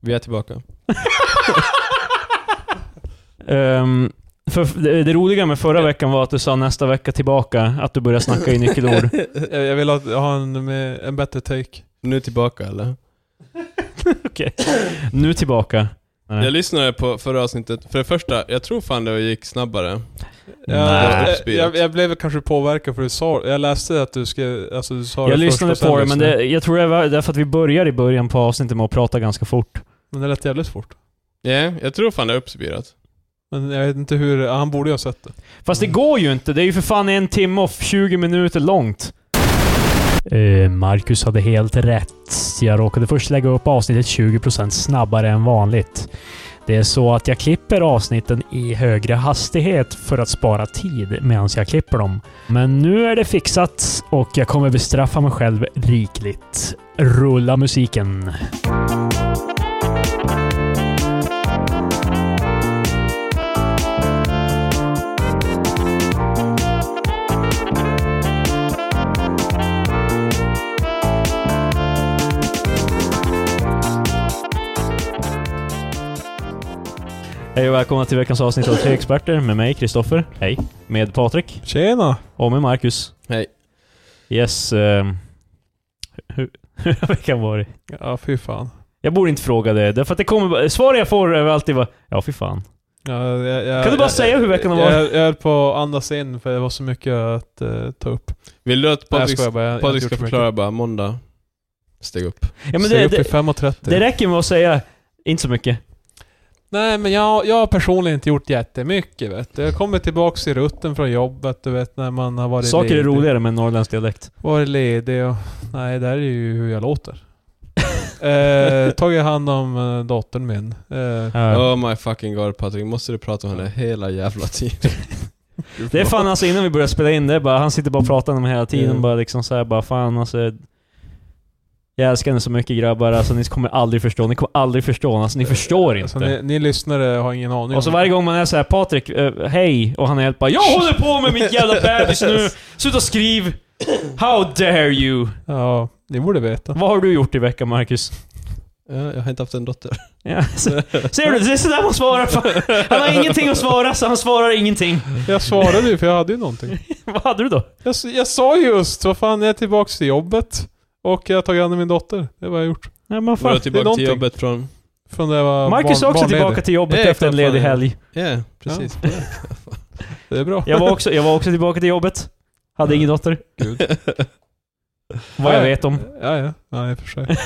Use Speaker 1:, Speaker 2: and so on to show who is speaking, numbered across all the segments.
Speaker 1: Vi är tillbaka.
Speaker 2: Ehm, för det, det roliga med förra veckan var att du sa nästa vecka tillbaka, att du började snacka i nyckelord.
Speaker 3: Jag, jag vill ha, ha en, med- en bättre take.
Speaker 1: Nu tillbaka eller?
Speaker 2: nu tillbaka. Nej.
Speaker 1: Jag lyssnade på förra avsnittet. För det första, jag tror fan det gick snabbare.
Speaker 2: Nej.
Speaker 3: Jag, jag, jag, jag blev kanske påverkad för du sa Jag läste att du skrev, alltså du sa
Speaker 2: Jag
Speaker 3: det först
Speaker 2: lyssnade
Speaker 3: och sen
Speaker 2: på det, men
Speaker 3: lyssnade.
Speaker 2: det, jag tror det var därför att vi börjar i början på avsnittet med att prata ganska fort.
Speaker 3: Men det lät jävligt svårt.
Speaker 1: Ja, jag tror fan det är uppspirat.
Speaker 3: Men jag vet inte hur, han borde ju ha sett det.
Speaker 2: Fast det går ju inte, det är ju för fan en timme och 20 minuter långt. Eh, Marcus hade helt rätt. Jag råkade först lägga upp avsnittet 20% snabbare än vanligt. Det är så att jag klipper avsnitten i högre hastighet för att spara tid medan jag klipper dem. Men nu är det fixat och jag kommer bestraffa mig själv rikligt. Rulla musiken. Hej och välkomna till veckans avsnitt av Tre Experter med mig, Kristoffer. Hej. Med Patrik.
Speaker 3: Tjena!
Speaker 2: Och med Marcus.
Speaker 1: Hej.
Speaker 2: Yes. ehm, hur hur har veckan varit?
Speaker 3: Ja, fy fan.
Speaker 2: Jag borde inte fråga det, därför att det kommer bara- Svar jag får är alltid bara Ja, fy fan.
Speaker 3: Ja, jag, jag,
Speaker 2: Kan du bara
Speaker 3: jag,
Speaker 2: säga hur veckan har
Speaker 3: jag,
Speaker 2: varit?
Speaker 3: jag, jag höll på att andas in för det var så mycket att eh, ta upp.
Speaker 1: Vill du att
Speaker 3: Nej, jag
Speaker 1: Patrik,
Speaker 3: skojar bara. Jag, jag har
Speaker 1: Patrik
Speaker 3: inte
Speaker 1: ska
Speaker 3: gjort så
Speaker 1: förklara bara måndag? Steg upp.
Speaker 2: Ja, men
Speaker 3: mycket. Steg
Speaker 2: det,
Speaker 3: upp
Speaker 2: det,
Speaker 3: till 5.30.
Speaker 2: det räcker med att säga Inte så mycket.
Speaker 3: Nej, men jag, jag har personligen inte gjort jättemycket vet du. Jag kommer tillbaks i rutten från jobbet, du vet när man har varit
Speaker 2: Saker är
Speaker 3: ledig.
Speaker 2: roligare med en norrländsk dialekt.
Speaker 3: Varit ledig och... Nej, det här är ju hur jag låter. eh, tagit hand om eh, dottern min. Eh,
Speaker 2: Ja.
Speaker 1: Oh my fucking god Patrik, måste du prata om henne hela jävla tiden?
Speaker 2: Det är fan alltså innan vi började spela in det, är bara, han sitter bara och pratar om det hela tiden.
Speaker 1: Mm.
Speaker 2: Bara liksom så här, bara fan alltså. Jag älskar henne så mycket grabbar, alltså ni kommer aldrig förstå. Ni kommer aldrig förstå, alltså ni förstår inte.
Speaker 3: så ni, ni lyssnare har ingen aning.
Speaker 2: Och så
Speaker 3: om-
Speaker 2: varje gång man är så här, Patrik, eh, hej, och han är helt bara Jag håller på med mitt jävla bebis nu! Sluta skriv! How dare you!
Speaker 3: Ja, ni borde veta.
Speaker 2: Vad har du gjort i veckan Marcus?
Speaker 1: Ja, jag har inte haft en dotter.
Speaker 2: Ja, så, ser du? Det är sådär man svarar. Fan, Han har ingenting att svara, så han svarar ingenting.
Speaker 3: Jag svarade ju för jag hade ju någonting.
Speaker 2: Vad hade du då?
Speaker 3: Jag, s- jag sa ju just, vad fan, jag är tillbaks till jobbet. Och jag har tagit hand om min dotter. Det var jag har gjort.
Speaker 2: Nej, men
Speaker 1: Var
Speaker 2: fan.
Speaker 1: du tillbaka till
Speaker 3: någonting.
Speaker 1: jobbet från...
Speaker 3: Från det jag var
Speaker 2: Marcus är
Speaker 3: barn,
Speaker 2: också
Speaker 3: barnledig.
Speaker 2: tillbaka till jobbet
Speaker 1: Ja,
Speaker 2: efter en
Speaker 1: fan,
Speaker 2: ledig
Speaker 1: fan.
Speaker 2: helg.
Speaker 1: Ja, precis.
Speaker 3: Det är bra.
Speaker 2: Jag var, också, jag var också tillbaka till jobbet. Hade ingen dotter.
Speaker 3: Gud.
Speaker 2: Vad jag
Speaker 3: Ja, ja.
Speaker 2: vet om.
Speaker 3: Ja, ja. Nej, i och för sig.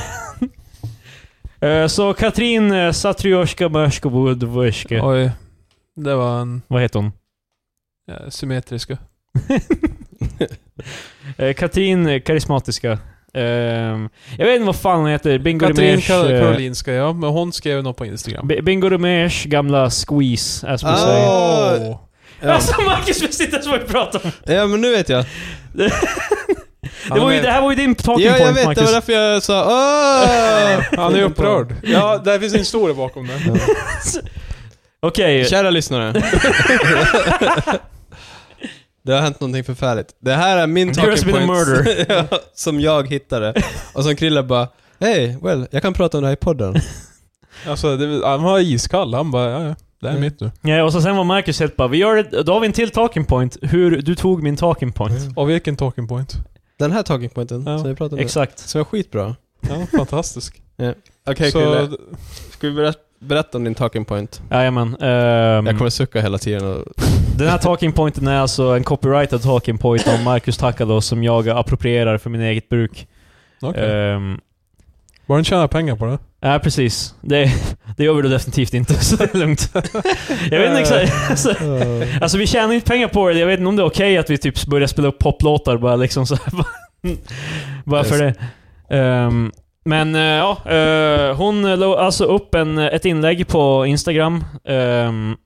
Speaker 2: Eh, Så Katrin eh, Satryoshka Mörskovudvojske.
Speaker 3: Oj. Det var en
Speaker 2: Vad heter hon?
Speaker 3: ja, symmetriska.
Speaker 2: Eh, Katrin eh, Karismatiska. Ehm, jag vet inte vad fan hon heter. Bingo
Speaker 3: Katrin
Speaker 2: Rimérs...
Speaker 3: Kar-
Speaker 2: eh,
Speaker 3: Karolinska, ja. Men hon skrev något på Instagram.
Speaker 2: B- Bingo Rimérs gamla squeeze, as we
Speaker 1: Ah.
Speaker 2: say.
Speaker 3: Åh.
Speaker 1: Ja.
Speaker 2: Alltså Marcus visste inte ens vad vi pratade om!
Speaker 1: ja, men nu vet jag.
Speaker 2: Det,
Speaker 3: Han
Speaker 2: var ju,
Speaker 3: är-
Speaker 2: det här var ju din talking
Speaker 1: Ja, jag vet.
Speaker 2: point
Speaker 1: Det var
Speaker 2: Marcus.
Speaker 1: därför jag sa åh!
Speaker 3: Han är upprörd. Ja, det finns en historia bakom det.
Speaker 2: Okej,
Speaker 1: Kära lyssnare. Det har hänt någonting förfärligt. Det här är min
Speaker 2: There has
Speaker 1: talking
Speaker 2: been a
Speaker 1: point. ja, som jag hittade. Och som Krille bara, hej, well, jag kan prata om det här i podden.
Speaker 3: Alltså, det, han var iskall. Han bara, ja, ja. Det här är mitt nu.
Speaker 2: ja, och så sen var Marcus helt bara vi gör det, Då har vi en till talking point. Hur du tog min talking point.
Speaker 3: Och vilken talking point.
Speaker 1: Den här talking pointen
Speaker 3: Ja,
Speaker 1: som vi pratade om.
Speaker 2: Exakt.
Speaker 1: Som är skitbra.
Speaker 3: Ja, fantastisk.
Speaker 1: Okej
Speaker 3: Så,
Speaker 1: Krille, ska vi berätta, berätta om din talking point?
Speaker 2: Jajamän. ehm,
Speaker 1: Jag kommer sucka hela tiden och...
Speaker 2: Den här talking pointen är alltså en copyrighted talking point av Marcus Takalo som jag approprierar för min eget bruk.
Speaker 3: okej.
Speaker 2: Ehm,
Speaker 3: Bara han tjänar pengar på det.
Speaker 2: Ja, precis. Det, det gör vi då definitivt inte, så det är lugnt. Jag vet inte exakt. Alltså, alltså vi tjänar inte pengar på det. Jag vet inte om det är okej att vi typ börjar spela upp poplåtar bara liksom så här, bara- Bara för det. Ehm, men eh, ja, eh, hon la alltså upp en, ett inlägg på Instagram ehm,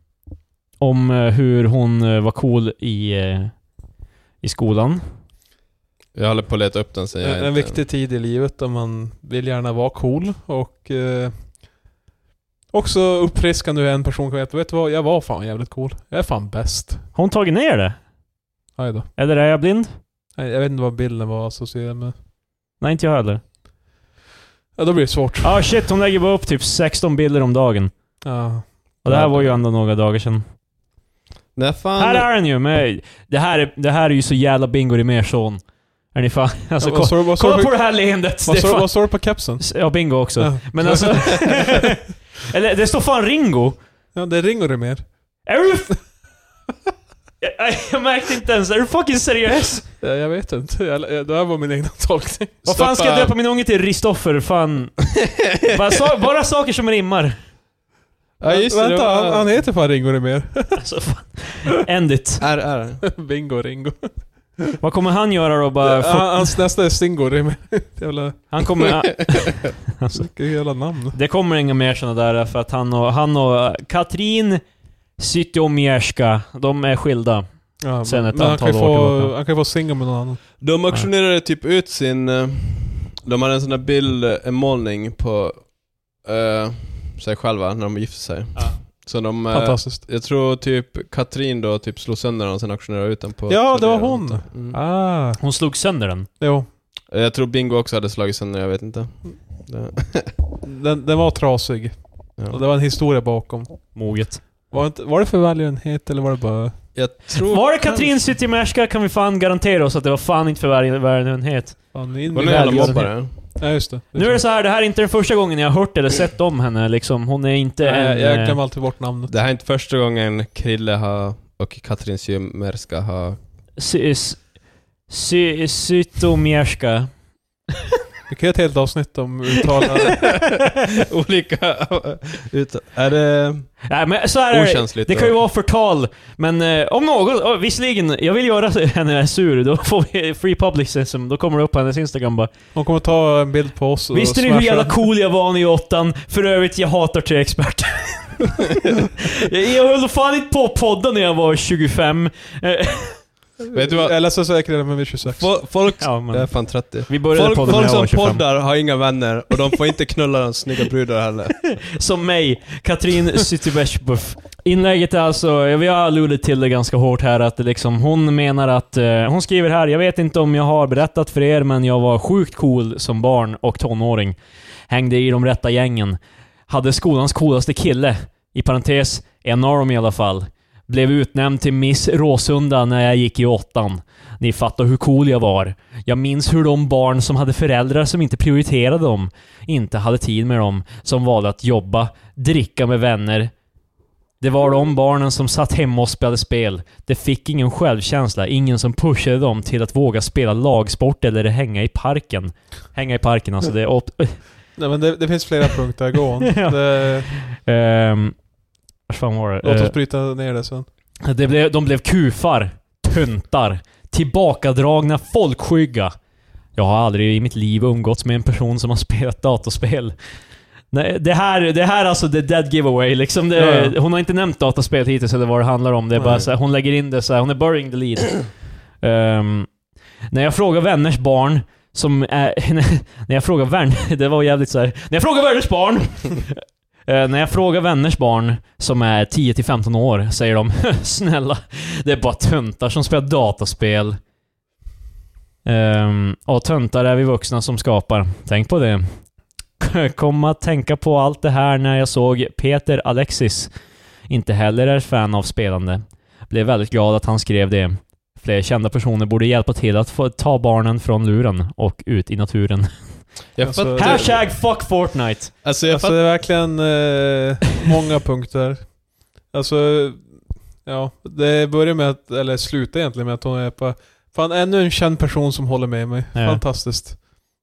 Speaker 2: om eh, hur hon eh, var cool i, eh, i skolan.
Speaker 1: Jag håller på att leta upp den sen jag
Speaker 3: En, en
Speaker 1: inte-
Speaker 3: viktig tid i livet där man vill gärna vara cool och eh, också uppfriskande hur en person kan veta, vet du vad? Jag var fan jävligt cool. Jag är fan bäst.
Speaker 2: Har hon tagit ner det?
Speaker 3: Aj då.
Speaker 2: Eller är jag blind?
Speaker 3: Nej, Jag vet inte vad bilden var associerad med.
Speaker 2: Nej, inte jag heller.
Speaker 3: Eh, Ja, då blir det svårt.
Speaker 2: Ja, Ah, shit. Hon lägger bara upp typ 16 bilder om dagen.
Speaker 3: Ja.
Speaker 2: Och det här var ju ändå några dagar sedan.
Speaker 1: När fan...
Speaker 2: Här är den ju! Med, det, här är, det här är ju så jävla bingo i mer son. Är ni fan... Alltså,
Speaker 3: Ja, vad
Speaker 2: ko-
Speaker 3: sa du- vad sa
Speaker 2: kolla
Speaker 3: du-
Speaker 2: på det här leendet! Det
Speaker 3: Vad
Speaker 2: är
Speaker 3: sa-
Speaker 2: fan,
Speaker 3: vad sa du på kepsen?
Speaker 2: ja, bingo också.
Speaker 3: Ja.
Speaker 2: Men alltså... eller, det står fan Ringo.
Speaker 3: Ja, det ringer det mer.
Speaker 2: Är du... f- jag, jag märkte inte ens. Är du fucking seriös?
Speaker 3: Ja, jag vet inte. Jag, jag, det här var min egna tolkning.
Speaker 2: Vad fan ska jag
Speaker 1: Stoppa-
Speaker 2: döpa min unge till? Ristoffer? Fan. bara, sa- bara saker som rimmar.
Speaker 1: Ja, just det. det
Speaker 3: Vänta,
Speaker 1: var-
Speaker 3: han, han heter fan Ringo Rimér.
Speaker 2: Alltså, fan. End it.
Speaker 1: Är, är.
Speaker 3: Bingo Ringo.
Speaker 2: Vad kommer han göra då? Bara,
Speaker 3: Ja,
Speaker 2: fort-
Speaker 3: han, hans nästa är Stingo Rimér. Jävla,
Speaker 2: han kommer... alltså.
Speaker 3: vilket jävla namn.
Speaker 2: Det kommer inga mer sådana där för att han och, han och Katrin Zytomierska, de är skilda.
Speaker 3: Ja,
Speaker 2: Sen ett
Speaker 3: men han
Speaker 2: antal
Speaker 3: kan ju
Speaker 2: år
Speaker 3: få,
Speaker 2: tillbaka.
Speaker 3: Han kan ju få single med någon annan.
Speaker 1: De auktionerade typ ut sin... eh, De hade en sån där bild, eh, en målning på eh, sig själva när de gifte sig.
Speaker 2: Ja.
Speaker 1: Så de... eh,
Speaker 3: Fantastiskt.
Speaker 1: jag tror typ Katrin då typ slog sönder den och sen auktionerade ut den på...
Speaker 3: Ja, det var
Speaker 1: Tradera.
Speaker 3: hon.
Speaker 1: Mm.
Speaker 3: Ah,
Speaker 2: Hon slog sönder den.
Speaker 3: jo.
Speaker 1: Jag tror Bingo också hade slagit sönder, jag vet inte. Det,
Speaker 3: Den, den var trasig. Och det
Speaker 1: ja.
Speaker 3: var en historia bakom.
Speaker 2: Moget.
Speaker 3: Var, inte, var det för välgörenhet eller var det bara...
Speaker 1: Jag tror...
Speaker 2: Var det Katrin Zytomierska kan vi fan garantera oss att det var fan inte för varje- välgörenhet.
Speaker 3: Fan, in
Speaker 1: Hon
Speaker 3: med
Speaker 1: är en jävla
Speaker 2: Välgörenhet.
Speaker 1: mobbare.
Speaker 3: Ja, just det.
Speaker 2: Nu är det så här, det här är inte den första gången jag har hört eller sett om henne liksom. Hon är inte
Speaker 3: Nej,
Speaker 2: en...
Speaker 3: jag, jag
Speaker 2: eh,
Speaker 3: glömmer alltid bort namnet.
Speaker 1: Det här är inte första gången Krille har och Katrin Zymerska har...
Speaker 2: sy- s- sy- Zytomierska.
Speaker 3: Vi kan göra ett helt avsnitt om uttalande.
Speaker 1: Olika... ut, är det...
Speaker 2: Nej men så här är det.
Speaker 1: Okänsligt.
Speaker 2: Det kan ju
Speaker 1: då?
Speaker 2: vara förtal, men eh, om något, oh, visserligen, jag vill göra henne sur, då får vi free publicism, då kommer det upp på hennes instagram bara
Speaker 3: De kommer ta en bild på oss och
Speaker 2: Visste ni hur
Speaker 3: smasha.
Speaker 2: jävla cool jag var när jag åt den? För övrigt, jag hatar T-experter. jag, jag höll fan inte på att podda när jag var 25. Eh,
Speaker 1: Vet du vad?
Speaker 3: Eller så säkert redan med vid 26.
Speaker 1: Fo- Folk...
Speaker 2: ja,
Speaker 1: Jag är
Speaker 2: men,
Speaker 1: fan 30.
Speaker 2: vi började
Speaker 1: Äh, Folk,
Speaker 2: podda när
Speaker 1: folk
Speaker 2: jag
Speaker 1: som
Speaker 2: var 25.
Speaker 1: poddar har inga vänner och de får inte knulla de snygga brudar heller.
Speaker 2: Som mig, Katrin Zytomierbuff. Inlägget är alltså, ja, vi har alludit till det ganska hårt här, att det liksom, hon menar att, eh, hon skriver här, jag vet inte om jag har berättat för er, men jag var sjukt cool som barn och tonåring. Hängde i de rätta gängen. Hade skolans coolaste kille, i parentes, en av dem i alla fall. Blev utnämnd till Miss Råsunda när jag gick i åttan. Ni fattar hur cool jag var. Jag minns hur de barn som hade föräldrar som inte prioriterade dem, inte hade tid med dem, som valde att jobba, dricka med vänner. Det var de barnen som satt hemma och spelade spel. Det fick ingen självkänsla, ingen som pushade dem till att våga spela lagsport eller hänga i parken. Hänga i parken alltså, det är op-
Speaker 3: Nej men det, det finns flera punkter, gå on.
Speaker 2: Ja.
Speaker 3: det,
Speaker 2: Ehm, Vad fan var det?
Speaker 3: låt
Speaker 2: Eh,
Speaker 3: oss bryta ner det sen.
Speaker 2: Det blev, de blev kufar, tuntar, tillbakadragna, folkskygga. Jag har aldrig i mitt liv umgåtts med en person som har spelat datorspel. Nej, det här, det här alltså, the dead giveaway liksom. Det,
Speaker 3: Ja, ja.
Speaker 2: Hon har inte nämnt dataspel hittills eller vad det handlar om. Det är bara
Speaker 3: Nej.
Speaker 2: så här, hon lägger in det så här, hon är burying the lead. Ehm, när jag frågar vänners barn som är, När jag frågar vän... Det var jävligt så här. När jag frågar vänners barn! Eh, när jag frågar vänners barn som är 10-15 år säger de Snälla, det är bara töntar som spelar dataspel. Ehm, och töntar är vi vuxna som skapar. Tänk på det. Kom att tänka på allt det här när jag såg Peter Alexis. Inte heller är fan av spelande. Blev väldigt glad att han skrev det. Fler kända personer borde hjälpa till att få ta barnen från luren och ut i naturen.
Speaker 1: Jag
Speaker 3: Alltså,
Speaker 1: fattar-
Speaker 2: Hashtag fuck Fortnite!
Speaker 1: Alltså jag
Speaker 3: Alltså
Speaker 1: fattar...
Speaker 3: det är verkligen eh, många punkter. Alltså, ja. Det börjar med att, eller slutar egentligen med att hon är på... Fan, ännu en känd person som håller med mig.
Speaker 2: Ja.
Speaker 3: Fantastiskt.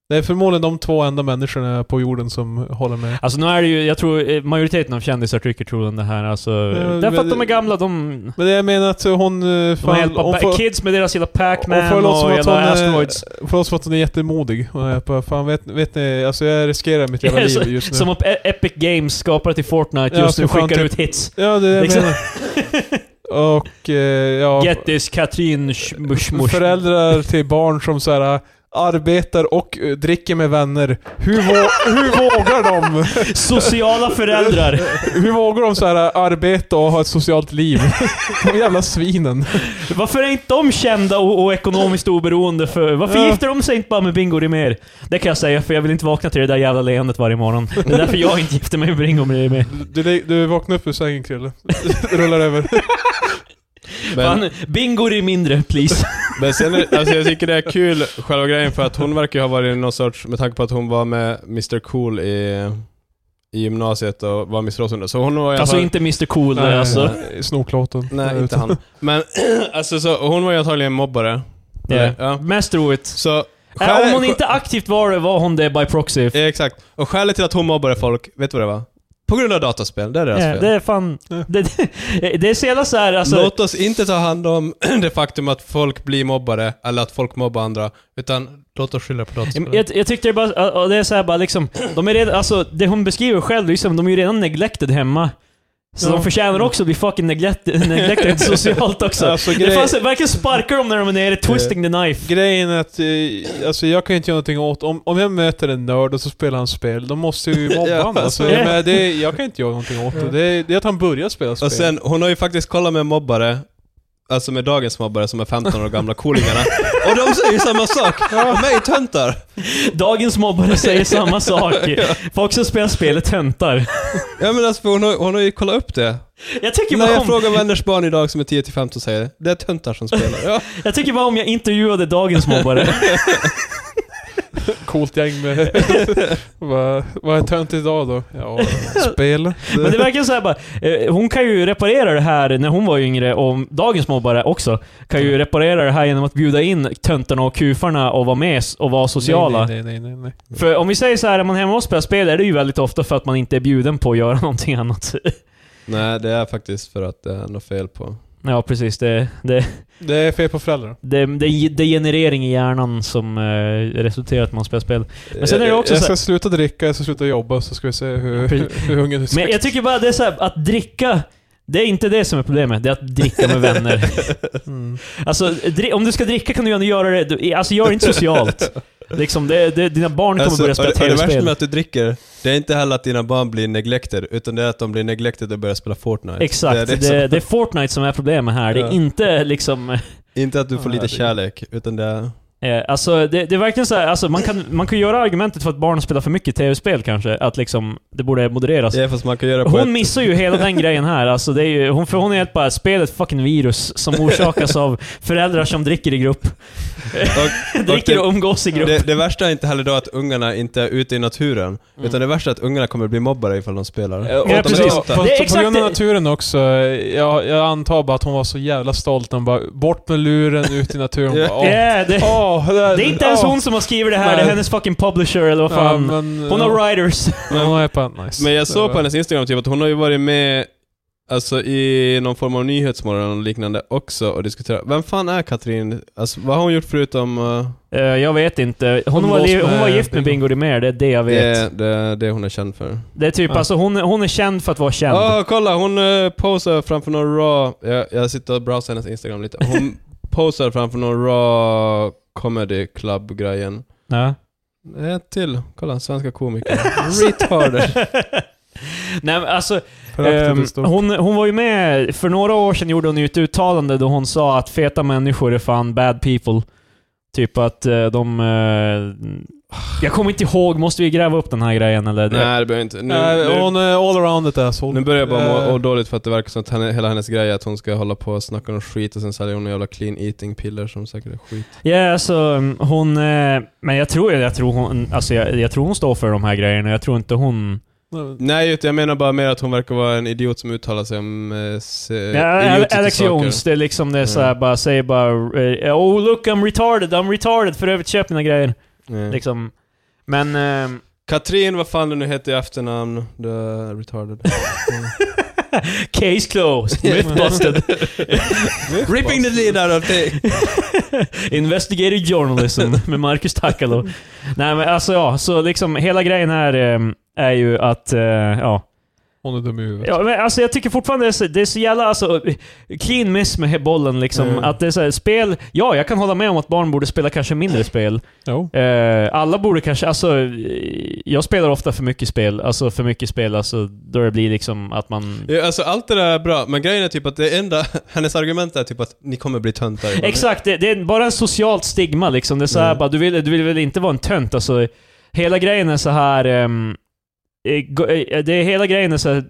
Speaker 3: Det är förmodligen de två enda människorna på jorden som håller med.
Speaker 2: Alltså nu är det ju, jag tror eh, majoriteten av kändisar tycker troligen det här alltså.
Speaker 3: Eh, men-
Speaker 2: därför att de är gamla, de...
Speaker 3: Men det jag menar att hon...
Speaker 2: De
Speaker 3: eh,
Speaker 2: har
Speaker 3: Fan,
Speaker 2: hjälpt
Speaker 3: hon
Speaker 2: ba-
Speaker 3: får,
Speaker 2: kids med deras lilla
Speaker 3: hon får
Speaker 2: Pac-Man
Speaker 3: låta som
Speaker 2: och
Speaker 3: att hon
Speaker 2: jävla
Speaker 3: är-
Speaker 2: Asteroids.
Speaker 3: Förlåt för att hon är jättemodig. Hon är på, fan vet, vet ni, alltså jag riskerar mitt jävla
Speaker 2: Ja, så-
Speaker 3: liv just nu.
Speaker 2: Som upp- E- Epic Games skapar till Fortnite
Speaker 3: Ja,
Speaker 2: just nu
Speaker 3: för fan,
Speaker 2: skickar
Speaker 3: typ-
Speaker 2: ut hits.
Speaker 3: ja, det är det
Speaker 2: Liksom.
Speaker 3: jag menar. Och eh, ja...
Speaker 2: Get this Katrin Schmushmush.
Speaker 3: Föräldrar till barn som såhär arbetar och eh, dricker med vänner. Hur, vå- hur vågar de?
Speaker 2: Sociala föräldrar.
Speaker 3: Hur vågar de så här arbeta och ha ett socialt liv? De jävla svinen.
Speaker 2: Varför är inte de kända och, och ekonomiskt oberoende? För, varför
Speaker 3: Ja.
Speaker 2: gifter de sig inte bara med Bingo Rimér? Det kan jag säga, för jag vill inte vakna till det där jävla leendet varje morgon. Det är därför jag inte gifter mig med Bingo Rimér.
Speaker 3: Du, du, du vaknar upp ur sängen Krille. Rullar över.
Speaker 1: Men,
Speaker 2: Fan, Bingo är mindre, please.
Speaker 1: men sen, är- alltså jag tycker det är kul, själva grejen, för att hon verkar ju ha varit någon sorts, med tanke på att hon var med Mr Cool i, i gymnasiet och var Miss Rosunda. Så hon var i alla
Speaker 2: Alltså
Speaker 1: fall-
Speaker 2: inte Mr Cool
Speaker 3: Nej,
Speaker 2: där alltså.
Speaker 3: nej, Snoklåten.
Speaker 1: Nej, inte han. Men alltså så, hon var ju antagligen mobbare.
Speaker 2: Yeah.
Speaker 1: Ja.
Speaker 2: Mest roligt.
Speaker 1: Så...
Speaker 2: Äh, om hon
Speaker 1: skä-
Speaker 2: inte aktivt var det, var hon det by proxy.
Speaker 1: Ja, exakt. Och skälet till att hon mobbade folk, vet du vad det var? På grund av dataspel, det är deras
Speaker 2: Ja,
Speaker 1: fel.
Speaker 2: det är fan...
Speaker 3: Ja.
Speaker 2: Det, det, det är så jävla såhär alltså...
Speaker 1: Låt oss inte ta hand om det faktum att folk blir mobbade, eller att folk mobbar andra, utan låt oss skylla på
Speaker 3: Typ.
Speaker 1: dataspel.
Speaker 2: Jag, jag tyckte det bara, och det är såhär bara liksom, de är redan, alltså det hon beskriver själv, liksom, de är ju redan neglected hemma. Så
Speaker 3: Ja.
Speaker 2: de förtjänar också att bli fucking neglected, neglected socialt också.
Speaker 3: Alltså,
Speaker 2: det
Speaker 3: grej-
Speaker 2: fanns, verkligen sparkar dem när de är nere, twisting the knife.
Speaker 3: Grejen är att eh, alltså, jag kan ju inte göra någonting åt... Om, om jag möter en nörd och så spelar han spel, då måste jag ju mobba
Speaker 1: Ja,
Speaker 3: honom. Alltså,
Speaker 2: alltså.
Speaker 3: men det, jag kan inte göra någonting åt det. Det är, det är att han börjar spela spel.
Speaker 1: Och sen, hon har ju faktiskt kollat med mobbare, alltså med dagens mobbare som är 15 år gamla, coolingarna, och de säger ju samma sak! Och mig töntar!
Speaker 2: Dagens mobbare säger samma sak. Folk som spelar spelet töntar.
Speaker 1: Ja men alltså, för hon har, hon har ju kollat upp det.
Speaker 2: Jag tycker,
Speaker 1: När
Speaker 2: bara
Speaker 1: jag
Speaker 2: om,
Speaker 1: frågar vänners barn idag som är 10-15 säger det, det är töntar som spelar. Ja.
Speaker 2: jag tycker bara om jag intervjuade dagens mobbare.
Speaker 3: Coolt gäng med... Vad vad är tönt idag då? Ja, spel.
Speaker 2: Men det verkar så här bara, eh, hon kan ju reparera det här när hon var yngre, och dagens mobbare också, kan
Speaker 3: Mm.
Speaker 2: ju reparera det här genom att bjuda in töntarna och kufarna och vara med s- och vara sociala.
Speaker 3: Nej, nej, nej, nej. nej.
Speaker 2: För om vi säger så här, är man hemma och spelar spel är det ju väldigt ofta för att man inte är bjuden på att göra någonting annat.
Speaker 1: Nej, det är faktiskt för att det är något fel på...
Speaker 2: Ja, precis. Det, det,
Speaker 3: Det är fel på föräldrar.
Speaker 2: det, det är degenerering i hjärnan som eh, resulterar i att man spelar spel. Men sen är det också
Speaker 3: Eh, jag
Speaker 2: så här-
Speaker 3: ska sluta dricka, jag ska sluta jobba, så ska vi se hur,
Speaker 2: Precis.
Speaker 3: hur ungen
Speaker 2: Men jag tycker bara det är så här, att dricka, det är inte det som är problemet. Det är att dricka med vänner.
Speaker 3: Mm.
Speaker 2: Alltså, dri- om du ska dricka kan du ju ändå göra det, du, alltså gör det inte socialt. Liksom, det, det, dina barn kommer börja spela
Speaker 1: och det, och det värsta
Speaker 2: tv-spel.
Speaker 1: med att Alltså, du dricker, det är inte heller att dina barn blir neglected, utan det är att de blir neglected och börjar spela Fortnite.
Speaker 2: Exakt,
Speaker 1: Det
Speaker 2: det,
Speaker 1: är liksom det som-
Speaker 2: det, är Fortnite som är problemet här. Det är
Speaker 1: Ja.
Speaker 2: inte liksom...
Speaker 1: Inte att du får
Speaker 3: Ja,
Speaker 1: lite
Speaker 3: det-
Speaker 1: kärlek, utan det är...
Speaker 2: Eh, alltså, det, det är verkligen så här, alltså, man kan man kan göra argumentet för att barn spelar för mycket tv-spel kanske, att liksom, det borde modereras.
Speaker 1: Ja, fast man kan göra det på
Speaker 2: Hon
Speaker 1: ett...
Speaker 2: missar ju hela den grejen här. Alltså, det är ju, hon, för hon är helt bara, spel är ett fucking virus som orsakas av föräldrar som dricker i grupp. dricker och umgås i grupp.
Speaker 1: typ- Det, det värsta är inte heller då att ungarna inte är ute i naturen, utan det värsta är att ungarna kommer bli mobbare ifall de spelar.
Speaker 3: Ja,
Speaker 2: Mm. Ja, precis.
Speaker 3: Fast
Speaker 2: Det är
Speaker 3: på
Speaker 2: exakt
Speaker 3: grund
Speaker 2: det-
Speaker 3: av naturen också, eh, jag, jag antar bara att hon var så jävla stolt när hon bara bort med luren, ut i naturen.
Speaker 1: Ja.
Speaker 3: Bara, åh,
Speaker 2: Ja, det,
Speaker 3: åh, där-
Speaker 2: det är inte ens
Speaker 3: åh.
Speaker 2: hon som har skrivit det här,
Speaker 3: Nej.
Speaker 2: det är hennes fucking publisher eller vad
Speaker 3: Ja,
Speaker 2: fan.
Speaker 3: men,
Speaker 2: hon
Speaker 3: ja.
Speaker 2: har writers.
Speaker 3: Men hon är bara, nice.
Speaker 1: Men jag
Speaker 3: Det
Speaker 1: såg
Speaker 3: var-
Speaker 1: på hennes Instagram typ att hon har ju varit med Alltså i någon form av nyhetsmorgon och liknande också och diskuterat. Vem fan är Katrin? Alltså vad har hon gjort förutom... Uh,
Speaker 2: Eh, jag vet inte. Hon,
Speaker 3: Hon
Speaker 2: var,
Speaker 3: umgås
Speaker 2: li- hon
Speaker 3: med
Speaker 2: var gift med Bingo
Speaker 3: Bingo.
Speaker 2: Rimér, det är det jag vet.
Speaker 1: det, det, det hon är känd för.
Speaker 2: Det är typ,
Speaker 3: Ja.
Speaker 2: alltså hon, hon är känd för att vara känd.
Speaker 1: Ja, kolla hon eh, posar framför någon raw... Jag, jag sitter och browsar hennes Instagram lite. Hon posar framför någon raw comedy club-grejen.
Speaker 2: Ja.
Speaker 1: En till. Kolla, svenska komiker. Retarder.
Speaker 2: Nej men alltså,
Speaker 3: Föraktet är
Speaker 2: ehm,
Speaker 3: stort.
Speaker 2: hon, hon var ju med, för några år sedan gjorde hon ju ett uttalande då hon sa att feta människor är fan bad people. Typ att eh, de... eh, jag kommer inte ihåg, måste vi gräva upp den här grejen eller?
Speaker 1: Nej, det behöver inte. Nu,
Speaker 3: Nej,
Speaker 1: nu,
Speaker 3: hon är all around it asshole.
Speaker 1: nu börjar jag bara
Speaker 3: Eh,
Speaker 1: må, må dåligt för att det verkar som att henne, hela hennes grej är att hon ska hålla på och snacka om skit och sen säljer hon jävla clean eating piller som säkert är skit.
Speaker 2: Ja, alltså mm, hon... eh, men jag tror, jag tror hon... Alltså jag, jag tror hon står för de här grejerna, jag tror inte hon...
Speaker 1: Nej, jag menar bara mer att hon verkar vara en idiot som uttalar sig om eh, se,
Speaker 2: Ja, Al-
Speaker 1: idiotiska
Speaker 2: Alex
Speaker 1: saker.
Speaker 2: Jones, det är liksom det är såhär,
Speaker 1: Mm.
Speaker 2: bara säger bara eh, Oh look I'm retarded, I'm retarded, för övrigt köp mina grejer.
Speaker 1: Mm. Ja.
Speaker 2: Liksom. Men... ehm,
Speaker 1: Katrin, vad fan det nu heter i efternamn, the retarded.
Speaker 2: Case closed. Myth busted.
Speaker 1: Ripping the lid out of the...
Speaker 2: Investigative journalism med Marcus Takalo. Nej men alltså ja, så liksom hela grejen här ehm, är ju att, eh, ja.
Speaker 3: Hon är dum i huvudet.
Speaker 2: Ja, men alltså jag tycker fortfarande det är så, det är så jävla alltså, clean miss med bollen liksom.
Speaker 1: Mm.
Speaker 2: Att det är så här, spel... Ja, jag kan hålla med om att barn borde spela kanske mindre spel.
Speaker 3: Jo.
Speaker 2: Eh, alla borde kanske... Alltså, eh, jag spelar ofta för mycket spel. Alltså för mycket spel, alltså då det blir liksom att man...
Speaker 1: Ja, alltså allt det där är bra, men grejen är typ att det enda, hennes argument är typ att ni kommer bli töntar.
Speaker 2: Exakt, det, det är bara en socialt stigma liksom. Det är så här,
Speaker 1: Mm.
Speaker 2: bara, du, vill, du vill väl inte vara en tönt? Alltså, hela grejen är så här... ehm, eh, go- eh, det är hela grejen är så här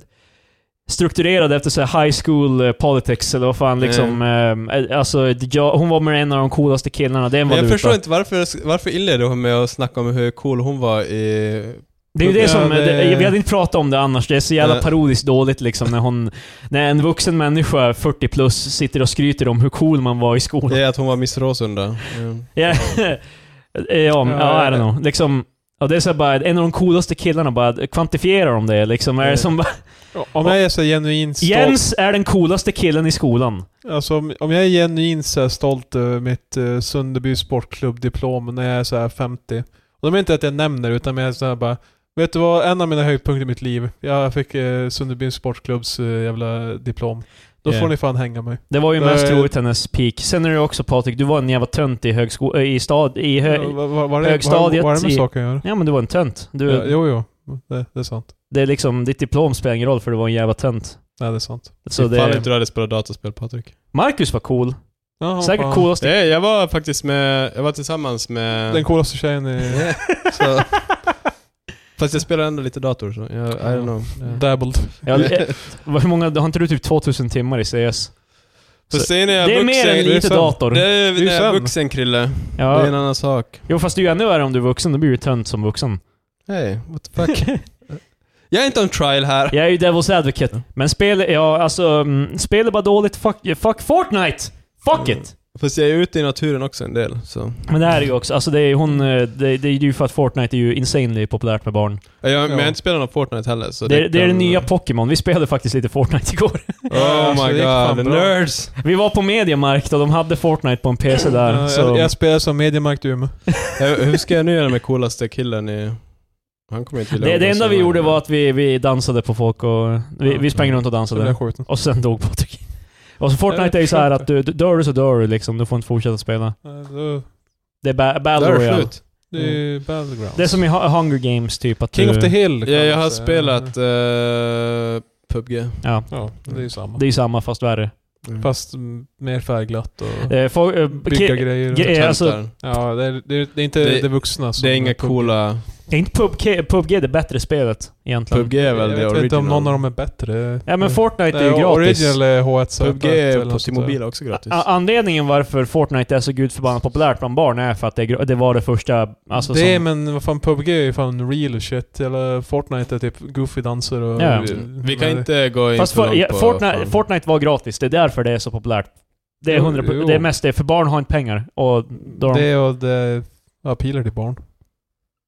Speaker 2: strukturerad efter så här high school eh, politics, eller vad fan liksom. ehm, eh, alltså, det- jag, hon var med en av de coolaste killarna, det är en
Speaker 1: Men jag
Speaker 2: valuta.
Speaker 1: förstår inte varför, varför inledde hon med att snacka om hur cool hon var i...
Speaker 2: Det är ju det
Speaker 3: Ja,
Speaker 2: som,
Speaker 3: det-
Speaker 2: det, vi hade inte pratat om det annars, det är så jävla
Speaker 1: Nej.
Speaker 2: parodiskt dåligt liksom när hon, när en vuxen människa, 40 plus, sitter och skryter om hur cool man var i skolan.
Speaker 1: i att hon var Miss Råsunda. Mm.
Speaker 2: Ja, ja, ja, I don't know. Liksom, ja, det är så här bara, en av de coolaste killarna bara, kvantifierar de det liksom? Är det som bara,
Speaker 3: Om jag är så genuint stolt.
Speaker 2: Jens är den coolaste killen i skolan.
Speaker 3: Alltså om, om jag är genuint så här stolt över mitt eh, Sunderby Sportklubb-diplom när jag är så här 50. Och det är inte att jag nämner utan mer så här bara Vet du vad, en av mina höjdpunkter i mitt liv. Jag fick eh, Sunderby Sportklubbs eh, jävla diplom. Då
Speaker 2: Ja.
Speaker 3: får ni fan hänga mig.
Speaker 2: Det var ju mest
Speaker 3: Nej.
Speaker 2: troligt hennes peak. Sen är det också Patrik, du var en jävla tönt i högsko... äh, i stad... i hö...
Speaker 3: Ja, vad- vad- vad är det- Vad
Speaker 2: högstadiet
Speaker 3: vad är det med
Speaker 2: i-
Speaker 3: saker att göra?
Speaker 2: Ja men du var en tönt. Du,
Speaker 3: Ja, jo, jo. Det, det är sant.
Speaker 2: Det är liksom, ditt diplom spelar ingen roll för du var en jävla tönt.
Speaker 3: Nej, det är sant.
Speaker 2: Så
Speaker 1: Fan
Speaker 2: det...
Speaker 1: inte du hade spelat dataspel Patrik.
Speaker 2: Marcus var cool.
Speaker 3: Jaha,
Speaker 2: Säkert
Speaker 3: fan.
Speaker 2: coolaste...
Speaker 1: Nej, jag var faktiskt med, jag var tillsammans med...
Speaker 3: Den coolaste tjejen i...
Speaker 1: så, fast jag spelar ändå lite dator så, jag, I don't know.
Speaker 3: Dabbled.
Speaker 2: Ja, eh, hur många, har inte du typ 2000 timmar i CS?
Speaker 1: För
Speaker 2: Så-
Speaker 1: sen är jag
Speaker 2: Det är
Speaker 1: vuxen,
Speaker 2: mer än lite
Speaker 3: sen-
Speaker 2: dator.
Speaker 1: Det är,
Speaker 3: ju
Speaker 1: när jag är
Speaker 3: sen.
Speaker 1: vuxen Krille. Det är en
Speaker 2: Ja.
Speaker 1: annan sak.
Speaker 2: Jo fast det är ju ännu värre om du är vuxen, då blir du tönt som vuxen.
Speaker 1: Hej, what the fuck. jag är inte on trial här.
Speaker 2: Jag är ju Devil's Advocate. Men spel, ja alltså, mm, spel är bara dåligt. Fuck, fuck Fortnite! Fuck it!
Speaker 1: Fast jag är ute i naturen också en del, så.
Speaker 2: Men det här är ju också, alltså det är ju hon, eh, det, det är ju för att Fortnite är ju insanely populärt med barn.
Speaker 1: Ja, Jag, Men jag
Speaker 3: Ja.
Speaker 1: har inte spelat någon Fortnite heller, så
Speaker 2: Det, det, är det
Speaker 1: kan-
Speaker 2: nya Pokémon. Vi spelade faktiskt lite Fortnite igår.
Speaker 1: Oh
Speaker 3: Alltså, det
Speaker 1: my
Speaker 3: gick fan
Speaker 1: god, the
Speaker 3: bra.
Speaker 1: nerds!
Speaker 2: Vi var på Mediamarkt och de hade Fortnite på en PC där.
Speaker 3: Ja,
Speaker 2: Så.
Speaker 3: jag, jag spelar som Mediamarkt i Umeå.
Speaker 1: Jag- Hur ska jag nu göra med coolaste killen i... Han kommer inte vilja
Speaker 2: det, det
Speaker 1: umgås
Speaker 2: enda vi
Speaker 1: med mig.
Speaker 2: gjorde var att vi, vi dansade på folk och vi, vi sprang runt och
Speaker 3: Så blev
Speaker 2: dansade.
Speaker 3: jag skjuten.
Speaker 2: Och sen dog Patrik. Och så
Speaker 3: Jag
Speaker 2: Fortnite är ju så här att du, du- dör du så dör du liksom. Du får inte fortsätta spela.
Speaker 3: Ja, då-
Speaker 2: Det är ba-
Speaker 1: Där
Speaker 2: Battle
Speaker 1: är
Speaker 2: Royale.
Speaker 1: slut.
Speaker 3: Det är ju Battlegrounds.
Speaker 2: Mm. Det är som i Hu- Hunger Games typ. Att
Speaker 3: King
Speaker 2: du,
Speaker 3: of the Hill.
Speaker 1: Ja,
Speaker 3: kan
Speaker 1: jag
Speaker 3: man
Speaker 1: har
Speaker 3: säga.
Speaker 1: spelat eh, PubG.
Speaker 2: Ja,
Speaker 3: Ja, det är ju samma.
Speaker 2: det är ju samma fast värre.
Speaker 3: Fast mm, mer färgglatt och
Speaker 2: Eh, folk, eh,
Speaker 3: bygga
Speaker 2: ki-
Speaker 3: grejer.
Speaker 2: ge-
Speaker 1: Töntar.
Speaker 2: alltså-
Speaker 3: ja, det är, det, är, det är inte
Speaker 1: Det-
Speaker 3: det, vuxna som...
Speaker 1: det är inga coola...
Speaker 2: är inte PubG, PubG det bättre spelet egentligen?
Speaker 1: PubG är
Speaker 3: Jag
Speaker 1: väl
Speaker 3: vet
Speaker 1: det
Speaker 3: inte
Speaker 1: original.
Speaker 3: om någon av dem är bättre.
Speaker 2: Ja men
Speaker 3: Eh,
Speaker 2: Fortnite är ju
Speaker 3: nej,
Speaker 2: gratis.
Speaker 3: Original är H1Z.
Speaker 1: PubG
Speaker 3: eller
Speaker 1: är
Speaker 3: något
Speaker 1: på
Speaker 3: sånt
Speaker 1: sin
Speaker 3: där.
Speaker 1: mobil också gratis.
Speaker 2: A- Anledningen varför Fortnite är så gudförbannat populärt bland barn är för att det, är gr- det var det första... Alltså,
Speaker 3: det är,
Speaker 2: som,
Speaker 3: men vad fan, PubG är ju fan real och shit. Eller Fortnite är typ goofy danser och...
Speaker 2: Ja.
Speaker 1: Vi kan inte gå in
Speaker 2: fast
Speaker 1: för
Speaker 2: for,
Speaker 1: långt
Speaker 2: ja,
Speaker 1: på...
Speaker 2: Fortnite,
Speaker 1: fan.
Speaker 2: Fortnite var gratis, det är därför det är så populärt. Det är,
Speaker 3: Jo,
Speaker 2: 100,
Speaker 3: jo.
Speaker 2: det är mest det, för barn har inte pengar. Och då har de,
Speaker 3: Det och det... Ja, pilar till barn.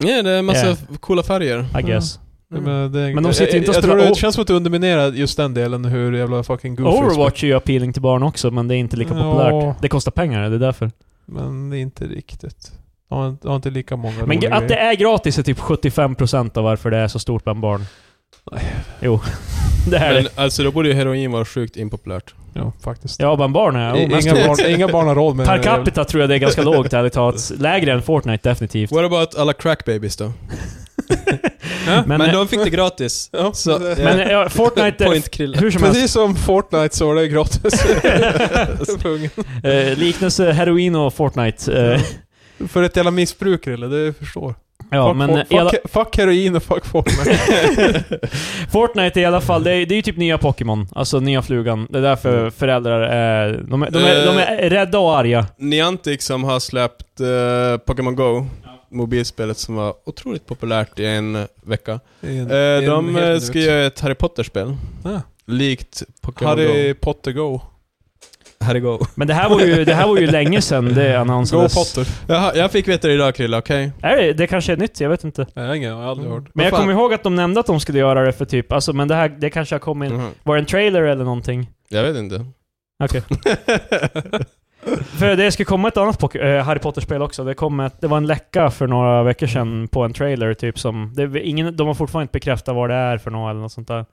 Speaker 1: Nej, det är en massa
Speaker 2: Yeah.
Speaker 1: f- coola färger.
Speaker 2: I guess.
Speaker 1: Mm.
Speaker 3: Men, eh, det,
Speaker 2: Men de sitter ju inte och
Speaker 3: jag, jag tror
Speaker 2: spelar-
Speaker 3: det känns som att du underminerar just den delen hur jävla fucking goofy
Speaker 2: Overwatch är ju appealing till barn också, men det är inte lika
Speaker 3: Ja.
Speaker 2: populärt. Det kostar pengar, det är därför.
Speaker 3: Men det är inte riktigt. De har, de har inte lika många
Speaker 2: Men
Speaker 3: roliga
Speaker 2: att det är gratis är typ 75% av varför det är så stort bland barn. Jo. Det är
Speaker 1: Men
Speaker 2: det.
Speaker 1: alltså då borde ju heroin vara sjukt impopulärt.
Speaker 3: Ja, faktiskt.
Speaker 2: Ja, bland barn är
Speaker 3: I-
Speaker 2: oh, mest
Speaker 3: inga,
Speaker 2: roligt.
Speaker 3: barn, inga barn har råd med
Speaker 2: Per capita tror jag det är ganska lågt ärligt talat. Lägre än Fortnite definitivt.
Speaker 1: What about alla crack babies då? Men, de fick det gratis.
Speaker 3: Ja,
Speaker 1: Så,
Speaker 3: det-
Speaker 1: ja.
Speaker 2: Men ja, Fortnite...
Speaker 1: Point krille.
Speaker 2: hur som helst.
Speaker 3: Precis som Fortnite så var det gratis. För ungen.
Speaker 2: Eh, liknelse heroin och Fortnite. Eh,
Speaker 3: För ett jävla missbruk eller? Det förstår.
Speaker 2: ja,
Speaker 3: fuck,
Speaker 2: men
Speaker 3: fuck,
Speaker 2: i alla,
Speaker 3: fuck, fuck heroin och fuck Fortnite.
Speaker 2: Fortnite i alla fall, det är, det är ju typ nya Pokémon. Alltså nya flugan. Det är därför föräldrar är... De, är- de, är, de är rädda och arga.
Speaker 1: Niantic som har släppt eh, Pokémon Go, mobilspelet som var otroligt populärt i en vecka.
Speaker 3: Det är en-
Speaker 1: Eh,
Speaker 3: det är en
Speaker 1: de
Speaker 3: helt
Speaker 1: eh,
Speaker 3: ny
Speaker 1: ska
Speaker 3: ut.
Speaker 1: göra ett Harry Potter-spel.
Speaker 3: Ah.
Speaker 1: Likt Pokémon
Speaker 3: Harry Potter Go.
Speaker 1: Go. Harry Go.
Speaker 2: Men det här var ju, det här var ju länge sedan det
Speaker 3: Go
Speaker 2: annonsades.
Speaker 3: Potter.
Speaker 1: Jaha, jag fick veta det idag Krille, okej?
Speaker 2: Är det, det kanske är nytt, jag vet inte.
Speaker 3: Nej, ingen, jag har aldrig hört.
Speaker 2: Men
Speaker 1: Vad
Speaker 2: jag
Speaker 1: fan?
Speaker 2: kommer ihåg att de nämnde att de skulle göra det för typ... Alltså, men det här, det kanske har kommit... in.
Speaker 1: Mhm.
Speaker 2: Var det en trailer eller någonting?
Speaker 1: Jag vet inte.
Speaker 2: Okej. För det ska komma ett annat Pok- eh, Harry Potter-spel också. Det, kom ett, det var en läcka för några veckor sedan på en trailer typ som... Det, är ingen, de har fortfarande inte bekräftat vad det är för något eller något sånt där.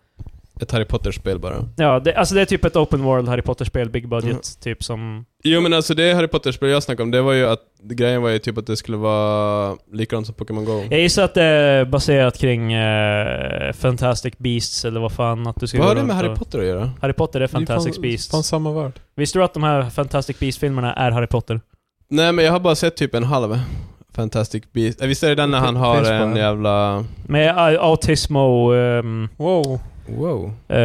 Speaker 1: ett Harry Potter-spel bara.
Speaker 2: Ja, det, alltså det är typ ett open world Harry Potter-spel, big budget,
Speaker 1: Mm.
Speaker 2: typ som...
Speaker 1: Jo men alltså det Harry Potter-spel jag snackade om, det var ju att grejen var ju typ att det skulle vara likadant som Pokémon Go.
Speaker 2: Jag gissar att det är baserat kring eh, Fantastic Beasts, eller vad fan att du ska
Speaker 1: Vad
Speaker 2: gå
Speaker 1: har det
Speaker 2: runt
Speaker 1: med Harry
Speaker 2: och-
Speaker 1: Potter att göra?
Speaker 2: Harry Potter är Fantastic
Speaker 3: fan,
Speaker 2: Beasts.
Speaker 3: Fan samma värld.
Speaker 2: Visste du att de här Fantastic Beasts-filmerna är Harry Potter?
Speaker 1: Nej men jag har bara sett typ en halv Fantastic Beast. Äh, Visst är det den när han
Speaker 3: Fin-
Speaker 1: har
Speaker 3: finns bara
Speaker 1: en
Speaker 3: en.
Speaker 1: jävla...
Speaker 2: Med au- autismo... ehm,
Speaker 3: Wow.
Speaker 1: Wow.
Speaker 2: eh,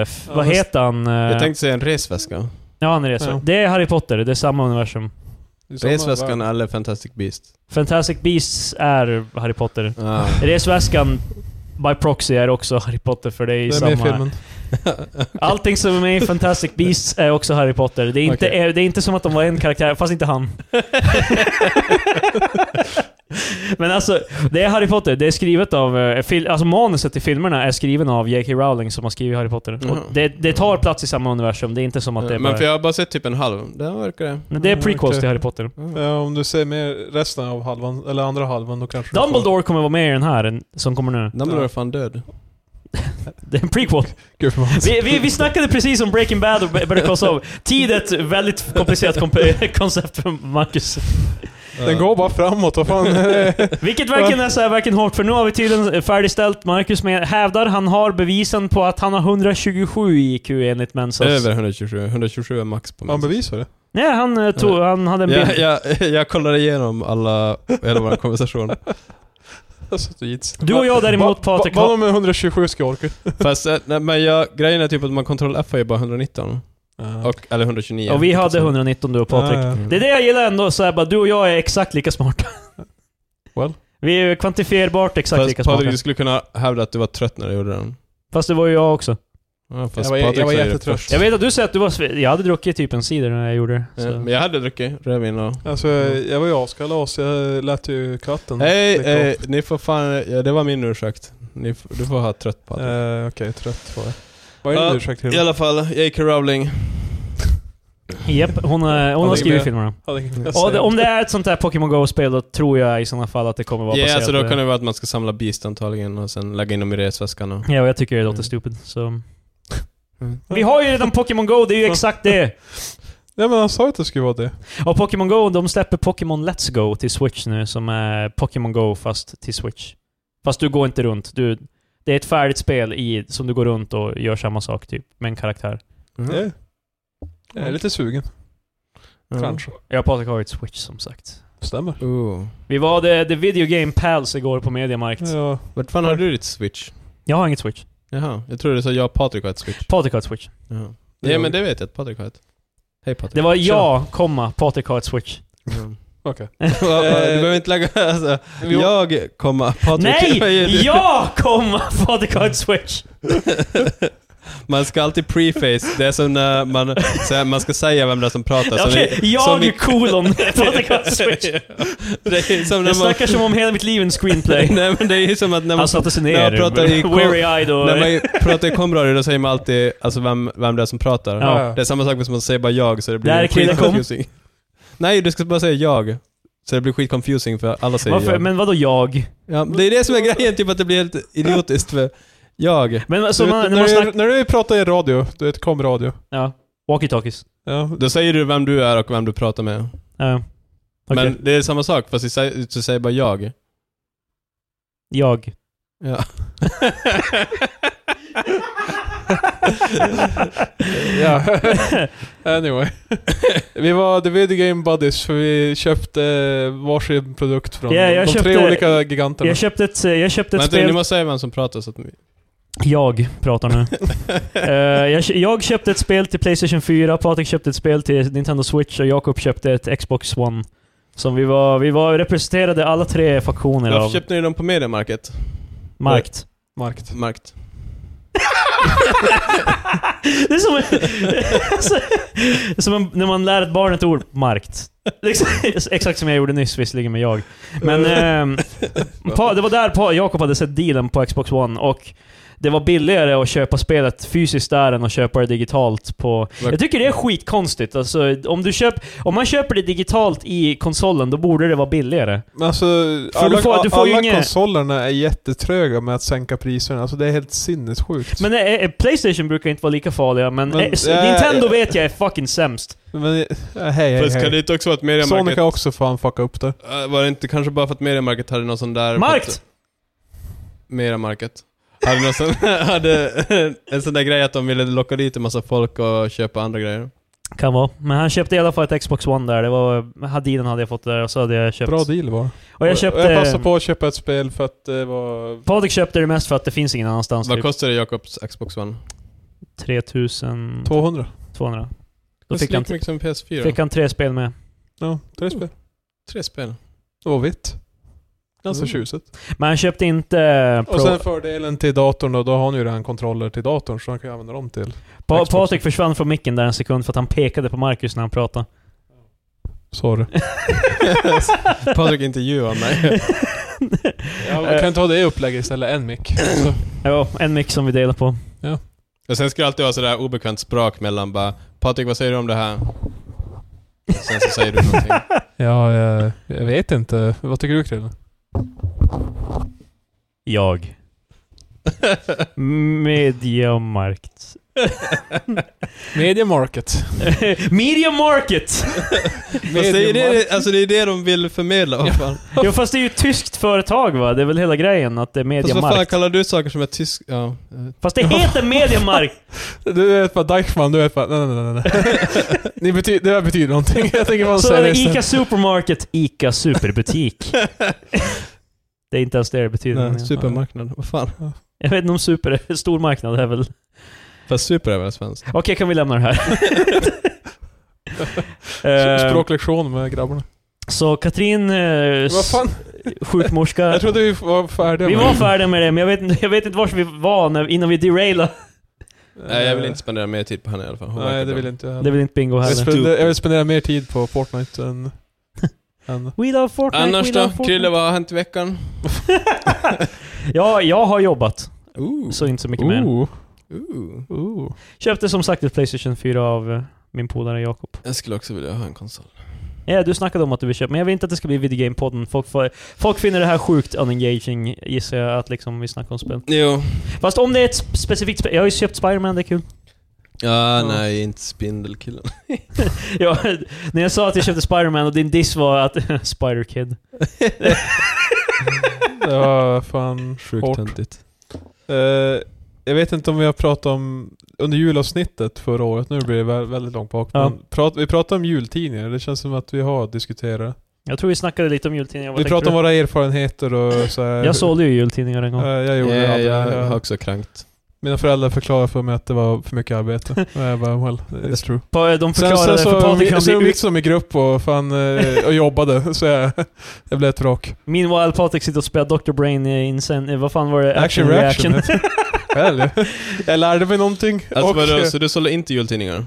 Speaker 2: f-
Speaker 3: Ja,
Speaker 2: vad
Speaker 3: fast-
Speaker 2: heter han? Eh,
Speaker 1: Jag tänkte säga en resväska.
Speaker 2: Ja, han är det. så.
Speaker 3: Ja.
Speaker 2: Det är Harry Potter, det är samma universum.
Speaker 3: Det är samma
Speaker 1: Resväskan
Speaker 3: värld.
Speaker 1: eller Fantastic Beast.
Speaker 2: Fantastic Beasts är Harry Potter.
Speaker 1: Ah.
Speaker 2: Resväskan by proxy är också Harry Potter, för det är i
Speaker 3: Det är med i
Speaker 2: samma...
Speaker 3: filmen.
Speaker 2: Allting som är med i Fantastic Beasts är också Harry Potter. Det är inte,
Speaker 1: Okej.
Speaker 2: är, det är inte som att de var en karaktär, fast inte han. Men alltså, det är Harry Potter. Det är skrivet av... eh, Fil, alltså manuset till filmerna är skriven av J.K. Rowling som har skrivit Harry Potter.
Speaker 1: Jaha.
Speaker 2: Och det, det tar plats i samma universum, det är inte som att det är
Speaker 1: Eh, Men för
Speaker 2: bara...
Speaker 1: jag Mm, har bara sett typ en halv. Den verkar det.
Speaker 2: Men Det är prequels till Harry Potter.
Speaker 1: Mm.
Speaker 3: Ja, Eh, om du säger mer resten av halvan, eller andra halvan, då kanske du får-
Speaker 2: Dumbledore kommer vara med i den här, en- som kommer nu.
Speaker 1: Dumbledore är fan död.
Speaker 2: Det är en prequel.
Speaker 3: Gud förbannat.
Speaker 2: Vi, vi, vi snackade precis om Breaking Bad och Better Call Saul. Tid är ett väldigt komplicerat komp- koncept för Marcus.
Speaker 1: Eh.
Speaker 3: Den går bara framåt, vad fan är det?
Speaker 2: Vilket verkligen är så här, verkligen hårt, för nu har vi tydligen eh, färdigställt Marcus med, hävdar han har bevisen på att han har 127 i IQ enligt Mensas.
Speaker 1: Över 127. 127 är max på
Speaker 3: Man
Speaker 1: mig.
Speaker 3: bevisar det.
Speaker 2: Nej, han, eh, tog, han hade en bild.
Speaker 1: Jag, jag, jag kollade igenom alla, hela vår konversation.
Speaker 3: Alltså, det gits.
Speaker 2: Du och jag däremot,
Speaker 3: Va- va-
Speaker 2: Patrik,
Speaker 3: Vad
Speaker 2: har-
Speaker 3: om 127 ska orka?
Speaker 1: Fast eh, nej, men jag, grejen är typ att man kontroll F är bara 119. Och, eller 129.
Speaker 2: och vi hade 119 du och Patrik.
Speaker 3: Ja, ja.
Speaker 2: Det är det jag gillar ändå, så här, bara, du och jag är exakt lika smarta.
Speaker 3: Well.
Speaker 2: Vi är ju kvantifierbart exakt
Speaker 1: Fast
Speaker 2: lika smarta.
Speaker 1: Patrik, du skulle kunna hävda att du var trött när du gjorde den.
Speaker 2: Fast det var ju jag också.
Speaker 1: Ja, fast
Speaker 3: Jag var- jag
Speaker 1: Patrik
Speaker 3: var
Speaker 1: säger det
Speaker 3: jättetrött.
Speaker 1: först.
Speaker 2: Jag vet att du säger att du var sve- Jag hade druckit typ en cider när jag gjorde det.
Speaker 1: Mm, Ja,
Speaker 2: så.
Speaker 1: Men jag hade druckit rödvin och...
Speaker 3: Alltså, jag var ju askalas, jag lät ju katten...
Speaker 1: Hej,
Speaker 3: dricka
Speaker 1: eh, ni får fan... Ja, det var min ursäkt. Ni, f- du får ha trött
Speaker 3: upp.
Speaker 1: Patrik.
Speaker 3: Eh, Okej, trött var jag. Vad är
Speaker 1: Ja,
Speaker 3: din ursäkt
Speaker 1: I
Speaker 3: till?
Speaker 1: alla fall, J.K. Rowling.
Speaker 2: Japp, hon, eh, hon
Speaker 3: Ja,
Speaker 2: har
Speaker 3: det-
Speaker 2: skrivit filmerna.
Speaker 3: Hade inget mer att
Speaker 2: Och det,
Speaker 3: säga.
Speaker 2: om det är ett sånt där Pokémon Go-spel, då tror jag i sådana fall att det kommer vara
Speaker 1: Ja,
Speaker 2: baserat
Speaker 1: alltså då
Speaker 2: på det.
Speaker 1: kan det vara att man ska samla beast antagligen och sen lägga in dem i resväskan och...
Speaker 2: Ja, och jag tycker det låter
Speaker 1: Mm.
Speaker 2: stupid, så...
Speaker 1: Mm.
Speaker 2: Vi har ju redan Pokémon Go, det är ju exakt det!
Speaker 3: Nej men han sa ju att det skulle vara det.
Speaker 2: Och Pokémon Go, de släpper Pokémon Let's Go till Switch nu, som är Pokémon Go fast till Switch. Fast du går inte runt. Du, det är ett färdigt spel i, som du går runt och gör samma sak, typ, med en karaktär.
Speaker 3: Ja. Jag är lite sugen,
Speaker 1: Mm. Ja.
Speaker 3: kanske.
Speaker 2: Jag och Patrik har ju ett Switch, som sagt.
Speaker 3: Stämmer.
Speaker 1: Ooh.
Speaker 2: Vi var the, the Video Game Pals igår på Mediamarkt.
Speaker 3: Ja,
Speaker 1: Vart fan har du ditt switch?
Speaker 2: Jag har inget Switch.
Speaker 1: Jaha, jag trodde du sa jag och Patrik har ett switch.
Speaker 2: Patrik har ett Switch.
Speaker 1: Jaha.
Speaker 3: Det
Speaker 1: Ja
Speaker 3: gör
Speaker 1: men
Speaker 3: vi.
Speaker 1: det vet jag att Patrik har ett. Hej Patrik.
Speaker 2: Det var jag, komma, Patrik har ett Switch.
Speaker 1: Mm.
Speaker 3: okej.
Speaker 1: Ja, du behöver inte lägga... Alltså, jag komma Patrik. vad gör du?
Speaker 2: Nej! Jag komma, Patrik har ett Switch.
Speaker 1: Man ska alltid preface. Det är som när man, så här, man ska säga vem det är som pratar. som
Speaker 2: Okej,
Speaker 1: i- som
Speaker 2: jag
Speaker 1: i-
Speaker 2: kolon Patrik har ett Switch.
Speaker 1: det är som när
Speaker 2: Jag
Speaker 1: man...
Speaker 2: snackar Alltså, som om hela mitt liv är en screenplay.
Speaker 1: Nej men det är ju som att när man,
Speaker 2: Han satte sig
Speaker 1: när
Speaker 2: ner,
Speaker 1: jag pratar i-
Speaker 2: weary-eyed och...
Speaker 1: när man pratar i komradio då säger man alltid alltså, vem, vem det är som pratar.
Speaker 2: Ja.
Speaker 1: Det är samma sak som man säger bara jag så det
Speaker 2: Där är
Speaker 1: blir
Speaker 2: killen kom.
Speaker 1: skitconfusing. Nej, du ska bara säga jag. Så det blir skitconfusing för alla säger
Speaker 2: Varför?
Speaker 1: jag.
Speaker 2: Men vadå jag?
Speaker 1: Ja, det är det som är grejen, typ att det blir helt idiotiskt för jag.
Speaker 2: Men alltså,
Speaker 3: Du
Speaker 2: man,
Speaker 3: vet,
Speaker 2: när
Speaker 3: när,
Speaker 2: man
Speaker 3: du,
Speaker 2: snackar...
Speaker 3: när du pratar i radio, du vet komradio.
Speaker 2: Ja. Walkie-talkies.
Speaker 3: Ja,
Speaker 1: Då säger du vem du är och vem du pratar med.
Speaker 2: Ja. Okej.
Speaker 1: Men det är samma sak fast du säger, du säger bara jag.
Speaker 2: Jag.
Speaker 1: Ja.
Speaker 3: Ja. anyway. vi var The Video Game Buddies för vi köpte varsin produkt från
Speaker 2: Ja, jag
Speaker 3: de tre
Speaker 2: köpte-
Speaker 3: olika giganterna.
Speaker 2: Jag köpte ett, eh, jag köpte ett
Speaker 1: Vänta,
Speaker 2: spel...
Speaker 1: ni måste säga vem som pratar så att vi...
Speaker 2: Jag pratar nu. Eh, jag, kö- jag köpte ett spel till Playstation 4, Patrik köpte ett spel till Nintendo Switch och Jakob köpte ett Xbox One. Som vi var, vi var representerade alla tre faktioner
Speaker 1: Varför
Speaker 2: av
Speaker 1: köpte ni dem på Mediamarket? Eh,
Speaker 2: markt.
Speaker 3: Markt.
Speaker 1: Markt.
Speaker 2: Det är som, en- som en, när man lär ett barn ett ord, markt. Liksom, exakt som jag gjorde nyss, visserligen med jag. Men ehm, pa, det var där pa, Jakob hade sett dealen på Xbox One och det var billigare att köpa spelet fysiskt där än att köpa det digitalt på...
Speaker 1: Var-
Speaker 2: Jag tycker det är skitkonstigt. Alltså, om, du köp, om man köper det digitalt i konsolen, då borde det vara billigare.
Speaker 3: Men alltså,
Speaker 2: För
Speaker 3: alla,
Speaker 2: du får- du får ju
Speaker 3: alla
Speaker 2: inget-
Speaker 3: konsolerna är jättetröga med att sänka priserna. Alltså det är helt sinnessjukt. Men,
Speaker 2: Men eh, eh, Playstation brukar inte vara lika farliga, men,
Speaker 3: Men,
Speaker 2: eh, s-
Speaker 3: eh,
Speaker 2: Nintendo vet jag är fucking sämst.
Speaker 3: eh, hej, hej,
Speaker 1: Fast kan det
Speaker 3: hej.
Speaker 1: inte också vara att
Speaker 3: Sony
Speaker 1: Mediamarket...
Speaker 3: kan också fan fucka upp det.
Speaker 1: Eh, Var det inte kanske bara för att Mediamarket hade någon sån där...
Speaker 2: Markt!
Speaker 1: Mediamarket. Hade, någon sån, hade en sån där grej att de ville locka dit en massa folk och köpa andra grejer.
Speaker 2: Kan vara. Men han köpte i alla fall ett Xbox One där. Det var... Hadiden hade jag fått där och så hade jag köpt...
Speaker 3: Bra deal var
Speaker 2: Och jag
Speaker 3: och jag
Speaker 2: köpte...
Speaker 3: passade på att köpa ett spel för att det var...
Speaker 2: Patrik köpte det mest för att det finns ingen annanstans.
Speaker 1: Vad
Speaker 2: Typ.
Speaker 1: kostar det Jakobs Xbox One?
Speaker 2: 3200.
Speaker 3: 200.
Speaker 2: Då
Speaker 1: Det är
Speaker 2: fick han,
Speaker 1: lika mycket som PS4.
Speaker 2: fick han tre spel med.
Speaker 3: Ja, tre spel.
Speaker 1: Tre spel.
Speaker 3: Det var vitt. Ganska
Speaker 2: Mm.
Speaker 3: tjusigt.
Speaker 2: Men han köpte inte... eh, Pro...
Speaker 3: Och sen fördelen till datorn då, då har han ju redan kontroller till datorn så han kan ju använda dem till
Speaker 2: pa
Speaker 3: Xbox.
Speaker 2: Patrik försvann från micken där en sekund för att han pekade på Marcus när han pratade.
Speaker 3: Sorry.
Speaker 1: Patrik intervjuar mig.
Speaker 3: Ja,
Speaker 2: Eh.
Speaker 3: men kan ta det upplägget istället, en mick. Så.
Speaker 2: Ja, en mick som vi delar på.
Speaker 1: Och sen ska det alltid vara sådär obekvämt språk mellan bara Patrik, vad säger du om det här? Och sen så säger du någonting.
Speaker 3: Ja, jag, jag vet inte. Vad tycker du Krille?
Speaker 2: Jag. Mediamarkt.
Speaker 3: Media Market.
Speaker 2: Media Market!
Speaker 1: Fast det är ju det, alltså det, är det de vill förmedla. Vad fan.
Speaker 2: Jo fast det är ju ett tyskt företag va? Det är väl hela grejen att det är
Speaker 1: Fast Alltså, vad fan
Speaker 2: Mediamarkt.
Speaker 1: kallar du saker som är tysk... Ja. eh,
Speaker 2: Fast det heter Mediamarkt!
Speaker 3: Du vet bara Deichmann, du vet bara nej nej nej nej. Ni bety- det här betyder någonting. Jag tänker bara
Speaker 2: Så är
Speaker 3: säga
Speaker 2: det
Speaker 3: det
Speaker 2: Ica Supermarket, Ica Superbutik. Det är inte ens det det betyder. men
Speaker 1: Nej,
Speaker 2: ja.
Speaker 1: supermarknad. Vad fan?
Speaker 2: Jag vet inte om super är stor marknad är väl...
Speaker 1: Fast super är väl svenskt?
Speaker 2: Okej, kan vi lämna det här?
Speaker 3: istället.
Speaker 2: Eh,
Speaker 3: Språklektion med grabbarna.
Speaker 2: Så Katrin, eh,
Speaker 3: Vad fan?
Speaker 2: sjukmorska.
Speaker 3: Jag trodde vi var färdiga
Speaker 2: Vi
Speaker 3: med
Speaker 2: var
Speaker 3: det.
Speaker 2: färdiga med det, men jag vet, inte- jag vet inte var vi var när, innan vi derailade.
Speaker 1: Nej, jag vill inte spendera mer tid på henne i alla fall. Hon verkar
Speaker 3: Eh, Nej, det
Speaker 1: bra.
Speaker 3: vill inte jag
Speaker 2: Det är
Speaker 3: heller.
Speaker 2: väl inte bingo
Speaker 3: Jag vill
Speaker 2: heller.
Speaker 3: spendera, jag vill spendera mer tid på Fortnite än... än
Speaker 2: We love Fortnite,
Speaker 1: Annars
Speaker 2: we love
Speaker 1: då?
Speaker 2: Fortnite.
Speaker 1: Krille, vad har hänt i veckan?
Speaker 2: ja, jag har jobbat.
Speaker 1: Ooh.
Speaker 2: Så inte så mycket mer.
Speaker 1: Ooh.
Speaker 3: ooh.
Speaker 2: Köpte som sagt ett Playstation 4 av eh, min polare Jakob.
Speaker 1: Jag skulle också vilja ha en konsol.
Speaker 2: Ja, du snackade om att du vill köpa, men jag vill inte att det ska bli videogame-podden. Folk, får- folk finner det här sjukt unengaging, gissar jag, att liksom vi snackar om spel.
Speaker 1: Jo.
Speaker 2: Fast om det är ett sp- specifikt spel, jag har ju köpt Spiderman, det är kul.
Speaker 1: Ja,
Speaker 3: Ja.
Speaker 1: nej, inte Spindelkillen.
Speaker 2: Ja, när jag sa att jag köpte Spiderman och din diss var att... Spider-Kid.
Speaker 3: Det var fan
Speaker 1: Sjukt
Speaker 3: hårt.
Speaker 1: töntigt.
Speaker 3: Eh, jag vet inte om vi har pratat om under julavsnittet förra året, nu blir det vä- väldigt långt bak.
Speaker 2: Ja.
Speaker 3: Men prat, vi pratade om jultidningar, det känns som att vi har diskuterat.
Speaker 2: Jag tror vi snackade lite om jultidningar. Vad
Speaker 3: Vi
Speaker 2: tänkte
Speaker 3: pratade om
Speaker 2: du?
Speaker 3: våra erfarenheter och så här,
Speaker 2: Jag sålde ju jultidningar en gång.
Speaker 3: Eh, jag gjorde det
Speaker 1: Ja,
Speaker 3: aldrig.
Speaker 1: jag har
Speaker 3: Jag-
Speaker 1: också krankt.
Speaker 3: Mina föräldrar förklarade för mig att det var för mycket arbete. och jag bara, well, it's true.
Speaker 2: Pa- De
Speaker 3: Sen,
Speaker 2: förklarade
Speaker 3: sen
Speaker 2: för
Speaker 3: så,
Speaker 2: Patrik
Speaker 3: vi,
Speaker 2: att
Speaker 3: sen
Speaker 2: han blir...
Speaker 3: liksom i grupp och fan, eh, och jobbade. Så jag, jag blev ett vrak.
Speaker 2: Meanwhile, Patrik sitter och spelar Dr. Brain i Insen... eh, Vad fan var det?
Speaker 3: Action reaction. Eller? jag lärde mig någonting.
Speaker 1: Alltså,
Speaker 3: och,
Speaker 1: vadå,
Speaker 3: eh,
Speaker 1: så du sålde inte jultidningar?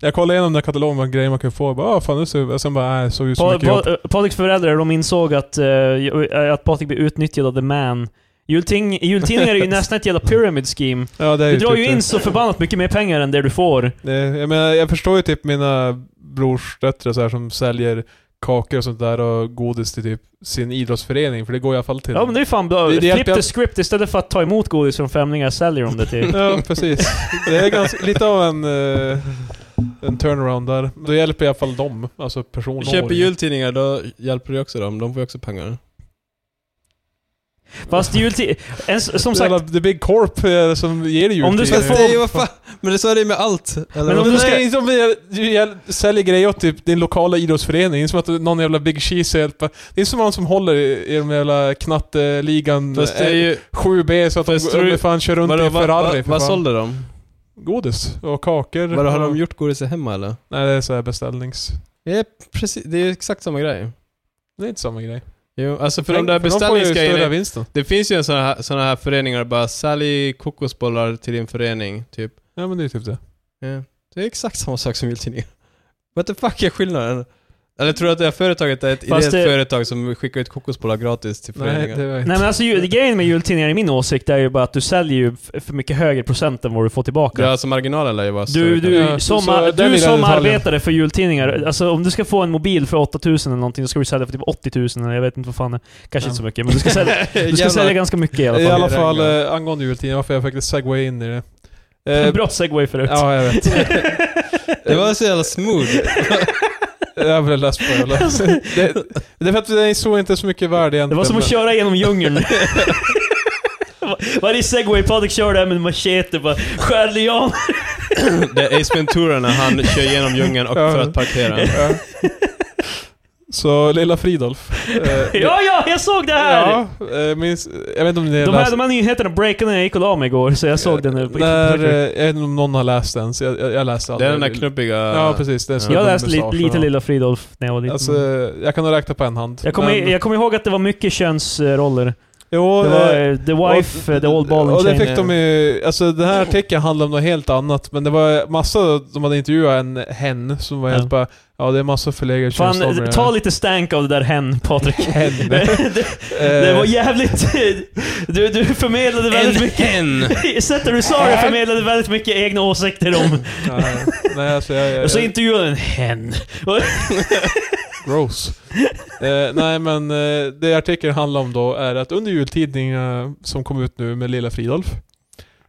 Speaker 3: Jag kollade igenom den här katalogen med grejer man kunde få. Jag bara, ah, fan, nu ser jag. Sen bara, nej, såg ut så
Speaker 2: Pa-
Speaker 3: mycket jobb.
Speaker 2: pa- eh, Patriks föräldrar, de insåg att, eh, att Patrik blev utnyttjad av The Man. Julting, jultidningar är ju nästan ett jävla pyramid scheme.
Speaker 3: Ja, det är
Speaker 2: Du drar
Speaker 3: typ
Speaker 2: ju
Speaker 3: det.
Speaker 2: in så förbannat mycket mer pengar än det du får.
Speaker 3: Det, jag menar, jag förstår ju typ mina brorsdöttrar så här som säljer kakor och sånt där och godis till typ sin idrottsförening, för det går i alla fall till
Speaker 2: Ja men det är fan bra.
Speaker 3: Det- det
Speaker 2: Flip
Speaker 3: hjälper-
Speaker 2: the script istället för att ta emot godis från främlingar säljer de det till.
Speaker 3: Ja, precis. Det är ganska, lite av en, eh, en turnaround där. Då hjälper i alla fall dem, alltså
Speaker 1: Du
Speaker 3: personer.
Speaker 1: köper jultidningar, då hjälper du också dem. De får ju också pengar.
Speaker 2: Fast jultid... en- Som sagt,
Speaker 3: Jävla, the Big Corp eh, som ger dig
Speaker 2: Om du ska få-
Speaker 3: jultidningar.
Speaker 2: Fast det är ju- vad
Speaker 1: fan, men det så är det ju med allt. Eller?
Speaker 2: Men om
Speaker 3: Men
Speaker 2: du
Speaker 3: du
Speaker 2: ska-
Speaker 3: ska inte om vi- du gäll- säljer grejer åt typ din lokala idrottsförening, Det är som att någon jävla Big Cheese hjälper. Det är som han som håller i, i de jävla knatteligan
Speaker 1: Fast det är ju...
Speaker 3: 7B så att de,
Speaker 1: Fast tror
Speaker 3: de,
Speaker 1: du-
Speaker 3: fan kör runt
Speaker 1: Vadå,
Speaker 3: i
Speaker 1: vad,
Speaker 3: Ferrari
Speaker 1: vad,
Speaker 3: för
Speaker 1: vad
Speaker 3: fan.
Speaker 1: sålde de?
Speaker 3: Godis och kakor.
Speaker 1: Vadå, har
Speaker 3: och-
Speaker 1: de gjort godis hemma eller?
Speaker 3: Nej, det är så här beställnings...
Speaker 1: Ja, precis. Det är ju exakt samma grej.
Speaker 3: Det är inte samma grej.
Speaker 1: Jo, alltså för de där
Speaker 3: De får ju större
Speaker 1: beställningsgrejerna.
Speaker 3: vinsten.
Speaker 1: Det finns ju en sån här, såna här föreningar, bara sälj kokosbollar till din förening, typ.
Speaker 3: Ja men det är typ det.
Speaker 1: Ja. Det är exakt samma sak som jultidningar. What the fuck är skillnaden? Eller tror du att det här företaget är ett
Speaker 2: Fast
Speaker 1: ideellt
Speaker 2: det-
Speaker 1: företag som skickar ut kokosbollar gratis till
Speaker 3: Nej,
Speaker 1: föreningar?
Speaker 3: det var inte...
Speaker 2: Nej men alltså ju- grejen med jultidningar i min åsikt är ju bara att du säljer ju f- för mycket högre procent än vad du får tillbaka.
Speaker 1: Ja, alltså marginalen lär ju vara
Speaker 2: Du,
Speaker 1: större kanske.
Speaker 2: du,
Speaker 3: Ja,
Speaker 2: som,
Speaker 3: så
Speaker 2: ar-
Speaker 3: den
Speaker 2: du
Speaker 3: lilla
Speaker 2: som
Speaker 3: detaljen.
Speaker 2: arbetare för jultidningar, alltså om du ska få en mobil för 8000 eller någonting, då ska du sälja för typ 80 000 eller jag vet inte vad fan det är. Kanske
Speaker 3: Ja.
Speaker 2: inte så mycket, men du ska sälja, du ska
Speaker 1: Jävlar.
Speaker 2: sälja ganska mycket i alla
Speaker 3: I
Speaker 2: fall.
Speaker 3: alla
Speaker 1: Det
Speaker 3: fall,
Speaker 1: regnar.
Speaker 3: eh, angående jultiden, varför jag faktiskt segway in i det. Eh,
Speaker 2: Bra segway förut.
Speaker 3: Ja, jag vet.
Speaker 1: Det var så jävla smooth.
Speaker 3: Jag blev less på det. eller? det. Det är för att den är så inte så mycket värd egentligen.
Speaker 2: Det var som att
Speaker 3: men-
Speaker 2: köra genom djungeln. Var- Varje segway Patrik kör där med en machete bara skär lian.
Speaker 1: Det är Ace Ventura när han kör genom djungeln och
Speaker 3: Ja.
Speaker 1: för att parkera.
Speaker 3: Ja. Så lilla Fridolf. eh,
Speaker 2: Ja, ja, jag såg det här!
Speaker 3: Ja, eh, minns, jag vet inte om ni har
Speaker 2: De här,
Speaker 3: läst
Speaker 2: de här nyheterna breakade när jag gick och la mig igår, så jag såg den nu. på-
Speaker 3: När, eh, jag vet inte om någon har läst den, så jag, jag, jag läste
Speaker 1: Det
Speaker 3: aldrig.
Speaker 1: är den där knubbiga...
Speaker 3: Ja, precis. Den som
Speaker 2: jag
Speaker 3: är
Speaker 2: läste li,
Speaker 3: mustaschen,
Speaker 2: lite
Speaker 3: ja.
Speaker 2: Lilla Fridolf när jag var liten.
Speaker 3: Alltså, jag kan nog räkna på en hand.
Speaker 2: jag, kommer,
Speaker 3: men-
Speaker 2: jag kommer ihåg att det var mycket könsroller.
Speaker 3: jo,
Speaker 2: Det
Speaker 3: eh,
Speaker 2: var eh, The Wife, eh, The Old Ball
Speaker 3: Och
Speaker 2: and
Speaker 3: det
Speaker 2: Chain.
Speaker 3: fick de ju, alltså den här artikeln handlade om något helt annat, men det var massa, de hade intervjuat en hen som var
Speaker 2: Ja.
Speaker 3: helt bara, ja det är massa förlegade
Speaker 2: Fan,
Speaker 3: könsnormer i det här."
Speaker 2: ta lite stank av det där hen, Eh. Patrik.
Speaker 3: Hen.
Speaker 2: det,
Speaker 3: Eh,
Speaker 2: det var jävligt... Du, du förmedlade väldigt mycket...
Speaker 1: en!
Speaker 2: Sättet du sa det förmedlade väldigt mycket egna åsikter om...
Speaker 3: Nej, nej alltså jag... jag,
Speaker 2: Och så
Speaker 3: jag
Speaker 2: intervjuade en hen.
Speaker 3: gross. Eh, nej men eh, det artikeln handlar om då är att under jultidningarna som kom ut nu med Lilla Fridolf,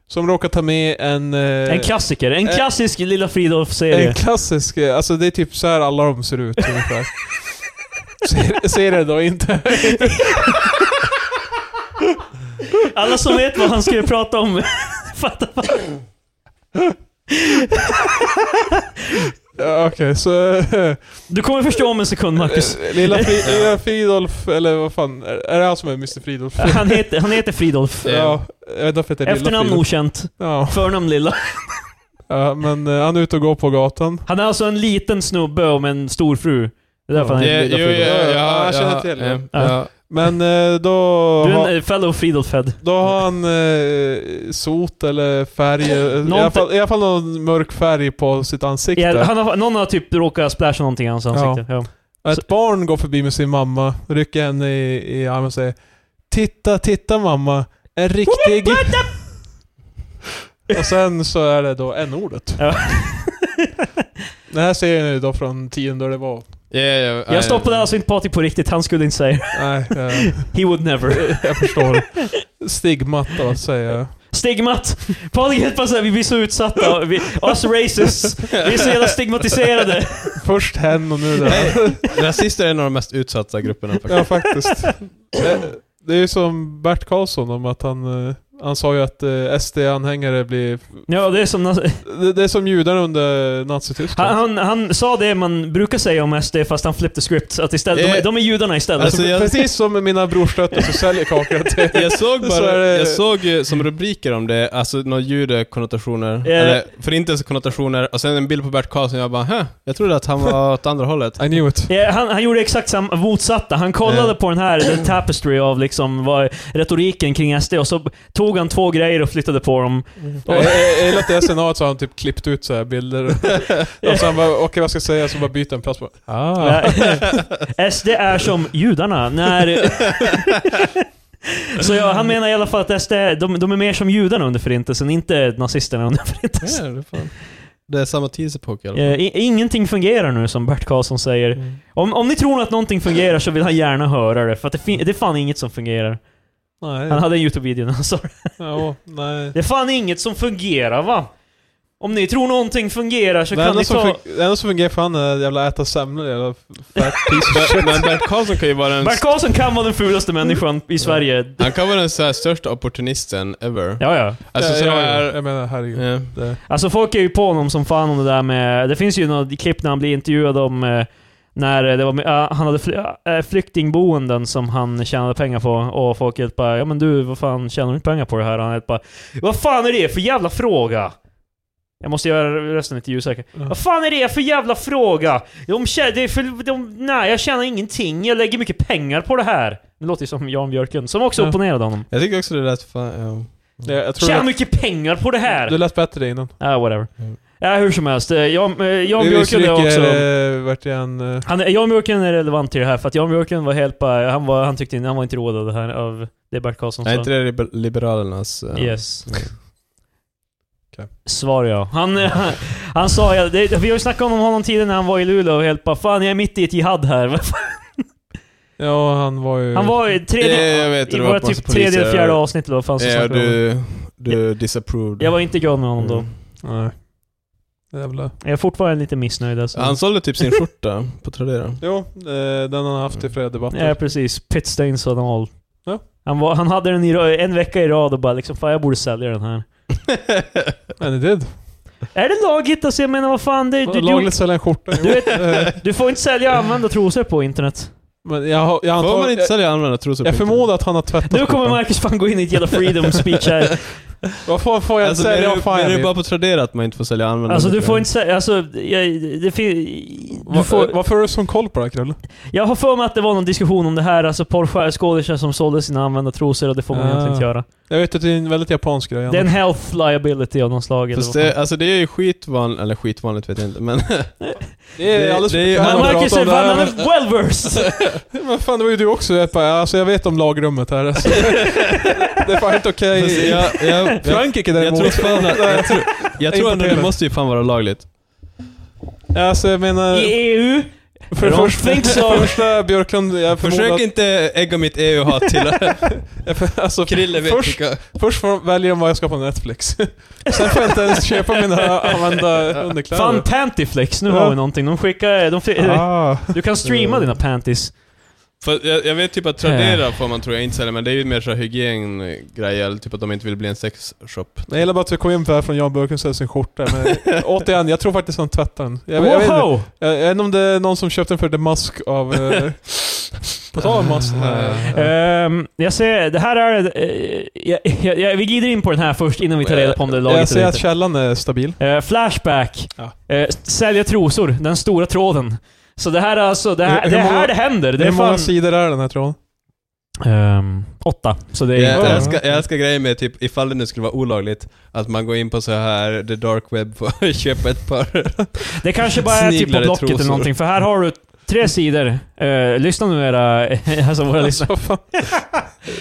Speaker 3: som råkar ta med en... eh,
Speaker 2: En klassiker. En
Speaker 3: eh,
Speaker 2: klassisk Lilla
Speaker 3: En
Speaker 2: Fridolf-serie.
Speaker 3: klassisk, eh, alltså det är typ så här alla de ser ut ungefär. ser, ser det då inte?
Speaker 2: Alla som vet vad han skulle prata om fattar vad...
Speaker 3: Ja, Okej, så... eh,
Speaker 2: Du kommer förstå om en sekund, Marcus.
Speaker 3: Eh, Lilla, Fri Lilla Fridolf, eller vad fan, är är det han som är Mr Fridolf?
Speaker 2: Han heter, han heter Fridolf.
Speaker 3: ja, jag vet inte varför det är Lilla
Speaker 2: Efternamn
Speaker 3: Fridolf.
Speaker 2: okänt.
Speaker 3: Ja,
Speaker 2: Förnamn Lilla.
Speaker 3: ja, men eh, han är ute och går på gatan.
Speaker 2: Han är alltså en liten snubbe om en stor fru. Det är därför han
Speaker 1: Ja,
Speaker 2: heter
Speaker 1: jo,
Speaker 2: Lilla
Speaker 1: ja,
Speaker 2: Fridolf.
Speaker 1: ja, ja,
Speaker 3: jag känner till det.
Speaker 1: ja,
Speaker 2: Ja.
Speaker 1: ja.
Speaker 3: Men eh, då,
Speaker 2: Du är
Speaker 3: har-
Speaker 2: en eh, fellow Fridolf-head.
Speaker 3: då har han eh, sot eller färg, eh, i, alla fall, i alla fall någon mörk färg på sitt ansikte.
Speaker 2: Ja, han har, någon har typ råkat splasha någonting i hans ansikte. Ja.
Speaker 3: Ett barn går förbi med sin mamma, rycker henne i, i armen och säger Titta, titta mamma, en riktig... och sen så är det då n-ordet.
Speaker 2: Ja.
Speaker 3: Den här serien är ju då från tiden då det var...
Speaker 1: Ja, ja, ja.
Speaker 2: Jag stoppade alltså inte Patrik på riktigt, han skulle inte säga det.
Speaker 3: Nej, eh,
Speaker 2: He would never.
Speaker 3: jag förstår. Stigmat av att säga.
Speaker 2: Stigmat! Patrik är helt bara såhär, vi blir så utsatta. Vi, us racists. Vi är så jävla stigmatiserade.
Speaker 3: Först hen och nu det här.
Speaker 1: Nej, Rasister är en av de mest utsatta grupperna
Speaker 3: Ja,
Speaker 1: faktiskt.
Speaker 3: faktiskt. Det, det är ju som Bert Karlsson om att han... eh, Han sa ju att eh, SD-anhängare blir...
Speaker 2: Ja, det är som... nas-
Speaker 3: Det, det är som judarna under Nazityskland.
Speaker 2: Han, han, han sa det man brukar säga om SD, fast han flipped the script. Att istället, de, är- de är judarna istället.
Speaker 1: Alltså, jag-
Speaker 3: Precis som med mina brorstötter så säljer kakor till...
Speaker 1: Jag såg
Speaker 3: Så
Speaker 1: bara,
Speaker 3: är det-
Speaker 1: jag såg ju som rubriker om det, alltså några judekonnotationer,
Speaker 2: Ja.
Speaker 1: eller förintelsekonnotationer, och sen en bild på Bert Karlsson, jag bara Hä? Jag trodde att han var åt andra hållet.
Speaker 3: I knew it.
Speaker 2: Ja, han, han gjorde exakt samma, motsatta. Han kollade
Speaker 1: Ja.
Speaker 2: på den här, den tapestry av liksom, vad, retoriken kring SD och så tog han två grejer och flyttade på dem.
Speaker 3: Jag jag- jag gillar att i SNA så har han typ klippt ut så här bilder. Och sen bara, okej vad ska jag säga? Så bara byter en plats bara. Ah.
Speaker 2: Ja. SD är som judarna när... Så ja, han menar i alla fall att SD, de, de är mer som judarna under förintelsen, inte nazisterna under förintelsen.
Speaker 1: Ja, det, är fan. det är samma tidsepok i alla fall.
Speaker 2: Eh, i- Ingenting fungerar nu som Bert Karlsson säger.
Speaker 3: Mm.
Speaker 2: Om, om ni tror att någonting fungerar så vill han gärna höra det, för att det, fin- det är fan inget som fungerar. Han
Speaker 3: Nej.
Speaker 2: hade en YouTube-video när han sa det.
Speaker 3: Ja, nej.
Speaker 2: Det är fan inget som fungerar va? Om ni tror någonting fungerar så
Speaker 3: Det
Speaker 2: kan
Speaker 3: enda,
Speaker 2: ni
Speaker 3: som
Speaker 2: ta...
Speaker 3: fun- det enda som fungerar för han är att jävla äta semlor jävla fat piece
Speaker 1: Men-
Speaker 3: of shit.
Speaker 1: Men Bert Karlsson kan ju vara den,
Speaker 2: Bert Karlsson kan vara den fulaste människan
Speaker 3: Mm.
Speaker 2: i Sverige.
Speaker 1: han kan vara den så här största opportunisten ever.
Speaker 2: Ja, ja.
Speaker 1: Alltså
Speaker 3: Ja,
Speaker 1: så
Speaker 3: ja, ja.
Speaker 1: här,
Speaker 3: Jag menar herregud.
Speaker 1: ja.
Speaker 3: Det.
Speaker 2: Alltså folk är ju på honom som fan om det där med... Det finns ju något klipp när han blir intervjuad om eh, när det var, med- ah, han hade fly, eh, flyktingboenden som han tjänade pengar på och folk helt bara ja men du vad fan tjänar du inte pengar på det här? Han helt bara vad fan är det för jävla fråga? Jag måste göra rösten lite ljusare.
Speaker 3: Ja.
Speaker 2: Vad fan är det för jävla fråga? De tjä- det är för, de, nej, jag tjänar ingenting. Jag lägger mycket pengar på det här. Det låter ju som Jan Björken, som också
Speaker 3: Ja.
Speaker 2: opponerade honom.
Speaker 1: Jag tycker också det lät fan, ja.
Speaker 3: Jag, jag tror
Speaker 2: Tjäna
Speaker 3: du,
Speaker 2: mycket pengar på det här!
Speaker 3: du lät bättre innan.
Speaker 2: Ja, Ah, whatever.
Speaker 1: Mm.
Speaker 2: Ja, hur som helst. eh, Jan, eh, Jan
Speaker 3: Vi- vi
Speaker 2: Björklund är
Speaker 3: stryker,
Speaker 2: också...
Speaker 3: eh, Vart igen... eh,
Speaker 2: Han, är- Jan Björklund är relevant till det här, för att Jan Björklund var helt bara... Han, var, han tyckte inte... Han var inte råd av det här, av det Bert Karlsson sa.
Speaker 1: Är inte det liber- Liberalernas... eh,
Speaker 2: Yes.
Speaker 3: Okej.
Speaker 2: Svar ja. Han, han, han sa, ja, det, vi har ju snackat om honom tidigare när han var i Luleå och helt bara Fan jag är mitt i ett jihad här. Vad fan?
Speaker 3: Ja, han var ju...
Speaker 2: Han var i tredje,
Speaker 1: Eh, jag vet,
Speaker 2: i
Speaker 1: det var
Speaker 2: våra
Speaker 1: ett massa
Speaker 2: typ tredje eller
Speaker 1: poliser.
Speaker 2: fjärde avsnitt eller vad fan som
Speaker 1: Ja,
Speaker 2: snackade om.
Speaker 1: du, du disapproved.
Speaker 2: Jag var inte glad med honom då.
Speaker 1: Mm.
Speaker 3: Nej. Jävla...
Speaker 2: Jag är fortfarande lite missnöjd alltså.
Speaker 1: Han sålde typ sin skjorta på Tradera.
Speaker 3: Jo, eh, den har han haft i flera debatter.
Speaker 2: Ja precis. Pitt Stains och all.
Speaker 3: Ja.
Speaker 2: Han, var, han hade den i, ra- en vecka i rad och bara liksom Fan jag borde sälja den här.
Speaker 3: And it did.
Speaker 2: Är det lagligt? Alltså jag menar vad fan det, du, du,
Speaker 3: Lagligt sälja en skjorta. jo.
Speaker 2: Du vet-
Speaker 3: Eh,
Speaker 2: du får inte sälja använda trosor på internet.
Speaker 3: Men jag, har- jag
Speaker 1: Får
Speaker 3: antar...
Speaker 1: man inte
Speaker 3: Jag,
Speaker 1: sälja använda trosor på
Speaker 3: jag
Speaker 1: internet?
Speaker 3: förmodar att han har tvättat
Speaker 2: Nu kommer
Speaker 3: skjortan.
Speaker 2: Marcus fan gå in i ett jävla freedom speech här.
Speaker 3: Vad får, får jag
Speaker 1: Alltså, det
Speaker 3: sälja?
Speaker 1: är
Speaker 3: Vad
Speaker 1: ju-
Speaker 3: fan
Speaker 1: det
Speaker 3: jag
Speaker 1: är ju
Speaker 3: vill?
Speaker 1: bara på Tradera att man inte får sälja använda
Speaker 2: Alltså du
Speaker 1: trosor.
Speaker 2: får inte säga, alltså, jag, det fin- du
Speaker 3: Va- eh,
Speaker 2: får,
Speaker 3: Varför har du sån koll på det här Krull?
Speaker 2: jag har för mig att det var någon diskussion om det här, alltså porrskådisar som sålde sina använda trosor och det får man
Speaker 3: Ah.
Speaker 2: egentligen inte göra.
Speaker 3: Jag vet att det är en väldigt japansk grej.
Speaker 2: Det är en health liability av någon slag eller
Speaker 1: Fast
Speaker 2: vad fan.
Speaker 1: det, alltså det är ju skitvanligt, eller skitvanligt vet jag inte, men...
Speaker 3: det är
Speaker 1: det-
Speaker 3: alldeles
Speaker 1: det är ju-
Speaker 3: för-
Speaker 2: Men
Speaker 1: han
Speaker 2: Marcus
Speaker 3: pratar
Speaker 2: är
Speaker 3: om det här,
Speaker 2: fan, han
Speaker 3: men-
Speaker 2: är well versed!
Speaker 3: Men fan, det var ju du också jag bara, alltså jag vet om lagrummet här. Alltså. det är fan inte okej.
Speaker 1: Fast jag, jag, jag,
Speaker 3: Frankrike
Speaker 1: jag
Speaker 3: däremot.
Speaker 1: tror fan att, jag tror, jag tror ändå det
Speaker 3: Importerat.
Speaker 1: måste ju fan vara lagligt.
Speaker 3: alltså jag menar...
Speaker 2: I E EU?
Speaker 3: För
Speaker 2: I
Speaker 3: det
Speaker 2: don't
Speaker 3: första,
Speaker 2: think so.
Speaker 3: för det första Björklund, jag förmodar
Speaker 1: Försök
Speaker 3: att,
Speaker 1: inte ägga mitt EU-hat till
Speaker 3: jag- alltså,
Speaker 1: Krille vet
Speaker 3: först,
Speaker 1: vilka-
Speaker 3: först får- väljer de vad jag ska på Netflix. Sen får jag inte ens köpa mina använda underkläder.
Speaker 2: Fan Pantyflex, nu
Speaker 3: Ja.
Speaker 2: har vi någonting. De skickar, de, fi-
Speaker 3: Ah.
Speaker 2: du kan streama dina panties.
Speaker 1: För jag, jag vet typ att Tradera får man tror jag inte sälja, men det är ju mer så här hygiengrejer, eller typ att de inte vill bli en sexshop.
Speaker 3: Jag gillar bara att vi kom in på det här från Jan Björklund och sin skjorta. Men återigen, jag tror faktiskt han tvättar den. Jag, jag, vet, inte.
Speaker 2: Wow!
Speaker 3: Eh, jag, jag vet inte om det är någon som köpte den för The Mask av... Eh, på tal om Mask. Eh,
Speaker 2: Ehm, jag ser, det här är... eh, jag, jag, jag, vi glider in på den här först innan vi tar reda på om det är lagligt
Speaker 3: jag
Speaker 2: eller
Speaker 3: ser
Speaker 2: inte.
Speaker 3: att källan är stabil.
Speaker 2: Eh, flashback.
Speaker 3: Ja.
Speaker 2: Eh, sälja trosor, den stora tråden. Så det här är alltså, det här,
Speaker 3: Hur- hur
Speaker 2: det, här
Speaker 3: många-
Speaker 2: det händer. Det
Speaker 3: Hur
Speaker 2: är
Speaker 3: många
Speaker 2: fan...
Speaker 3: sidor är den här tråden?
Speaker 2: Ehm, åtta. Så det är
Speaker 1: Jag,
Speaker 2: inte...
Speaker 1: jag,
Speaker 3: Ja.
Speaker 1: älskar, jag älskar grejer med typ, ifall det nu skulle vara olagligt, att man går in på så här the dark web för att köpa ett par.
Speaker 2: Det kanske bara är typ på
Speaker 1: Sniglade
Speaker 2: Blocket eller
Speaker 1: trosor.
Speaker 2: någonting, för här har du tre sidor. Eh, lyssna nu era... alltså våra lyssnare.
Speaker 3: Alltså, fan.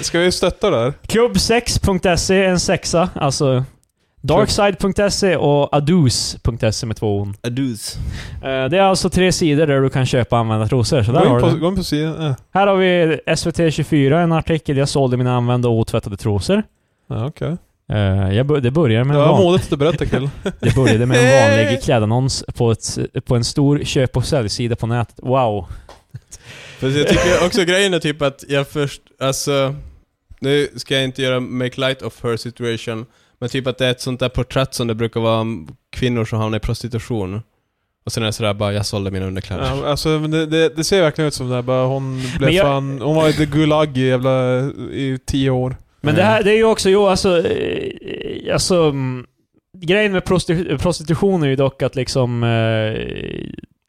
Speaker 3: Ska vi stötta det här?
Speaker 2: Klubb6.se, en sexa. Alltså... Darkside.se och adus.se med två on.
Speaker 1: A deuce.
Speaker 2: Eh, Det är alltså tre sidor där du kan köpa och använda trosor. Så där
Speaker 3: Gå
Speaker 2: har
Speaker 3: in,
Speaker 2: du
Speaker 3: på,
Speaker 2: det.
Speaker 3: gå in på sidan. Eh.
Speaker 2: Här har vi SVT24, en artikel. Jag sålde mina använda och otvättade trosor.
Speaker 3: Ja, okej.
Speaker 2: Eh, jag bör, det börjar med
Speaker 3: Det
Speaker 2: en
Speaker 3: var
Speaker 2: van-
Speaker 3: modigt att du berättade Krill.
Speaker 2: Det började med en vanlig klädannons på, ett, på en stor köp och säljsida på nätet. Wow.
Speaker 1: Fast jag tycker också grejen är typ att jag först, alltså, nu ska jag inte göra make light of her situation, men typ att det är ett sånt där porträtt som det brukar vara om kvinnor som hamnar i prostitution. Och sen är det sådär bara, jag sålde mina underkläder.
Speaker 3: Ja, alltså, men det, det, det ser verkligen ut som det här. Bara, hon blev
Speaker 2: Men jag-
Speaker 3: fan... Hon var i the Gulag i jävla... i tio år.
Speaker 2: Men det här det är ju också, jo alltså, eh, alltså mm, Grejen med prosti- prostitution är ju dock att liksom... Eh,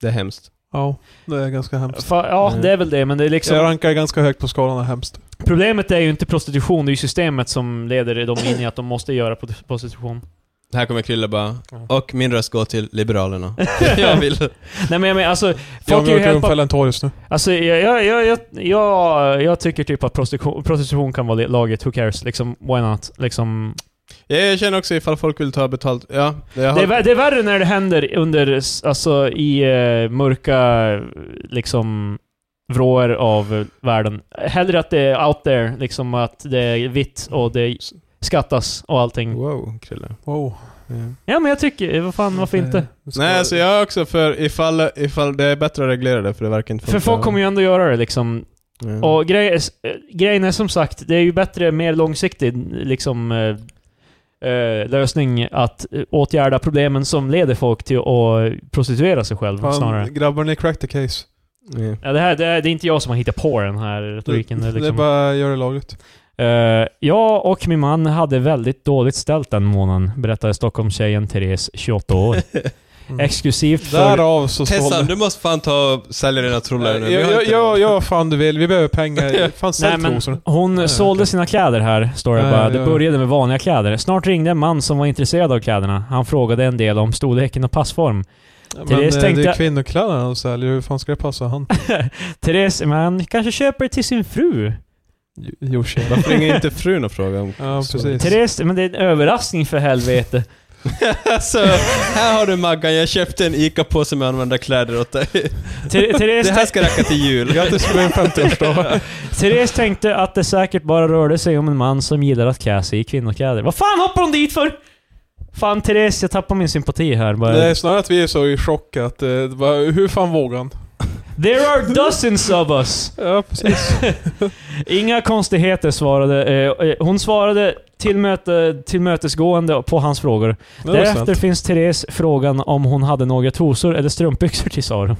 Speaker 1: Det är hemskt.
Speaker 3: Ja, det är ganska hemskt.
Speaker 2: fa, ja,
Speaker 1: Mm.
Speaker 2: det är väl det, men det är liksom...
Speaker 3: Jag rankar ganska högt på skalan av hemskt.
Speaker 2: Problemet är ju inte prostitution, det är ju systemet som leder dem in i att de måste göra pro- prostitution.
Speaker 1: Här kommer Krille bara,
Speaker 3: Ja.
Speaker 1: och min röst går till Liberalerna. jag vill.
Speaker 2: Nej men jag menar alltså,
Speaker 3: Jag
Speaker 2: folk är ju
Speaker 3: brukar
Speaker 2: helt...
Speaker 3: ungefälla en torg just nu.
Speaker 2: Alltså jag, jag, jag, jag, jag, jag tycker typ att prostitution, prostitution kan vara laget, who cares? Liksom, why not? Liksom,
Speaker 1: Jag känner också ifall folk vill ta betalt, ja. Jag
Speaker 2: det,
Speaker 1: har,
Speaker 2: är, vär- det är värre när det händer under, s- alltså i eh, mörka, liksom, vrår av eh, världen. Hellre att det är out there, liksom att det är vitt och det skattas och allting.
Speaker 1: Wow, Krille.
Speaker 3: Wow.
Speaker 2: Ja men jag tycker, vad fan, varför inte?
Speaker 1: Nej, alltså jag är också för ifall, ifall det är bättre att reglera det, för det verkar inte
Speaker 2: För folk kommer ju ändå göra det liksom.
Speaker 1: Ja.
Speaker 2: Och grej, eh, grejen är som sagt, det är ju bättre, mer långsiktig liksom, eh, eh, lösning att eh, åtgärda problemen som leder folk till att prostituera sig själv snarare.
Speaker 3: Fan, grabbar ni crack the case.
Speaker 1: Ja.
Speaker 2: Ja, det, här, det, är- det är inte jag som har hittat på den här retoriken. Det, är
Speaker 3: Det är
Speaker 2: liksom.
Speaker 3: bara gör det lagligt.
Speaker 2: Eh, jag och min man hade väldigt dåligt ställt den månaden, berättade Stockholmstjejen Therese, 28 år. exklusivt för...
Speaker 3: Därav så
Speaker 1: Tessan,
Speaker 3: sålde...
Speaker 1: du måste fan ta och sälja dina trollar nu.
Speaker 3: Jag,
Speaker 1: Vi har
Speaker 3: jag,
Speaker 1: inte
Speaker 3: jag,
Speaker 1: råd.
Speaker 3: jag, fan du vill. Vi behöver pengar. Fan
Speaker 2: Nej
Speaker 3: sälj
Speaker 2: men
Speaker 3: trosorna.
Speaker 2: hon
Speaker 3: Ja,
Speaker 2: sålde
Speaker 3: okej.
Speaker 2: sina kläder här, står det
Speaker 3: Ja,
Speaker 2: bara.
Speaker 3: ja,
Speaker 2: Det
Speaker 3: ja.
Speaker 2: började med vanliga kläder. Snart ringde en man som var intresserad av kläderna. Han frågade en del om storleken och passform.
Speaker 3: Men,
Speaker 2: Therese
Speaker 3: eh, det
Speaker 2: tänkte-
Speaker 3: är kvinnokläderna de säljer. Hur fan ska det passa han?
Speaker 2: Therese, men han kanske köper till sin fru?
Speaker 3: Jo- Yoshi.
Speaker 1: Varför ringer inte frun och frågar om...
Speaker 3: Ja,
Speaker 1: Så-
Speaker 3: precis.
Speaker 2: Therese, men det är en överraskning för helvete.
Speaker 1: alltså, här har du Maggan, jag köpte en ICA-påse med använda kläder åt dig.
Speaker 2: Ther- Therese,
Speaker 1: Det här ska räcka till jul.
Speaker 3: Grattis på din 50-årsdag.
Speaker 2: Therese tänkte att det säkert bara rörde sig om en man som gillar att klä sig i kvinnokläder. Vad fan hoppar hon dit för? Fan Therese, jag tappar min sympati här bara.
Speaker 3: Det är snarare att vi är så i chock att... eh, det bara, Hur fan vågar han?
Speaker 2: There are dozens of us!
Speaker 3: Ja, precis.
Speaker 2: Inga konstigheter svarade. eh, eh, Hon svarade tillmöte, tillmötesgående på hans frågor.
Speaker 3: Det var
Speaker 2: Därefter
Speaker 3: snällt.
Speaker 2: finns Therese frågan om hon hade några trosor eller strumpbyxor till Sara.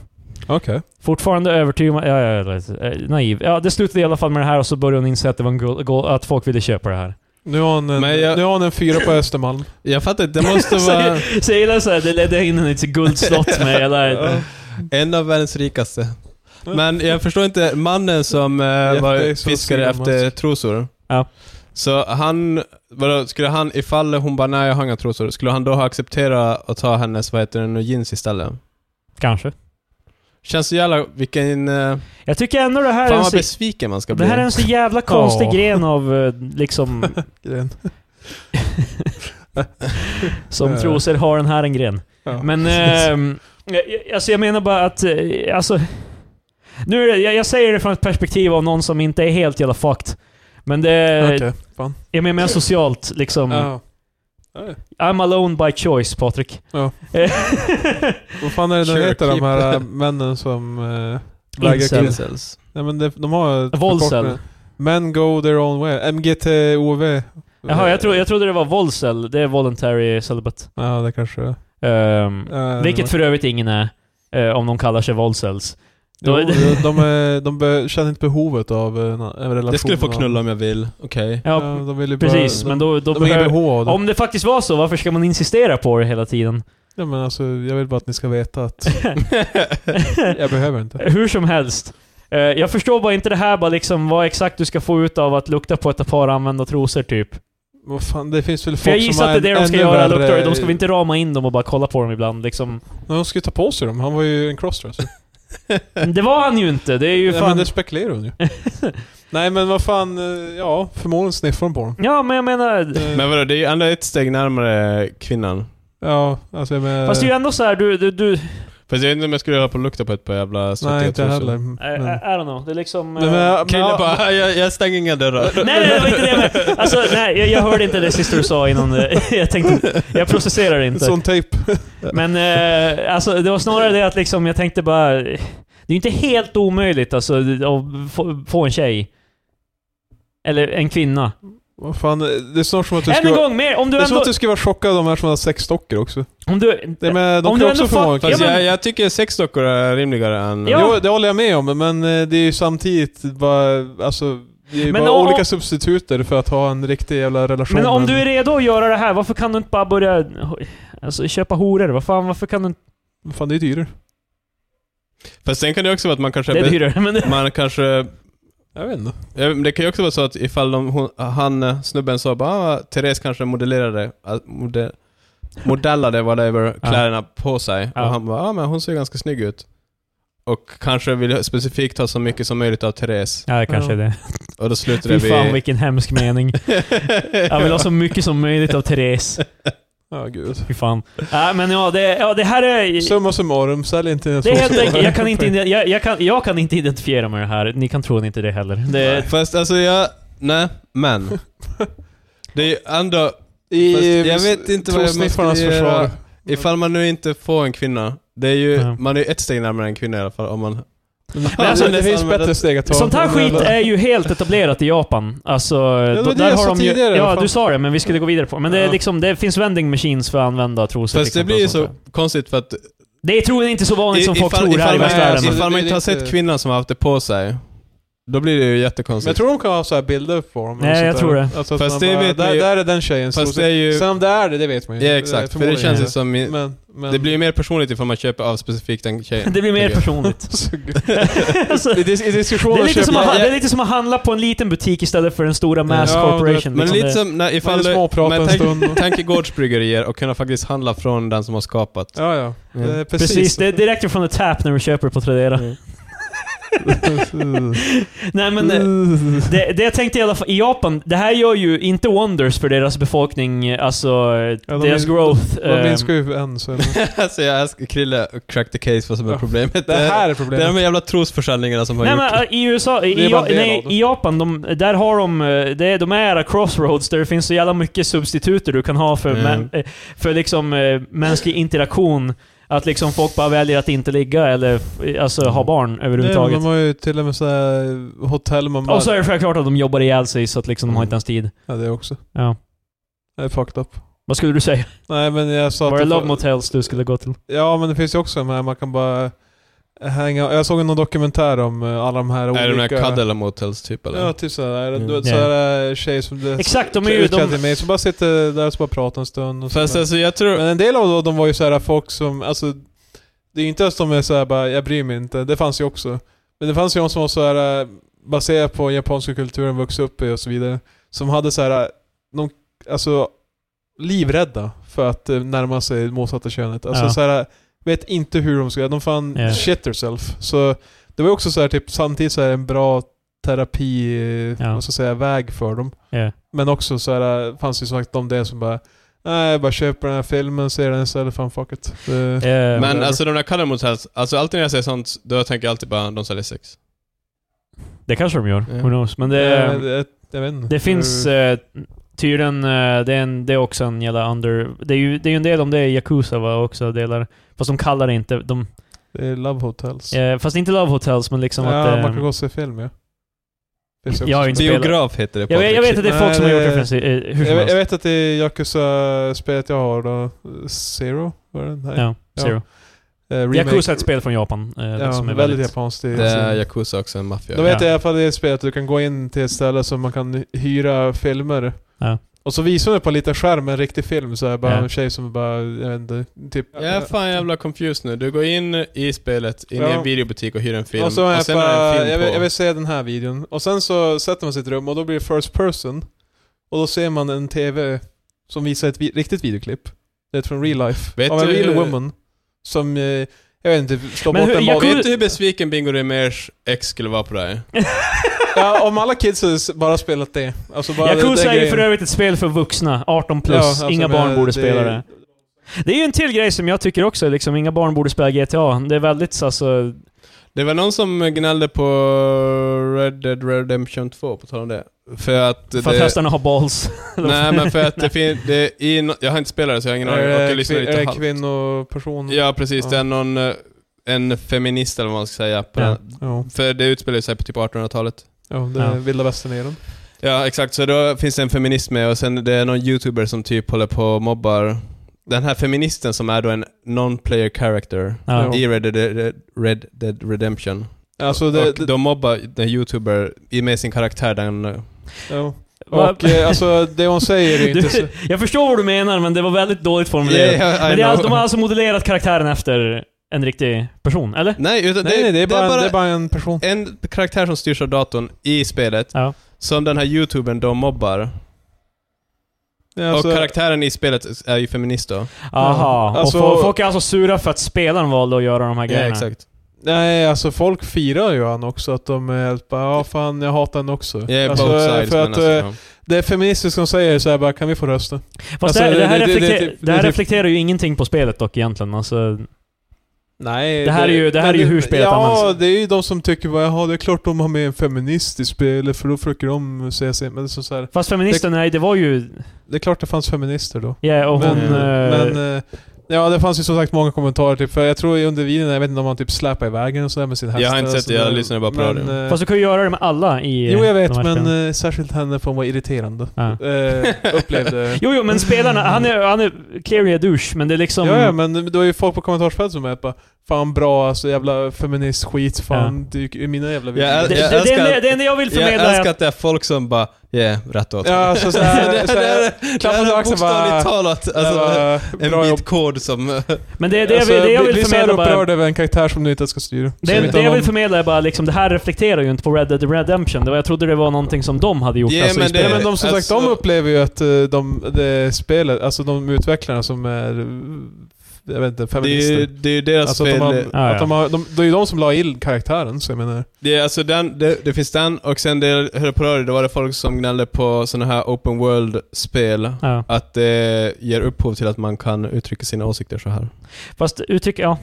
Speaker 3: Okej.
Speaker 2: Fortfarande övertygad, ja, ja, ja, eh, naiv. Ja, det slutade i alla fall med det här och så började hon inse att, det var en go- go- att folk ville köpa det här.
Speaker 3: Nu har han en,
Speaker 1: Men jag-
Speaker 3: nu har han en fyra på Östermalm.
Speaker 1: Jag fattar inte, det måste vara
Speaker 2: Så jag gillar såhär, det ledde in henne i ett guldslott med hela...
Speaker 1: en av världens rikaste. Men jag förstår inte, mannen som eh,
Speaker 3: Jeff
Speaker 1: var
Speaker 3: Bezos
Speaker 1: fiskare
Speaker 3: och Elon
Speaker 1: efter
Speaker 3: Musk.
Speaker 1: trosor.
Speaker 2: Ja.
Speaker 1: Så han, vadå, skulle han, ifall hon bara nej jag har inga trosor, skulle han då ha accepterat att ta hennes, vad heter det nu, jeans istället?
Speaker 2: Kanske.
Speaker 1: Känns så jävla, vilken... eh,
Speaker 2: Jag tycker ändå det här
Speaker 1: Fan
Speaker 2: är
Speaker 1: vad
Speaker 2: en så,
Speaker 1: besviken man ska
Speaker 2: Det
Speaker 1: bli.
Speaker 2: här är en så jävla konstig
Speaker 3: Ja.
Speaker 2: gren av eh, liksom...
Speaker 3: Gren.
Speaker 2: Som
Speaker 3: Ja.
Speaker 2: trosor har den här en gren.
Speaker 3: Ja.
Speaker 2: Men... ehm, jag- jag- alltså jag menar bara att... eh, Alltså... Nu är det, jag, jag säger det från ett perspektiv av någon som inte är helt jävla fucked. Men det...
Speaker 3: Okej, fan.
Speaker 2: Jag menar mer socialt liksom.
Speaker 3: Ja.
Speaker 2: I'm alone by choice, Patrik.
Speaker 3: Ja.
Speaker 2: Eh,
Speaker 3: Vad fan är det den
Speaker 1: Sure,
Speaker 3: heter, de
Speaker 1: keep-
Speaker 3: här äh, männen som... Äh,
Speaker 2: Incel.
Speaker 3: killar? Nej men det, de har... ett
Speaker 2: Volsel.
Speaker 3: förkortning. Men go their own way. MGTOV.
Speaker 2: Jaha, jag, tro, jag trodde det var Volsel. Det är Voluntary Celibate.
Speaker 3: Ja, det kanske är.
Speaker 2: Ehm,
Speaker 3: Eh,
Speaker 2: vilket för övrigt ingen är, eh, om de kallar sig Volsels.
Speaker 3: Jo,
Speaker 2: Då-
Speaker 3: de, de, är- de be, känner inte behovet av eh, na- en relation.
Speaker 1: Det skulle få
Speaker 3: med
Speaker 1: knulla
Speaker 3: någon.
Speaker 1: om jag vill, okej.
Speaker 2: Ja,
Speaker 3: Ja, de vill ju bara,
Speaker 2: precis.
Speaker 3: de,
Speaker 2: men då, då
Speaker 3: de har inget
Speaker 2: behöver...
Speaker 3: behov av det.
Speaker 2: Om det faktiskt var så, varför ska man insistera på det hela tiden?
Speaker 3: Ja, men alltså, jag vill bara att ni ska veta att jag behöver inte.
Speaker 2: Hur som helst. Eh, jag förstår bara inte det här bara liksom vad exakt du ska få ut av att lukta på ett par använda trosor typ.
Speaker 3: Vad fan, det finns väl folk
Speaker 2: För jag
Speaker 3: som
Speaker 2: gissar
Speaker 3: har
Speaker 2: att det är det de ska
Speaker 3: ännu
Speaker 2: göra,
Speaker 3: värre-
Speaker 2: luktar. De ska väl inte rama in dem och bara kolla på dem ibland liksom.
Speaker 3: Men De ska ju ta på sig dem. Han var ju en crossdresser.
Speaker 2: Men Det var han ju inte, det är ju
Speaker 3: Nej, men
Speaker 2: fan...
Speaker 3: det spekulerar hon ju. Nej men vad fan, eh, ja förmodligen sniffar hon på dem.
Speaker 2: Ja, men jag menar...
Speaker 3: Eh,
Speaker 1: Men vadå, det är ju ändå ett steg närmare kvinnan.
Speaker 3: Ja, alltså jag menar...
Speaker 2: Fast det är ju ändå så här, du... du, du
Speaker 1: Fast jag vet inte om jag skulle hålla på och lukta på ett par jävla svettiga
Speaker 3: Nej inte
Speaker 1: trosor.
Speaker 3: heller.
Speaker 2: I, eh, I, I don't know, det är liksom...
Speaker 3: Nej,
Speaker 2: eh,
Speaker 3: men-
Speaker 1: Killen
Speaker 3: men-
Speaker 1: bara, jag, jag stänger inga dörrar.
Speaker 2: Nej, nej, det var inte det jag menade. Alltså, nej, jag, jag hörde inte det sista du sa innan. eh, Jag tänkte, jag processerar inte.
Speaker 3: Sån tejp.
Speaker 2: Men eh, alltså, det var snarare det att liksom, jag tänkte bara... Det är ju inte helt omöjligt alltså, att få, få en tjej. Eller en kvinna.
Speaker 3: Vad fan, eh, det är snart som att du
Speaker 2: Än
Speaker 3: ska...
Speaker 2: en
Speaker 3: vara-
Speaker 2: gång mer! Om du
Speaker 3: Det är som
Speaker 2: ändå...
Speaker 3: att du ska vara chockad av de här som har sexdockor också.
Speaker 2: Om du...
Speaker 3: Det är med, de
Speaker 2: Om
Speaker 3: kan
Speaker 2: du
Speaker 3: också
Speaker 2: ändå
Speaker 3: få många
Speaker 2: fuckar-
Speaker 1: Fast
Speaker 3: kanske.
Speaker 2: Ja, men-
Speaker 1: jag, jag tycker sexdockor är rimligare än...
Speaker 2: Ja.
Speaker 3: Jo, det håller jag med om, men eh, det är ju samtidigt bara, alltså, det är ju
Speaker 2: Men
Speaker 3: bara
Speaker 2: om-
Speaker 3: olika substituter för att ha en riktig jävla relation.
Speaker 2: Men om
Speaker 3: med-
Speaker 2: du är redo att göra det här, varför kan du inte bara börja... Alltså köpa horor? Vad fan, varför kan du inte...
Speaker 3: Fan, det är dyrare.
Speaker 1: Fast sen kan det också vara att man kanske...
Speaker 2: Det är
Speaker 1: be-
Speaker 2: dyrare, men...
Speaker 1: Man kanske...
Speaker 3: Jag vet inte.
Speaker 1: ja, men Det kan ju också vara så att ifall de, hon, han, eh, snubben sa bara ah, Therese kanske modellerade, ah, mode, modellade whatever
Speaker 2: Ja.
Speaker 1: kläderna på sig.
Speaker 2: Ja.
Speaker 1: Och han bara ah, men hon ser ganska snygg ut. Och kanske vill specifikt ha så mycket som möjligt av Therese.
Speaker 2: Ja, det kanske är det.
Speaker 1: Och då slutar det
Speaker 2: Fy fan
Speaker 1: vid...
Speaker 2: vilken hemsk mening. Jag vill ha så mycket som möjligt av Therese.
Speaker 3: Ja, gud.
Speaker 2: Fy fan. Ja, men ja det, ja, det här är...
Speaker 3: Summa summarum, sälj inte dina
Speaker 2: Det är
Speaker 3: trosor.
Speaker 2: helt enkelt, jag kan, inte, ide- jag, jag, kan, jag kan inte identifiera mig med det här. Ni kan tro inte det heller. Det,
Speaker 1: Fast alltså jag... Nej, men. Det är ju ändå...
Speaker 3: I,
Speaker 1: Fast jag vet inte vad jag måste
Speaker 3: Trosniffarnas
Speaker 1: göra.
Speaker 3: försvar.
Speaker 1: Ifall man nu inte får en kvinna. Det är ju,
Speaker 2: Ja.
Speaker 1: Man är ju ett steg närmare en kvinna i alla fall om man...
Speaker 3: Men
Speaker 1: alltså,
Speaker 3: det,
Speaker 1: det
Speaker 3: finns
Speaker 1: använder-
Speaker 3: bättre steg att ta.
Speaker 2: sånt här
Speaker 3: Men
Speaker 2: skit
Speaker 3: jävla-
Speaker 2: är ju helt etablerat i Japan. Alltså,
Speaker 3: var
Speaker 2: då,
Speaker 3: det jag sa
Speaker 2: ju,
Speaker 3: tidigare,
Speaker 2: Ja,
Speaker 3: fan.
Speaker 2: du sa det, men vi skulle gå vidare på Men det, är
Speaker 3: Ja.
Speaker 2: liksom, det finns vending machines för att använda trosor.
Speaker 1: Fast
Speaker 2: till
Speaker 1: det
Speaker 2: exempel
Speaker 1: blir ju
Speaker 2: och sånt
Speaker 1: så konstigt för att...
Speaker 2: där. Det är troligen inte så vanligt som folk tror här i
Speaker 1: ifall,
Speaker 3: man-
Speaker 2: västvärlden.
Speaker 1: ifall man inte har
Speaker 3: Alltså, Det blir
Speaker 1: sett
Speaker 3: lite-
Speaker 1: kvinnan som har haft det på sig. Då blir det ju
Speaker 3: Men
Speaker 1: jättekonstigt.
Speaker 3: jag tror de kan ha så här bilder på dem. eller
Speaker 2: Nej,
Speaker 3: sånt
Speaker 2: jag
Speaker 3: där.
Speaker 2: tror det.
Speaker 3: Alltså att
Speaker 1: Fast
Speaker 3: man
Speaker 1: det
Speaker 3: bara,
Speaker 1: vet man
Speaker 3: där,
Speaker 1: ju-
Speaker 3: där är den tjejen.
Speaker 1: Fast det är ju...
Speaker 3: Sen om det är det, det vet man ju
Speaker 1: Ja
Speaker 3: inte.
Speaker 1: exakt, för det
Speaker 3: förmodligen
Speaker 1: känns ju
Speaker 3: inte.
Speaker 1: som... i-
Speaker 3: Men, men...
Speaker 1: Det blir mer personligt ifall man köper av specifikt den tjejen.
Speaker 2: Det blir mer
Speaker 1: tycker jag.
Speaker 2: personligt. Alltså,
Speaker 3: I, dis- I
Speaker 2: det,
Speaker 3: diskussioner
Speaker 2: är lite som
Speaker 3: köper
Speaker 2: att,
Speaker 3: man...
Speaker 2: ha- det är lite som att handla på en liten butik istället för den stora mass
Speaker 3: Ja,
Speaker 2: corporation.
Speaker 1: Men
Speaker 2: liksom.
Speaker 1: lite
Speaker 2: Det-
Speaker 1: som när,
Speaker 3: Man
Speaker 1: ifall
Speaker 3: vill
Speaker 1: du...
Speaker 3: småprata en
Speaker 1: Men tänk,
Speaker 3: stund. och-
Speaker 1: tänk i gårdsbryggerier och kunna faktiskt handla från den som har skapat.
Speaker 3: Ja, ja. Eh,
Speaker 1: Mm.
Speaker 3: Det är
Speaker 2: Precis. det är direkt från the tap när du köper på Tradera. Nej men, eh, det, det jag tänkte i alla fall, i Japan, det här gör ju inte wonders för deras befolkning, eh, alltså
Speaker 3: de
Speaker 2: deras
Speaker 3: min-
Speaker 2: growth.
Speaker 3: Man
Speaker 2: eh,
Speaker 3: minskar ju en så...
Speaker 1: alltså jag älskar Krille och crack the case vad som är
Speaker 3: Ja.
Speaker 1: problemet.
Speaker 3: Det här är
Speaker 1: det är
Speaker 3: problemet.
Speaker 1: de jävla trosförsäljningarna som har
Speaker 2: Nej
Speaker 1: gjort
Speaker 2: men eh, i USA, i,
Speaker 3: Det är
Speaker 2: i,
Speaker 3: bara en del
Speaker 2: nej,
Speaker 3: av det.
Speaker 2: i Japan, de, där har de, eh, det, de är crossroads där det finns så jävla mycket substituter du kan ha för,
Speaker 1: Mm.
Speaker 2: män- eh, för liksom eh, mänsklig interaktion. Att liksom folk bara väljer att inte ligga eller eh, alltså, ha barn
Speaker 3: Nej, men
Speaker 2: överhuvudtaget.
Speaker 3: de har ju till och med så här hotell man bara...
Speaker 2: Och så är det självklart att de jobbar ihjäl sig så att liksom de har inte ens tid.
Speaker 3: Ja, det också.
Speaker 2: Ja.
Speaker 3: Det är fucked up.
Speaker 2: Vad skulle du säga?
Speaker 3: Nej men jag sa
Speaker 2: Var
Speaker 3: att...
Speaker 2: det
Speaker 3: det
Speaker 2: Love
Speaker 3: får-
Speaker 2: Motels du skulle gå till?
Speaker 3: Ja men det finns ju också de här man kan bara hänga... Jag såg någon dokumentär om eh, alla de här
Speaker 1: det.
Speaker 3: olika...
Speaker 1: Är det de här cuddle motels typ eller?
Speaker 3: Ja, typ sådär.
Speaker 1: Mm.
Speaker 3: Du vet
Speaker 2: Ja.
Speaker 3: sådär tjejer som... Det,
Speaker 2: Exakt, de är ju... De,
Speaker 3: mig, så bara sitter där och så bara pratar en stund. Och så
Speaker 1: Fast
Speaker 3: bara-
Speaker 1: alltså jag tror...
Speaker 3: Men en del av dem var ju såhär folk som, alltså Det är ju inte att de är såhär bara, jag bryr mig inte. Det fanns ju också. Men det fanns ju de som var såhär eh, baserat på japanska kulturen, vuxit upp i och så vidare. Som hade såhär, eh, de, alltså livrädda för att eh, närma sig det motsatta könet. Alltså
Speaker 2: Ja.
Speaker 3: såhär, vet inte hur de ska göra. De fan
Speaker 2: Ja.
Speaker 3: shit herself. Så det var ju också såhär typ samtidigt såhär en bra terapi,
Speaker 2: Ja.
Speaker 3: ja. vad ska jag säga, väg för dem.
Speaker 2: Ja.
Speaker 3: Men också så här äh, fanns det ju som sagt de det som bara Nej, jag bara köper den här filmen, ser den istället, fan fuck it. Det,
Speaker 2: eh,
Speaker 1: Men
Speaker 3: whatever.
Speaker 1: alltså de där cuddle motels, alltså alltid när jag säger sånt, då tänker jag alltid bara de säljer sex.
Speaker 2: det kanske de gör.
Speaker 1: Ja.
Speaker 2: Who knows? Men det...
Speaker 3: det, Mm. det, jag vet inte.
Speaker 2: Det finns
Speaker 3: Det-
Speaker 2: eh, tydligen, eh, det, är en, det är också en jävla under... Det är ju det är ju en del om det i Yakuza va, också delar. Fast de kallar det inte... De,
Speaker 3: Det är Love Hotels.
Speaker 2: eh, fast inte Love Hotels, men liksom
Speaker 3: ja,
Speaker 2: att... Eh,
Speaker 3: man kan gå och se film ja. Finns det också.
Speaker 2: Jag har inte spelat.
Speaker 1: Biograf heter det på
Speaker 2: jag, vet- jag vet att det är folk som har
Speaker 3: Nej,
Speaker 2: gjort
Speaker 3: det-
Speaker 2: referenser eh, hur
Speaker 3: jag,
Speaker 2: som
Speaker 3: vet- jag
Speaker 2: helst.
Speaker 3: vet att det Yakuza-spelet jag har då, eh, Zero? Var det? Nej.
Speaker 2: Ja,
Speaker 3: ja.
Speaker 2: Zero.
Speaker 3: Eh, remake.
Speaker 2: Yakuza är ett spel från Japan. Eh,
Speaker 3: Ja,
Speaker 2: som är
Speaker 3: väldigt,
Speaker 2: väldigt...
Speaker 3: japanskt. Det,
Speaker 1: Det är
Speaker 3: är-
Speaker 1: Yakuza också, en maffia.
Speaker 3: Då vet
Speaker 2: Ja.
Speaker 3: jag i alla fall det spelet, du kan gå in till ett ställe som man kan hyra filmer.
Speaker 2: Ja.
Speaker 3: Och så visar de på en liten skärm en riktig film, så här, bara
Speaker 2: Ja.
Speaker 3: en tjej som bara, jag vet inte, typ...
Speaker 1: Jag är fan jävla confused nu. Du går in i spelet, in i
Speaker 3: Ja.
Speaker 1: en videobutik och hyr en film.
Speaker 3: Och så är jag,
Speaker 1: sen är det en
Speaker 3: bara,
Speaker 1: film
Speaker 3: jag, vill,
Speaker 1: på...
Speaker 3: jag vill se den här videon. Och sen så sätter man sig i ett rum och då blir det first person. Och då ser man en TV som visar ett vi riktigt videoklipp. Det är från real life.
Speaker 1: Vet
Speaker 3: av en
Speaker 1: du-
Speaker 3: real woman. Som, eh, jag vet inte, slår
Speaker 2: Men
Speaker 3: bort
Speaker 2: hur-
Speaker 3: en
Speaker 2: jag
Speaker 3: boll.
Speaker 2: kunde-
Speaker 1: Vet du hur besviken Bingo Rimérs ex skulle vara på det här?
Speaker 3: Ja, om alla kids hade bara spelat det. Alltså bara den-
Speaker 2: Yakuza
Speaker 3: den
Speaker 2: är ju
Speaker 3: grejen.
Speaker 2: för övrigt ett spel för vuxna, 18 plus.
Speaker 3: Ja, alltså,
Speaker 2: inga
Speaker 3: men
Speaker 2: barn borde
Speaker 3: det-
Speaker 2: spela det. Det är ju en till grej som jag tycker också, liksom, inga barn borde spela GTA. Det är väldigt alltså...
Speaker 1: Det var någon som gnällde på Red Dead Redemption 2, på tal om det. För att
Speaker 2: För att
Speaker 1: det...
Speaker 2: hästarna har balls.
Speaker 1: Nej men för att det finns... det- i no- Jag har inte spelat det så jag har ingen aning. Och
Speaker 3: Är
Speaker 1: jag
Speaker 3: det
Speaker 1: lyssnar
Speaker 3: kvin- är
Speaker 1: lite
Speaker 3: det
Speaker 1: halvt.
Speaker 3: kvinnoperson?
Speaker 1: Ja precis,
Speaker 3: Mm. Ja.
Speaker 1: det är någon... eh, En feminist eller vad man ska säga. På
Speaker 2: Ja.
Speaker 1: den.
Speaker 3: Ja,
Speaker 1: För det utspelar sig på typ 1800-talet.
Speaker 3: ja det
Speaker 2: Ja.
Speaker 3: är vilda västern i dem.
Speaker 1: Ja, exakt. Så då finns det en feminist med och sen det är någon youtuber som typ håller på och mobbar den här feministen som är då en non-player character
Speaker 2: Ja.
Speaker 1: i Red Dead, Red Dead Redemption.
Speaker 3: Alltså det...
Speaker 1: och
Speaker 3: det
Speaker 1: de mobbar den youtuber i- med sin karaktär, den... eh,
Speaker 3: ja.
Speaker 2: Va-
Speaker 3: Och eh, alltså det hon säger är ju inte så...
Speaker 2: Du, jag förstår vad du menar, men det var väldigt dåligt formulerat.
Speaker 1: Yeah, I
Speaker 2: men det är alltså,
Speaker 1: know.
Speaker 2: de har alltså modellerat karaktären efter en riktig person, eller?
Speaker 1: Nej, utan
Speaker 3: Nej,
Speaker 1: det,
Speaker 3: nej, det är, bara, en- det är bara en person.
Speaker 1: en karaktär som styrs av datorn i spelet,
Speaker 2: Ja.
Speaker 1: som den här youtubern då mobbar.
Speaker 3: Ja, alltså,
Speaker 1: och karaktären i spelet är ju feminist då.
Speaker 2: Aha.
Speaker 3: Ja, alltså-
Speaker 2: och fo- folk är alltså sura för att spelaren valde att göra de här
Speaker 1: Ja,
Speaker 2: grejerna.
Speaker 1: exakt.
Speaker 3: Nej, alltså folk firar ju han också. Att de är helt bara, ja fan jag hatar han också.
Speaker 1: Yeah,
Speaker 3: alltså,
Speaker 1: both sides,
Speaker 3: för
Speaker 1: men
Speaker 3: att
Speaker 1: alltså,
Speaker 3: eh,
Speaker 1: ja.
Speaker 3: det feministiska de säger är så här bara, kan vi få rösta?
Speaker 2: Fast
Speaker 3: Alltså,
Speaker 2: det, det, här
Speaker 3: det- det- det-
Speaker 2: reflekter, det,
Speaker 3: typ-
Speaker 2: här
Speaker 3: det- typ-
Speaker 2: reflekterar ju ingenting på spelet dock egentligen. Alltså,
Speaker 3: Nej.
Speaker 2: Det här är ju- det här är ju
Speaker 3: men
Speaker 2: hur spelet
Speaker 3: Ja,
Speaker 2: används.
Speaker 3: det är ju de som tycker bara, jaha det är klart de har med en feminist i spelet för då försöker de säga sig. Men det är, så så här,
Speaker 2: fast feministerna, nej det var ju...
Speaker 3: det är klart det fanns feminister då.
Speaker 2: Ja, och hon...
Speaker 3: Men,
Speaker 2: eh,
Speaker 3: men eh, ja, det fanns ju som sagt många kommentarer. Typ, för jag tror i under videon, jag vet inte om han typ släpade i vägen och sådär med sin häst.
Speaker 1: Jag har inte
Speaker 3: eller
Speaker 1: sett
Speaker 3: så
Speaker 1: det, jag
Speaker 3: där.
Speaker 1: lyssnade bara på
Speaker 3: Men,
Speaker 1: radion.
Speaker 3: eh,
Speaker 2: fast du kan ju göra det med alla i
Speaker 3: Jo, jag vet,
Speaker 2: de här spelen.
Speaker 3: men eh, särskilt henne för hon var irriterande.
Speaker 2: Ja.
Speaker 3: Eh, upplevde...
Speaker 2: Jo, jo, men spelarna, han är, han är clearly a douche, men det är liksom...
Speaker 3: Ja, ja, men det var ju folk på kommentarsfältet som var bara Fan bra alltså jävla feminist-skit fan dyker i mina jävla
Speaker 1: Ja,
Speaker 2: Det,
Speaker 1: jag
Speaker 2: det, det,
Speaker 1: älskar-
Speaker 2: enda- det enda jag vill
Speaker 1: Jag
Speaker 2: förmedla är
Speaker 1: älskar
Speaker 2: att...
Speaker 1: att det är folk som bara, yeah, rätt åt.
Speaker 3: Ja, alltså, så, så, här-
Speaker 1: det
Speaker 3: så, här-
Speaker 1: är, det
Speaker 3: klappar
Speaker 1: är
Speaker 3: på axeln bara-
Speaker 1: bokstavligt talat alltså,
Speaker 3: Alltså,
Speaker 1: en
Speaker 3: bra
Speaker 1: bit
Speaker 3: jobb.
Speaker 1: kod som...
Speaker 2: Men det, det, jag vill- det jag
Speaker 3: jag
Speaker 2: vill
Speaker 3: blir Alltså, så här
Speaker 2: förmedla bara...
Speaker 3: upprörd över en karaktär som du inte ska styra.
Speaker 2: Det,
Speaker 3: Som
Speaker 2: det
Speaker 3: inte har
Speaker 2: jag vill
Speaker 3: någon-
Speaker 2: förmedla är bara liksom, det här reflekterar ju inte på Red Dead Redemption. Det var, jag trodde det var någonting som de hade gjort.
Speaker 1: Ja,
Speaker 2: alltså, i
Speaker 1: men det-
Speaker 3: Ja,
Speaker 2: spelet.
Speaker 3: men de som sagt, de
Speaker 1: Alltså-
Speaker 3: upplever ju att eh, de, det spelet, alltså de utvecklarna som är, eh, jag vet inte,
Speaker 1: det, är ju,
Speaker 3: feminister.
Speaker 1: det är ju deras
Speaker 3: Alltså att
Speaker 1: fel.
Speaker 3: de har,
Speaker 2: ja.
Speaker 3: att de har, de, det är ju de som la in karaktären, så jag menar.
Speaker 1: Det, är alltså den, det, det finns den, och sen det jag hörde på radion, då var det folk som gnällde på sådana här open world-spel.
Speaker 2: Ja.
Speaker 1: Att det ger upphov till att man kan uttrycka sina åsikter så här.
Speaker 2: Fast uttryck, ja.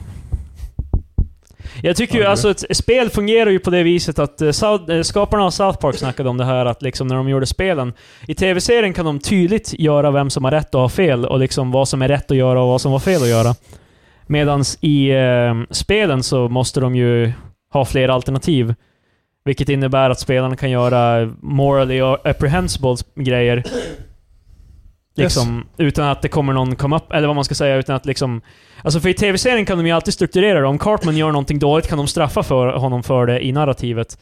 Speaker 2: Jag tycker ju
Speaker 1: Ja, det-
Speaker 2: alltså, ett spel fungerar ju på det viset att eh, South, eh, skaparna av South Park snackade om det här att liksom när de gjorde spelen, i tv-serien kan de tydligt göra vem som har rätt och har fel och liksom vad som är rätt att göra och vad som var fel att göra. Medan i eh, spelen så måste de ju ha fler alternativ. Vilket innebär att spelarna kan göra morally apprehensible grejer. Liksom, Utan att det kommer någon come up, eller vad man ska säga, utan att liksom... Alltså för i tv-serien kan de ju alltid strukturera det. Om Cartman gör någonting dåligt kan de straffa för honom för det i narrativet.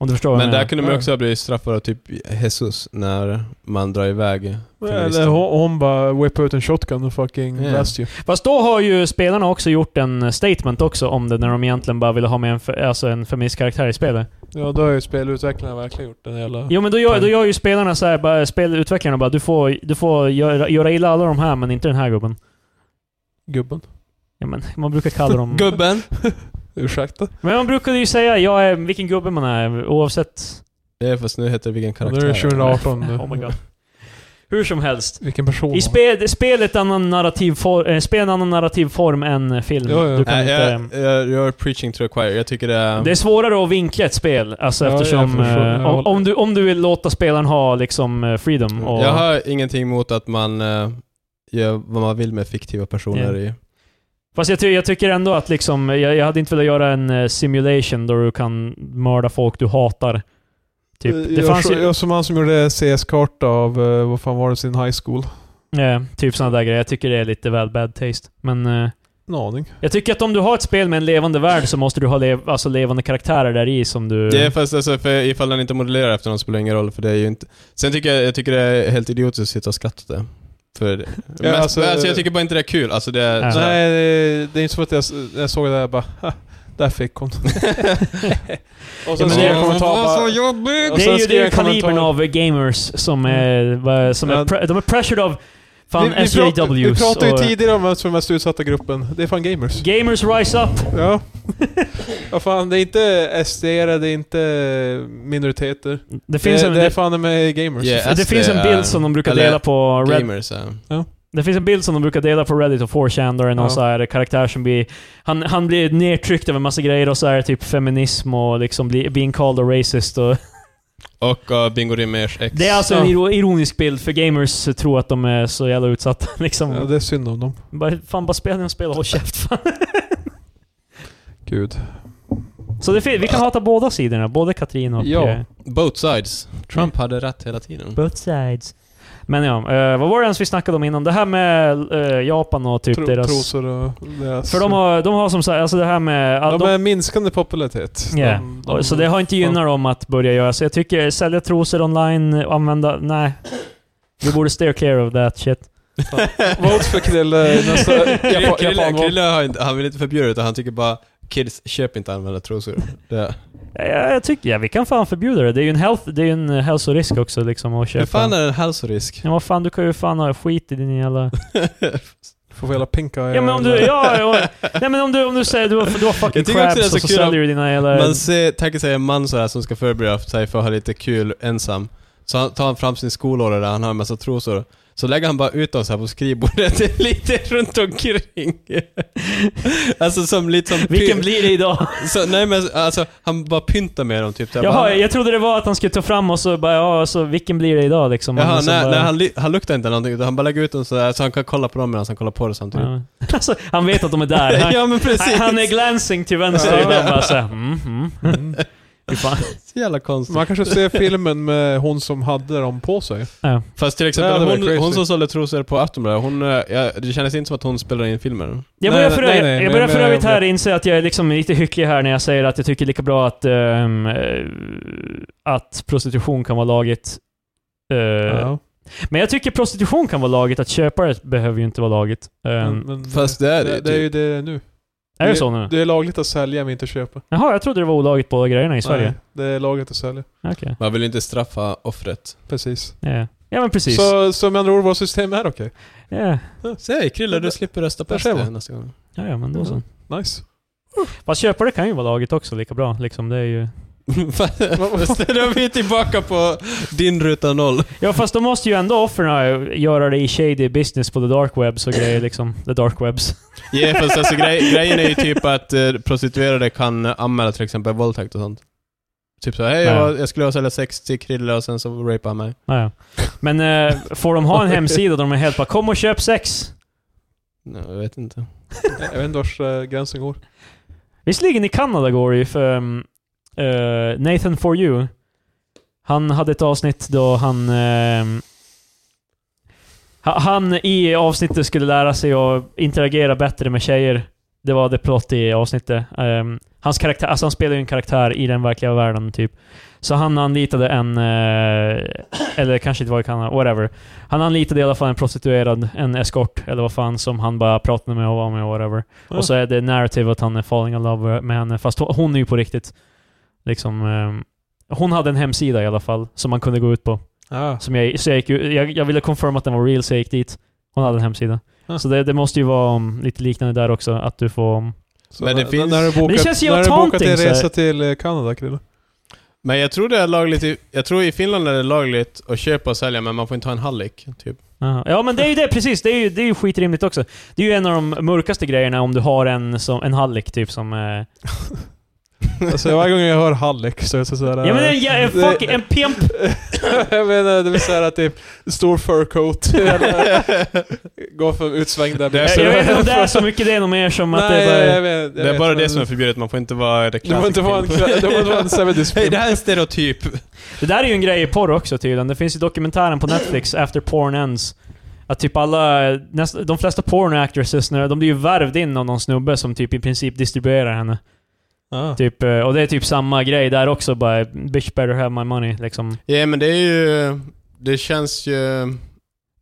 Speaker 2: Om du förstår vad
Speaker 1: Men
Speaker 2: jag menar.
Speaker 1: där kunde man
Speaker 3: Ja.
Speaker 1: också bli straffad av typ Jesus när man drar iväg feminister.
Speaker 3: Eller hon, hon bara whippar ut en shotgun och fucking
Speaker 1: Ja.
Speaker 3: blast you.
Speaker 2: Fast då har ju spelarna också gjort en eh, statement också om det, när de egentligen bara ville ha med en, fe- alltså en feminist karaktär i spelet.
Speaker 3: Ja, då har ju spelutvecklarna verkligen gjort den jävla...
Speaker 2: Jo men då gör, då gör ju spelarna så här, bara, spelutvecklarna bara du får, du får göra, göra illa alla de här men inte den här gubben.
Speaker 3: Gubben.
Speaker 2: Ja, men, man brukar kalla dem...
Speaker 1: Gubben!
Speaker 3: Ursäkta?
Speaker 2: men man brukade ju säga jag är, vilken gubbe man är oavsett...
Speaker 1: Ja, fast nu heter det vilken
Speaker 3: Ja, Nu
Speaker 1: karaktär.
Speaker 3: är det 2018
Speaker 1: Mm.
Speaker 3: nu.
Speaker 2: Oh my god. Hur som helst.
Speaker 3: Vilken person.
Speaker 2: I spel, spel, ett annan narrativ for, eh, spel en annan narrativ form än film.
Speaker 3: Jo, jo.
Speaker 2: Du kan
Speaker 1: Nej,
Speaker 2: inte,
Speaker 1: jag, jag, jag är preaching to the choir. Jag tycker det är...
Speaker 2: Det är svårare att vinkla ett spel, alltså
Speaker 3: Ja, jag
Speaker 2: eftersom...
Speaker 3: förstår.
Speaker 2: eh,
Speaker 3: Jag
Speaker 2: om,
Speaker 3: håller-
Speaker 2: om, du, om du vill låta spelaren ha liksom eh, freedom och...
Speaker 1: Mm. Jag har ingenting emot att man eh, gör vad man vill med fiktiva personer i...
Speaker 2: Fast jag, ty jag tycker ändå att liksom, jag, jag hade inte velat göra en eh, simulation där du kan mörda folk du hatar. Typ.
Speaker 3: Eh,
Speaker 2: Det
Speaker 3: jag,
Speaker 2: fanns
Speaker 3: så,
Speaker 2: ju...
Speaker 3: jag som han som gjorde CS-karta av, eh, vad fan var det, sin high school?
Speaker 2: eh, typ sådana där grejer. Jag tycker det är lite väl bad taste. Men eh,
Speaker 3: En aning.
Speaker 2: jag tycker att om du har ett spel med en levande värld så måste du ha lev alltså levande karaktärer där i som du...
Speaker 1: Det är fast alltså, för ifall den inte modellerar efter någon spelar det ingen roll, för det är ju inte... Sen tycker jag, jag tycker det är helt idiotiskt att sitta och skratta åt det. För det...
Speaker 3: Ja,
Speaker 1: mest,
Speaker 3: alltså-
Speaker 1: alltså, jag tycker bara inte det är kul. Alltså det är...
Speaker 2: Ja.
Speaker 1: så här-
Speaker 3: Nej, eh, det, det är inte så att jag, s- jag såg det där bara, "Ha, där fick hon. och
Speaker 2: Ja,
Speaker 3: sen
Speaker 2: men
Speaker 3: skrev
Speaker 2: det-
Speaker 3: jag en kommentar bara...
Speaker 1: jobbigt!
Speaker 3: och
Speaker 2: det
Speaker 3: sen
Speaker 2: är ju, det
Speaker 3: skrev
Speaker 2: är ju
Speaker 3: jag en kommentar-
Speaker 2: kalibern av gamers som är... vad- Som är
Speaker 3: Men-
Speaker 2: pre- de är pressured av... Fan,
Speaker 3: vi, vi, prat, vi
Speaker 2: SJWs
Speaker 3: pratade ju
Speaker 2: och-
Speaker 3: tidigare om vem som är mest utsatta gruppen. Det är fan gamers.
Speaker 2: Gamers rise up!
Speaker 3: Ja. ja fan, det är inte SD, det är inte minoriteter.
Speaker 2: Det finns
Speaker 3: det,
Speaker 2: en...
Speaker 3: det är fan med gamers.
Speaker 1: Yeah.
Speaker 2: det finns en
Speaker 1: SD,
Speaker 2: bild som de brukar
Speaker 1: eller
Speaker 2: dela på Red
Speaker 1: Gamers, eh. ja.
Speaker 2: Det finns en bild som de brukar dela på Reddit och 4chan där det är någon
Speaker 3: Ja.
Speaker 2: så här karaktär som blir... Han, han blir nedtryckt över massa grejer och så är det typ feminism och liksom bli, being called a racist och...
Speaker 1: Och uh, Bingo Rimmers ex.
Speaker 2: Det är alltså
Speaker 3: Ja.
Speaker 2: en iro- ironisk bild för gamers tror att de är så jävla utsatta liksom.
Speaker 3: Ja, det är synd om dem.
Speaker 2: bara, fan, bara spela och spel och håll käft fan.
Speaker 3: Gud.
Speaker 2: Så det, fin- vi kan hata båda sidorna, både Katrin och...
Speaker 3: Ja.
Speaker 2: eh,
Speaker 1: Both sides. Trump hade rätt hela tiden.
Speaker 2: both sides. Men ja, eh, vad var det ens vi snackade om innan? Det här med eh, Japan och typ
Speaker 3: Tro,
Speaker 2: deras...
Speaker 3: Trosor och deras...
Speaker 2: För de har, de har som sagt, alltså det här med...
Speaker 3: de är minskande popularitet.
Speaker 2: Ja,
Speaker 3: De- de-
Speaker 2: och Så det har inte gynnat dem att börja göra, så jag tycker sälja trosor online, använda... Nej. Du borde steer clear of that shit.
Speaker 3: Vote för Krille i nästa
Speaker 1: Krille,
Speaker 3: Japan-
Speaker 1: Krille,
Speaker 3: Japanval.
Speaker 1: Krille har inte, han vill inte förbjuda det, utan han tycker bara kids, köp inte använda trosor. Det.
Speaker 2: Ja, jag, jag tycker, ja, vi kan fan förbjuda det. Det är ju en, health, det är ju en eh, hälsorisk också liksom att köpa.
Speaker 1: Hur fan är det en hälsorisk?
Speaker 2: Ja, vad fan, du kan ju fan ha skit i din jävla...
Speaker 3: Får hela pinka
Speaker 2: Ja men om du, ja, ja, nej men om du, om du säger du har, du har fucking
Speaker 1: Jag tycker också
Speaker 2: crabs
Speaker 1: det är
Speaker 2: och
Speaker 1: så
Speaker 2: så
Speaker 1: kul
Speaker 2: säljer
Speaker 1: om-
Speaker 2: du dina jävla...
Speaker 1: Man ser, tänker sig en man så här som ska förbereda sig för att ha lite kul ensam. Så han, tar han fram sin skolorder där han har en massa trosor. Så lägger han bara ut dem så här på skrivbordet lite runt omkring. alltså som lite som...
Speaker 2: Vilken
Speaker 1: py-
Speaker 2: blir det idag?
Speaker 1: så, nej men alltså, han bara pyntar med dem typ. så här, bara,
Speaker 2: Jaha, jag trodde det var att han skulle ta fram och så bara, ja, så vilken blir det idag liksom? Och
Speaker 1: Jaha,
Speaker 2: så
Speaker 1: nej,
Speaker 2: bara-
Speaker 1: nej han, li- han luktar inte någonting utan han bara lägger ut dem sådär så han kan kolla på dem medan han kollar på det samtidigt.
Speaker 2: Ja. Alltså, han vet att de är där. Han,
Speaker 1: ja men precis.
Speaker 2: Han är glancing till vänster
Speaker 3: Ja.
Speaker 2: ibland bara såhär, mm, mm. Fy fan.
Speaker 1: Så jävla konstigt.
Speaker 3: Man kanske ser filmen med hon som hade dem på
Speaker 2: Eh,
Speaker 3: sig.
Speaker 1: Fast till
Speaker 3: Ja,
Speaker 1: exempel
Speaker 3: det var
Speaker 1: hon,
Speaker 3: crazy.
Speaker 1: hon som sålde trosor på Aftonbladet, hon, eh, ja, det kändes inte som att hon spelade in filmer.
Speaker 2: Jag
Speaker 3: Nej,
Speaker 2: börjar för,
Speaker 3: nej, nej,
Speaker 2: jag
Speaker 3: men-
Speaker 2: börjar för
Speaker 3: men-
Speaker 2: övrigt här inse att jag är liksom lite hycklig här när jag säger att jag tycker lika bra att, ehm, eh, att prostitution kan vara lagligt. Eh,
Speaker 3: Ja.
Speaker 2: Men jag tycker prostitution kan vara lagligt, att köpare behöver ju inte vara lagligt. Um,
Speaker 3: men,
Speaker 1: Fast det är det ju
Speaker 3: det, det är ju
Speaker 1: typ.
Speaker 3: det nu.
Speaker 2: är det så nu?
Speaker 3: Mm. Det är lagligt att sälja men inte köpa.
Speaker 2: Jaha, jag trodde det var olagligt på grejerna i Sverige.
Speaker 3: Nej, det är lagligt att sälja.
Speaker 2: Okej.
Speaker 1: Man vill ju inte straffa offret.
Speaker 3: Precis.
Speaker 2: Ja. Ja men precis.
Speaker 3: Så, så med andra ord, vårt system är okej.
Speaker 2: Ja.
Speaker 1: Säg Krille, du slipper rösta på
Speaker 3: Där
Speaker 1: SD
Speaker 3: ser man.
Speaker 1: nästa gång.
Speaker 2: Ja, ja, men då
Speaker 3: Mm.
Speaker 2: så.
Speaker 3: Nice.
Speaker 2: Fast köpare kan ju vara lagligt också lika bra. Liksom, det är ju...
Speaker 1: Fast Då är vi tillbaka på din ruta noll.
Speaker 2: Ja fast då måste ju ändå offren göra det i shady business på the dark webs och grejer liksom. The dark webs.
Speaker 1: Ja, fast alltså grej, grejen är ju typ att eh, prostituerade kan anmäla till exempel våldtäkt och sånt. Typ så hej
Speaker 2: Nej.
Speaker 1: jag, var- jag skulle sälja sex till Krille och sen så rapade han mig.
Speaker 2: Ah, ja. Men eh, får de ha en hemsida där de är helt bara 'Kom och köp sex'
Speaker 1: Nej, jag vet inte.
Speaker 3: Jag vet inte vars eh, gränsen går.
Speaker 2: Visserligen i Kanada går det ju för ehm, eh, Nathan For You. Han hade ett avsnitt då han... ehm, ha- han i avsnittet skulle lära sig att interagera bättre med tjejer. Det var det plott i avsnittet. Ehm, hans karaktär, alltså han spelar ju en karaktär i den verkliga världen typ. Så han anlitade en... eh, eller kanske inte var i Kanada, whatever. Han anlitade i alla fall en prostituerad, en eskort eller vad fan som han bara pratade med och var med whatever.
Speaker 3: Ja.
Speaker 2: Och så är det narrative att han är falling in love med henne, fast hon- hon är ju på riktigt. Liksom, ehm, hon hade en hemsida i alla fall, som man kunde gå ut på.
Speaker 3: Ah.
Speaker 2: Som jag, så jag, gick, ju- jag, jag ville confirma att den var real, så jag gick dit. Hon hade en hemsida.
Speaker 3: Ah.
Speaker 2: Så det, det måste ju vara um, lite liknande där också, att du får... um,
Speaker 3: Så
Speaker 1: Men det
Speaker 3: när,
Speaker 1: finns-
Speaker 3: när du bokat,
Speaker 2: Men det känns ju
Speaker 3: när du bokat
Speaker 2: taunting,
Speaker 3: en
Speaker 2: så här.
Speaker 3: resa till eh, Kanada, Krille.
Speaker 1: Men jag tror det är lagligt i, jag tror i Finland är det lagligt att köpa och sälja men man får inte ha en hallick. Typ.
Speaker 2: aha. Ja men det är ju det, precis. Det är ju, det är ju skitrimligt också. Det är ju en av de mörkaste grejerna om du har en, som, en hallick typ som... eh,
Speaker 3: Alltså varje gång jag hör Halleck så är det såhär...
Speaker 2: ja men en, ja, en,
Speaker 3: det-
Speaker 2: fuck, en pimp!
Speaker 3: jag menar, det vill säga att det är stor furcoat. Går för utsvängd där.
Speaker 1: Det är
Speaker 2: Jag,
Speaker 1: så-
Speaker 2: jag vet inte om det är så mycket det är nog mer som att det
Speaker 3: Nej,
Speaker 2: är bara...
Speaker 3: jag vet, jag
Speaker 1: Det är
Speaker 3: vet,
Speaker 1: bara
Speaker 3: men-
Speaker 1: det som är förbjudet, man får inte vara
Speaker 3: Det var inte vara en,
Speaker 1: reklamfilm.
Speaker 3: det var inte vara en 70s
Speaker 1: Hej,
Speaker 3: film.
Speaker 1: det här är en stereotyp.
Speaker 2: Det där är ju en grej i porr också tydligen. Det finns ju dokumentären på Netflix, After Porn Ends. Att typ alla, näst, de flesta porn actresses, när de blir ju värvd in av någon snubbe som typ i princip distribuerar henne.
Speaker 3: Ah.
Speaker 2: Typ, eh, och det är typ samma grej där också bara, bitch better have my money liksom.
Speaker 1: Ja men det är ju... Det känns ju...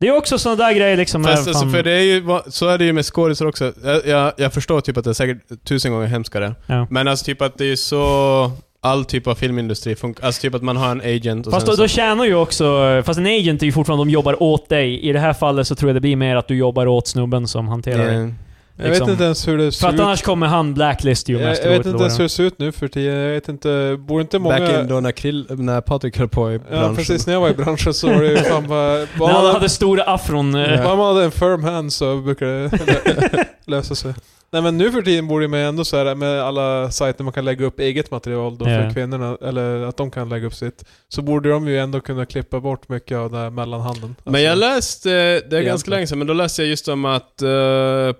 Speaker 2: Det är också sådana där grejer liksom.
Speaker 1: Fast
Speaker 2: eh,
Speaker 1: alltså,
Speaker 2: fan-
Speaker 1: för det är ju, va- så är det ju med skådisar också. Jag, jag, jag förstår typ att det är säkert tusen gånger hemskare.
Speaker 2: Ja.
Speaker 1: Men alltså typ att det är så... All typ av filmindustri funkar. Alltså typ att man har en agent och
Speaker 2: Fast då,
Speaker 1: sen
Speaker 2: då
Speaker 1: så...
Speaker 2: tjänar ju också... Fast en agent är ju fortfarande, de jobbar åt dig. I det här fallet så tror jag det blir mer att du jobbar åt snubben som hanterar det.
Speaker 1: Eh,
Speaker 3: Jag
Speaker 2: liksom.
Speaker 3: vet inte ens hur det
Speaker 2: För
Speaker 3: ser
Speaker 2: att
Speaker 3: ut.
Speaker 2: annars kommer han blacklist ju
Speaker 3: Jag,
Speaker 2: mest
Speaker 3: jag vet
Speaker 2: troligt,
Speaker 3: inte ens
Speaker 2: då.
Speaker 3: hur det ser ut nu för tiden. Jag vet inte, bor inte många...
Speaker 1: Back in då när, Krill, när Patrik höll på i branschen.
Speaker 3: ja precis, när jag var i branschen så var det ju fan bara...
Speaker 2: När
Speaker 3: Bara
Speaker 2: han
Speaker 3: man-
Speaker 2: hade stora afron... eh,
Speaker 3: bara man hade en firm hand så brukar det lösa sig. Nej men nu för tiden borde man ju ändå så här med alla sajter man kan lägga upp eget material då för
Speaker 2: Ja.
Speaker 3: kvinnorna, eller att de kan lägga upp sitt. Så borde de ju ändå kunna klippa bort mycket av den här mellanhanden.
Speaker 1: Men jag
Speaker 3: Alltså,
Speaker 1: läste, det är ganska länge sedan, men då läste jag just om att eh,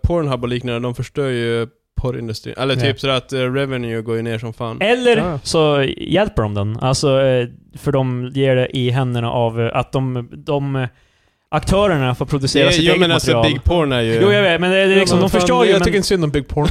Speaker 1: Pornhub och liknande, de förstör ju porrindustrin. Eller typ
Speaker 2: Ja.
Speaker 1: sådär att eh, revenue går ju ner som fan.
Speaker 2: Eller
Speaker 3: Ja.
Speaker 2: så hjälper de den. Alltså, eh, för de ger det i händerna av eh, att de, de eh, aktörerna får producera
Speaker 1: Det,
Speaker 2: sitt
Speaker 1: jo
Speaker 2: eget
Speaker 1: men alltså
Speaker 2: material.
Speaker 1: big porn är ju...
Speaker 2: Jo, jag vet, men det är det är
Speaker 3: Ja,
Speaker 2: liksom,
Speaker 3: men
Speaker 2: de
Speaker 3: fan,
Speaker 2: förstår ju.
Speaker 3: Jag
Speaker 2: men,
Speaker 3: tycker inte synd om Big Porn.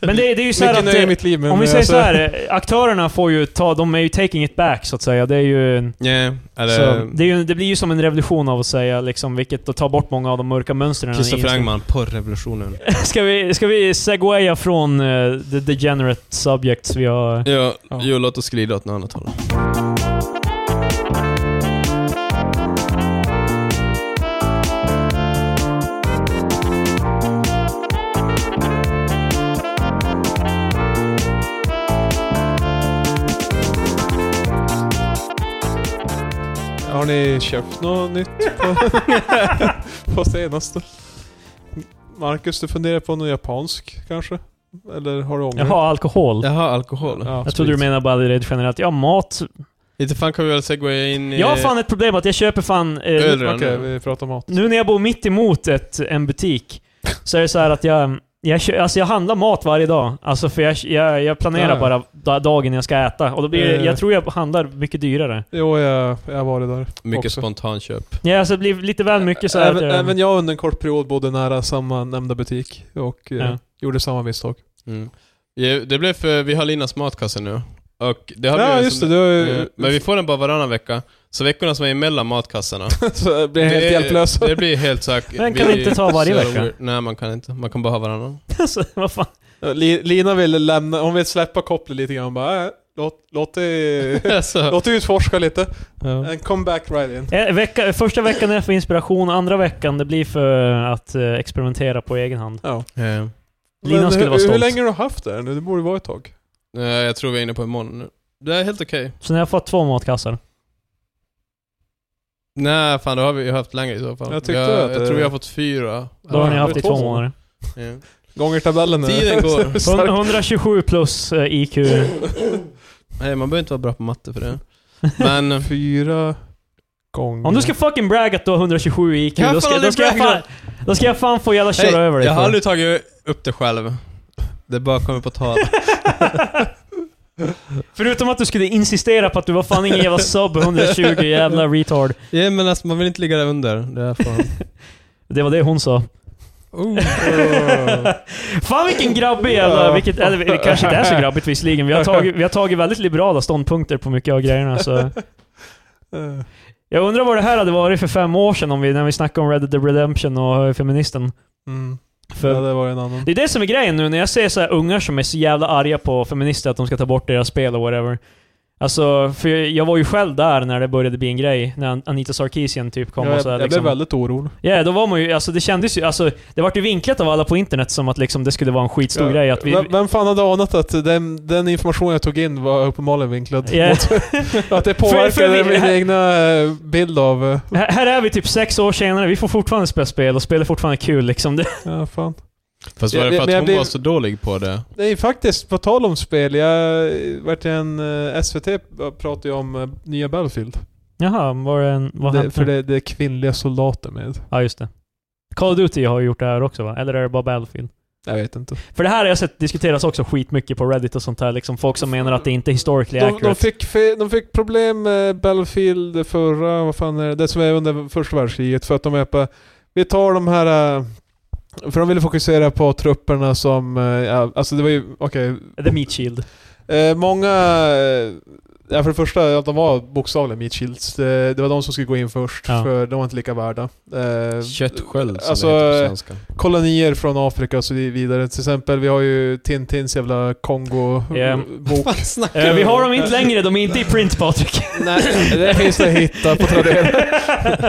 Speaker 2: men det, det är ju så här
Speaker 3: Mycket
Speaker 2: att...
Speaker 3: nöje i
Speaker 2: eh,
Speaker 3: mitt liv men...
Speaker 2: Om vi säger
Speaker 3: alltså-
Speaker 2: så här, eh, aktörerna får ju ta, de är ju taking it back så att säga. Det är ju... en-
Speaker 1: Yeah,
Speaker 2: Så,
Speaker 1: eller
Speaker 2: det, är ju, det blir ju som en revolution av att säga liksom, vilket då tar bort många av de mörka mönstren. i
Speaker 1: Kristoffer
Speaker 2: inställningen.
Speaker 1: Engman, porrrevolutionen.
Speaker 2: Ska vi, ska vi segwaya från eh, the degenerate subjects vi har...
Speaker 1: ja,
Speaker 3: Ja.
Speaker 1: jo låt oss glida åt något annat håll.
Speaker 3: Har ni köpt något nytt på, på senaste? Marcus, du funderar på något japansk kanske? Eller har du ånger?
Speaker 2: Jaha, alkohol.
Speaker 1: Jaha, alkohol.
Speaker 3: Ja,
Speaker 2: Jag trodde du menade bara rent generellt. Ja, mat.
Speaker 1: Inte fan kan vi väl segwaya in eh, i...
Speaker 2: Jag har fan ett problem att jag köper fan... Eh,
Speaker 1: Öl.
Speaker 3: Okej,
Speaker 1: redan nu.
Speaker 3: vi pratar om mat.
Speaker 2: nu när jag bor mitt emot ett, en butik så är det så här att jag... Jag, kö- alltså jag handlar mat varje dag. Alltså för jag, jag, jag planerar
Speaker 3: Ah.
Speaker 2: bara da- dagen jag ska äta. Och då blir det,
Speaker 3: Eh.
Speaker 2: jag tror jag handlar mycket dyrare.
Speaker 3: Jo, jag, jag har varit där.
Speaker 1: Mycket
Speaker 3: också.
Speaker 1: spontanköp.
Speaker 2: Ja, alltså det blir lite väl mycket så här eh, att
Speaker 3: även,
Speaker 2: jag-
Speaker 3: även jag under en kort period bodde nära samma nämnda butik och eh,
Speaker 2: Ja.
Speaker 3: gjorde samma misstag.
Speaker 1: Mm. Ja, Det blev för, vi har Linas matkasse nu. Och det har
Speaker 3: Ja,
Speaker 1: blivit
Speaker 3: just
Speaker 1: som
Speaker 3: det. Du,
Speaker 1: Eh, Men vi får den bara varannan vecka. Så veckorna som är emellan matkassorna.
Speaker 3: så jag blev helt
Speaker 1: det-
Speaker 3: hjälplös.
Speaker 1: Det blir helt sagt.
Speaker 2: Men kan inte ta varje vecka?
Speaker 1: Nej, man kan inte. Man kan bara ha varannan.
Speaker 2: alltså, vad fan.
Speaker 3: Li- Lina ville lämna, hon vill släppa kopplet lite grann bara, äh, låt, låt, det,
Speaker 1: så.
Speaker 3: låt det utforska lite. And come back right in.
Speaker 2: Eh, Vecka, första veckan är för inspiration, andra veckan det blir för att eh, experimentera på egen hand.
Speaker 3: Ja.
Speaker 1: Eh,
Speaker 2: Lina
Speaker 3: Men
Speaker 2: skulle
Speaker 3: hur,
Speaker 2: vara stolt.
Speaker 3: Hur länge har du haft det här nu? Det borde vara ett tag.
Speaker 1: eh, jag tror vi är inne på imorgon nu. Det är helt okej.
Speaker 2: Så när jag har fått två matkassar.
Speaker 1: Nej, fan då har vi ju haft längre i så fall.
Speaker 3: Jag tyckte
Speaker 1: jag,
Speaker 3: att
Speaker 1: jag
Speaker 3: det-
Speaker 1: tror vi har fått fyra.
Speaker 2: Då har ni
Speaker 3: Ja,
Speaker 2: haft
Speaker 3: det
Speaker 2: i
Speaker 3: är
Speaker 2: två
Speaker 3: två.
Speaker 2: månader.
Speaker 1: Ja.
Speaker 3: Gånger tabellen är-
Speaker 1: Tiden går.
Speaker 3: Stark.
Speaker 2: 127 plus eh, IQ.
Speaker 1: Nej, man behöver inte vara bra på matte för det. Men...
Speaker 3: Fyra gånger.
Speaker 2: Om du ska fucking bragga att du har 127 i IQ,
Speaker 1: Kan jag
Speaker 2: då ska,
Speaker 1: fan
Speaker 2: då, ska jag
Speaker 1: aldrig
Speaker 2: fan, då ska jag fan få jävla köra
Speaker 1: Hej,
Speaker 2: över dig.
Speaker 1: jag har
Speaker 2: för.
Speaker 1: aldrig tagit upp det själv. Det bara kommer på tal.
Speaker 2: Förutom att du skulle insistera på att du var fan ingen jävla sub 120 jävla retard.
Speaker 1: Ja, men alltså man vill inte ligga där under. Det är fan...
Speaker 2: Det var det hon sa.
Speaker 1: Oh.
Speaker 2: Fan vilken grabbig jävla...
Speaker 3: Ja.
Speaker 2: Vilket, eller det kanske inte är så grabbigt visserligen. Vi har, tagit, vi har tagit väldigt liberala ståndpunkter på mycket av grejerna. Så.
Speaker 3: Eh,
Speaker 2: Jag undrar vad det här hade varit för fem år sedan om vi, när vi snackade om Red Dead Redemption och eh, feministen.
Speaker 3: Mm.
Speaker 2: För
Speaker 3: Ja, det var en annan.
Speaker 2: Det är det som är grejen nu när jag ser så här ungar som är så jävla arga på feminister att de ska ta bort deras spel och whatever. Alltså, för jag jag var ju själv där när det började bli en grej, när An- Anita Sarkeesian typ kom
Speaker 3: Ja,
Speaker 2: och
Speaker 3: jag,
Speaker 2: så här,
Speaker 3: jag
Speaker 2: liksom.
Speaker 3: blev väldigt orolig.
Speaker 2: Ja, då var man ju, alltså det kändes ju, alltså det vart ju vinklat av alla på internet som att liksom det skulle vara en skitstor
Speaker 3: Ja.
Speaker 2: grej att vi...
Speaker 3: Vem- Vem fan hade anat att den, den information jag tog in var uppenbarligen vinklad?
Speaker 2: Ja.
Speaker 3: mot- att det
Speaker 2: För- för vi-
Speaker 3: påverkade min egna eh, bild av... eh,
Speaker 2: Här här är vi typ sex år senare, vi får fortfarande spela spel och spel är fortfarande kul liksom. Det,
Speaker 3: Ja, fan.
Speaker 1: Fast var det
Speaker 3: Ja, men-
Speaker 1: för att
Speaker 3: men jag
Speaker 1: hon
Speaker 3: blev-
Speaker 1: var så dålig på det?
Speaker 3: Nej, faktiskt, på tal om spel. Jag eh, vart en... eh, SVT pratade ju om eh, nya Battlefield.
Speaker 2: jaha, var det en... Vad
Speaker 3: Det,
Speaker 2: hände?
Speaker 3: för det, det är kvinnliga soldater med.
Speaker 2: Ja, just det. Call of Duty har ju gjort det här också va? Eller är det bara Battlefield?
Speaker 3: Jag vet inte.
Speaker 2: För det här har jag sett diskuteras också skitmycket på Reddit och sånt där. Liksom folk som menar att det inte är historically
Speaker 3: De,
Speaker 2: accurate.
Speaker 3: de, fick, fe- de fick problem med Battlefield förra, vad fan är det, det som är under första världskriget för att de är på, vi tar de här, äh, för de ville fokusera på trupperna som, äh, ja, alltså det var ju, okej,
Speaker 2: The Meat Shield.
Speaker 3: Eh, många... eh, Ja, för det första, att de var bokstavligen meat shields. Eh, det var de som skulle gå in först,
Speaker 2: Ja.
Speaker 3: för de var inte lika värda. Eh,
Speaker 1: Köttsköld
Speaker 3: som Alltså, det heter på kolonier från Afrika och så vidare. Till exempel, vi har ju Tintins jävla Kongo-bok.
Speaker 2: Ja.
Speaker 1: Vad snackar
Speaker 2: Eh, vi har dem inte längre, de är inte i print Patrik.
Speaker 3: Nej, det finns det att hitta på Tradera.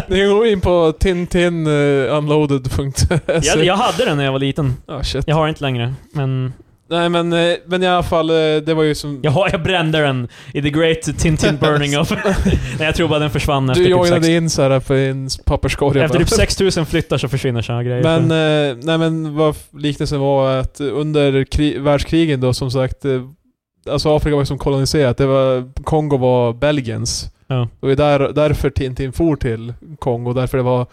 Speaker 3: Ni går in på eh,
Speaker 2: jag,
Speaker 3: tintinunloaded.se.
Speaker 2: jag hade den när jag var liten.
Speaker 3: Ah, shit.
Speaker 2: Jag har den inte längre. Men
Speaker 3: Nej men, eh, men i alla fall, eh, det var ju som...
Speaker 2: jag, har, jag brände den i the great Tintin burning of. Nej, jag tror bara den försvann efter
Speaker 3: Du
Speaker 2: typ, sex,
Speaker 3: joinade in så här på en papperskorg.
Speaker 2: efter
Speaker 3: bara.
Speaker 2: typ 6000 flyttar så försvinner såna grejer.
Speaker 3: Men, eh, nej, men vad f- liknelsen var att under kri- världskrigen då som sagt, eh, alltså Afrika var ju som koloniserat. Det var, Kongo var Belgiens.
Speaker 2: Ja.
Speaker 3: Och det är där, därför Tintin for till Kongo. Därför det var,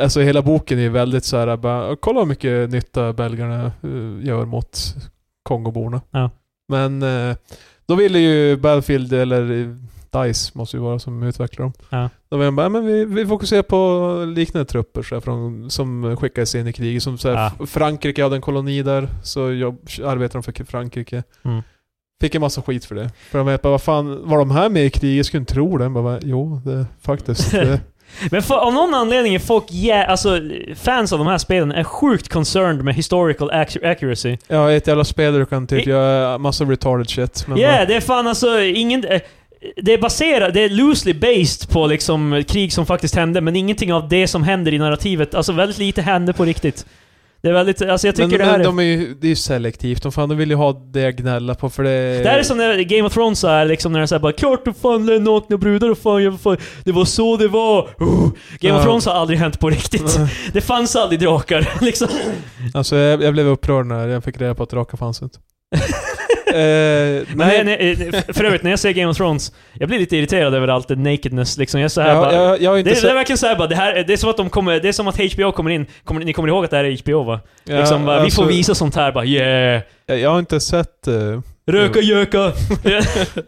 Speaker 3: alltså hela boken är ju väldigt så här, bara, kolla hur mycket nytta belgarna eh, gör mot Kongoborna.
Speaker 2: Ja.
Speaker 3: Men eh, då ville ju Battlefield, eller eh, DICE måste ju vara som utvecklar dem.
Speaker 2: Ja.
Speaker 3: Då var de bara, "Ja, men vi, vi fokuserar på liknande trupper så här, från, som skickades in i kriget. Som så här,
Speaker 2: Ja.
Speaker 3: Frankrike hade en koloni där, så jobb, arbetade de för Frankrike.
Speaker 2: Mm.
Speaker 3: Fick en massa skit för det. För de bara, vad fan, var de här med i kriget? Jag skulle inte tro det. Jag Bara, jo, det, faktiskt. Det.
Speaker 2: Men för, av någon anledning är folk, yeah, alltså fans av de här spelen är sjukt concerned med historical accu- accuracy.
Speaker 3: Ja, ett jävla spel där du kan typ
Speaker 2: I-
Speaker 3: göra massa retarded shit. Men
Speaker 2: Ja, det är fan alltså ingen... eh, Det är baserat, det är loosely based på liksom krig som faktiskt hände, men ingenting av det som händer i narrativet. Alltså väldigt lite hände på riktigt. Det är väldigt, alltså jag tycker
Speaker 3: men,
Speaker 2: det här
Speaker 3: men
Speaker 2: är...
Speaker 3: de är ju, det är ju selektivt. De, fan, de vill ju ha det jag gnäller på för det...
Speaker 2: Det här är som när Game of Thrones är liksom när det är såhär bara klart du fan det är nakna brudar och fan, jag, fan det var så det var. Uh. Game of
Speaker 3: Ja.
Speaker 2: Thrones har aldrig hänt på riktigt. Det fanns aldrig drakar liksom.
Speaker 3: Alltså jag, jag blev upprörd när jag fick reda på att drakar fanns inte. Eh,
Speaker 2: Men nej.
Speaker 3: nej,
Speaker 2: Nej, nej, för övrigt, när jag ser Game of Thrones, jag blir lite irriterad över allt det nakedness liksom. Jag är så här
Speaker 3: jag,
Speaker 2: bara,
Speaker 3: jag, jag har inte
Speaker 2: det, det är
Speaker 3: sett...
Speaker 2: verkligen såhär bara, det, här, det är som att de kommer, det är som att HBO kommer in, kommer, ni kommer ihåg att det här är HBO va?
Speaker 3: Ja,
Speaker 2: liksom bara,
Speaker 3: alltså,
Speaker 2: vi får visa sånt här bara, yeah!
Speaker 3: Jag, jag har inte sett... eh,
Speaker 2: Röka göka!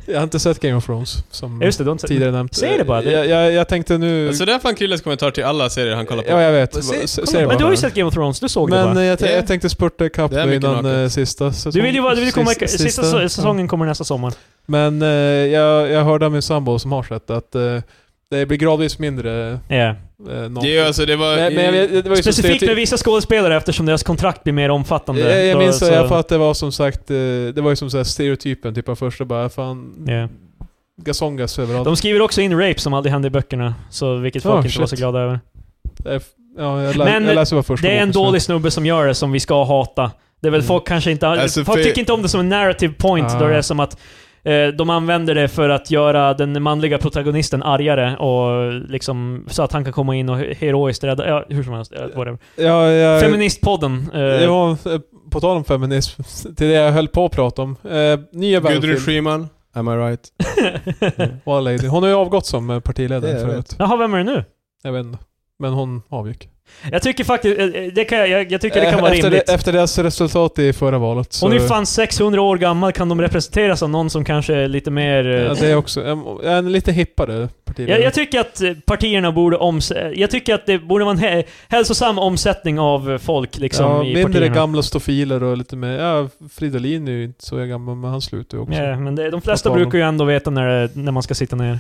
Speaker 3: jag har inte sett Game of Thrones, som
Speaker 2: Ja, Just det, de säger...
Speaker 3: tidigare nämnt.
Speaker 2: Säg det bara, det-
Speaker 3: Jag, jag, jag tänkte nu...
Speaker 1: Alltså det är fan Krilles kommentar till alla serier han kollar på.
Speaker 3: ja, jag vet.
Speaker 1: Men se-
Speaker 3: S-
Speaker 1: kolla
Speaker 3: säg det
Speaker 2: Men du
Speaker 3: bara.
Speaker 2: har ju sett Game of Thrones, du såg det
Speaker 3: Men
Speaker 2: va?
Speaker 3: eh, jag, t-
Speaker 1: Det-
Speaker 3: jag tänkte spurta ikapp
Speaker 1: det är
Speaker 3: nu
Speaker 1: mycket
Speaker 3: innan
Speaker 1: naket.
Speaker 3: eh, sista säsongen.
Speaker 2: Du vill ju vara, du vill komma, sista, sista sä-
Speaker 3: ja.
Speaker 2: säsongen kommer nästa sommar.
Speaker 3: Men eh, jag, jag hörde av min sambo som har sett att eh, det blir gradvis mindre
Speaker 2: Yeah.
Speaker 3: eh, naket.
Speaker 1: Det är ju alltså, det var...
Speaker 3: men, men jag vet- det var ju så
Speaker 2: Specifikt med
Speaker 3: stereotyp-
Speaker 2: vissa skådespelare eftersom deras kontrakt blir mer omfattande.
Speaker 3: jag, jag
Speaker 2: Då-
Speaker 3: minns i alla fall att det var som sagt, eh, det var ju som så här stereotypen, typ av första bara fan...
Speaker 2: Ja.
Speaker 3: Gasongas överallt.
Speaker 2: De skriver också in rape som aldrig hände i böckerna, så vilket folk
Speaker 3: Oh,
Speaker 2: inte var
Speaker 3: shit.
Speaker 2: så glada över.
Speaker 3: Det är Eh, f- Ja, jag, lä-
Speaker 2: Men
Speaker 3: jag läser bara första
Speaker 2: Det är en
Speaker 3: boken, så-
Speaker 2: dålig snubbe som gör det som vi ska hata. Det är väl
Speaker 3: Mm.
Speaker 2: folk kanske inte...
Speaker 1: Alltså,
Speaker 2: folk
Speaker 1: för-
Speaker 2: tycker inte om det som en narrative point,
Speaker 3: Ah.
Speaker 2: då det är som att eh, de använder det för att göra den manliga protagonisten argare och liksom, så att han kan komma in och heroiskt rädda... Ja, hur som helst. eh, Whatever.
Speaker 3: Ja, jag,
Speaker 2: Feministpodden. eh,
Speaker 3: Det var, eh, på tal om feminism, till det jag höll på att prata om. Eh, nya
Speaker 1: Gudrun
Speaker 3: Battlefield.
Speaker 1: Schyman, am I right?
Speaker 3: One lady. Hon har ju avgått som eh, partiledare
Speaker 1: Det jag
Speaker 3: för
Speaker 1: vet.
Speaker 3: övrigt.
Speaker 2: Jaha, vem är det nu?
Speaker 3: Jag vet inte. Men hon avgick.
Speaker 2: Jag tycker faktiskt... eh, eh, Det kan, jag- jag, jag tycker det kan
Speaker 3: Eh,
Speaker 2: vara
Speaker 3: efter,
Speaker 2: rimligt.
Speaker 3: det- efter deras resultat i förra valet. Så,
Speaker 2: Hon är ju fan 600 år gammal, kan de representeras av någon som kanske är lite mer... eh,
Speaker 3: ja, det är också. En, en lite hippare partiledare.
Speaker 2: Jag, jag tycker att eh, partierna borde oms... eh, Jag tycker att det borde vara en hä- hälsosam omsättning av eh, folk liksom i
Speaker 3: ja, mindre
Speaker 2: partierna.
Speaker 3: gamla stofiler och lite mer... Ja, Fridolin är ju inte så gammal, men han slutar ju också.
Speaker 2: Ja, men det, de flesta
Speaker 3: Vad fan.
Speaker 2: brukar ju ändå veta när, det- när man ska sitta ner.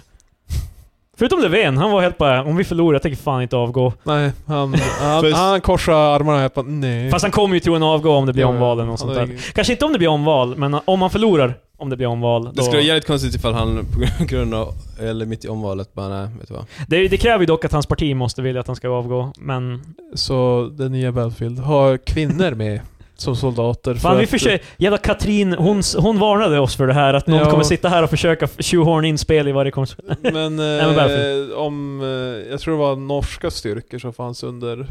Speaker 2: Förutom Löfven, han var helt bara om vi förlorar, jag tänker fan inte avgå.
Speaker 3: Nej, han, han,
Speaker 1: Fast-
Speaker 3: han korsar armarna och jag bara nej.
Speaker 2: Fast han kommer ju troligen avgå om det blir
Speaker 3: Ja,
Speaker 2: omval eller
Speaker 3: han
Speaker 2: något sånt
Speaker 3: har
Speaker 2: där.
Speaker 3: ingen-
Speaker 2: Kanske inte om det blir omval, men eh, om han förlorar om det blir omval. Då...
Speaker 1: Det skulle vara jävligt konstigt ifall han på grund av, eller mitt i omvalet bara nej, vet du vad.
Speaker 2: det, det kräver ju dock att hans parti måste vilja att han ska avgå, men...
Speaker 3: Så den nya Battlefield har kvinnor med som soldater.
Speaker 2: Fan, vi
Speaker 3: att-
Speaker 2: försöker, jävla Katrin, hon, s- hon varnade oss för det här, att någon
Speaker 3: Ja.
Speaker 2: kommer sitta här och försöka f- tjohorna in spel i varje konversation.
Speaker 3: Men,
Speaker 2: men
Speaker 3: eh,
Speaker 2: Battlefield.
Speaker 3: om... Eh, jag tror det var norska styrkor som fanns under... eh,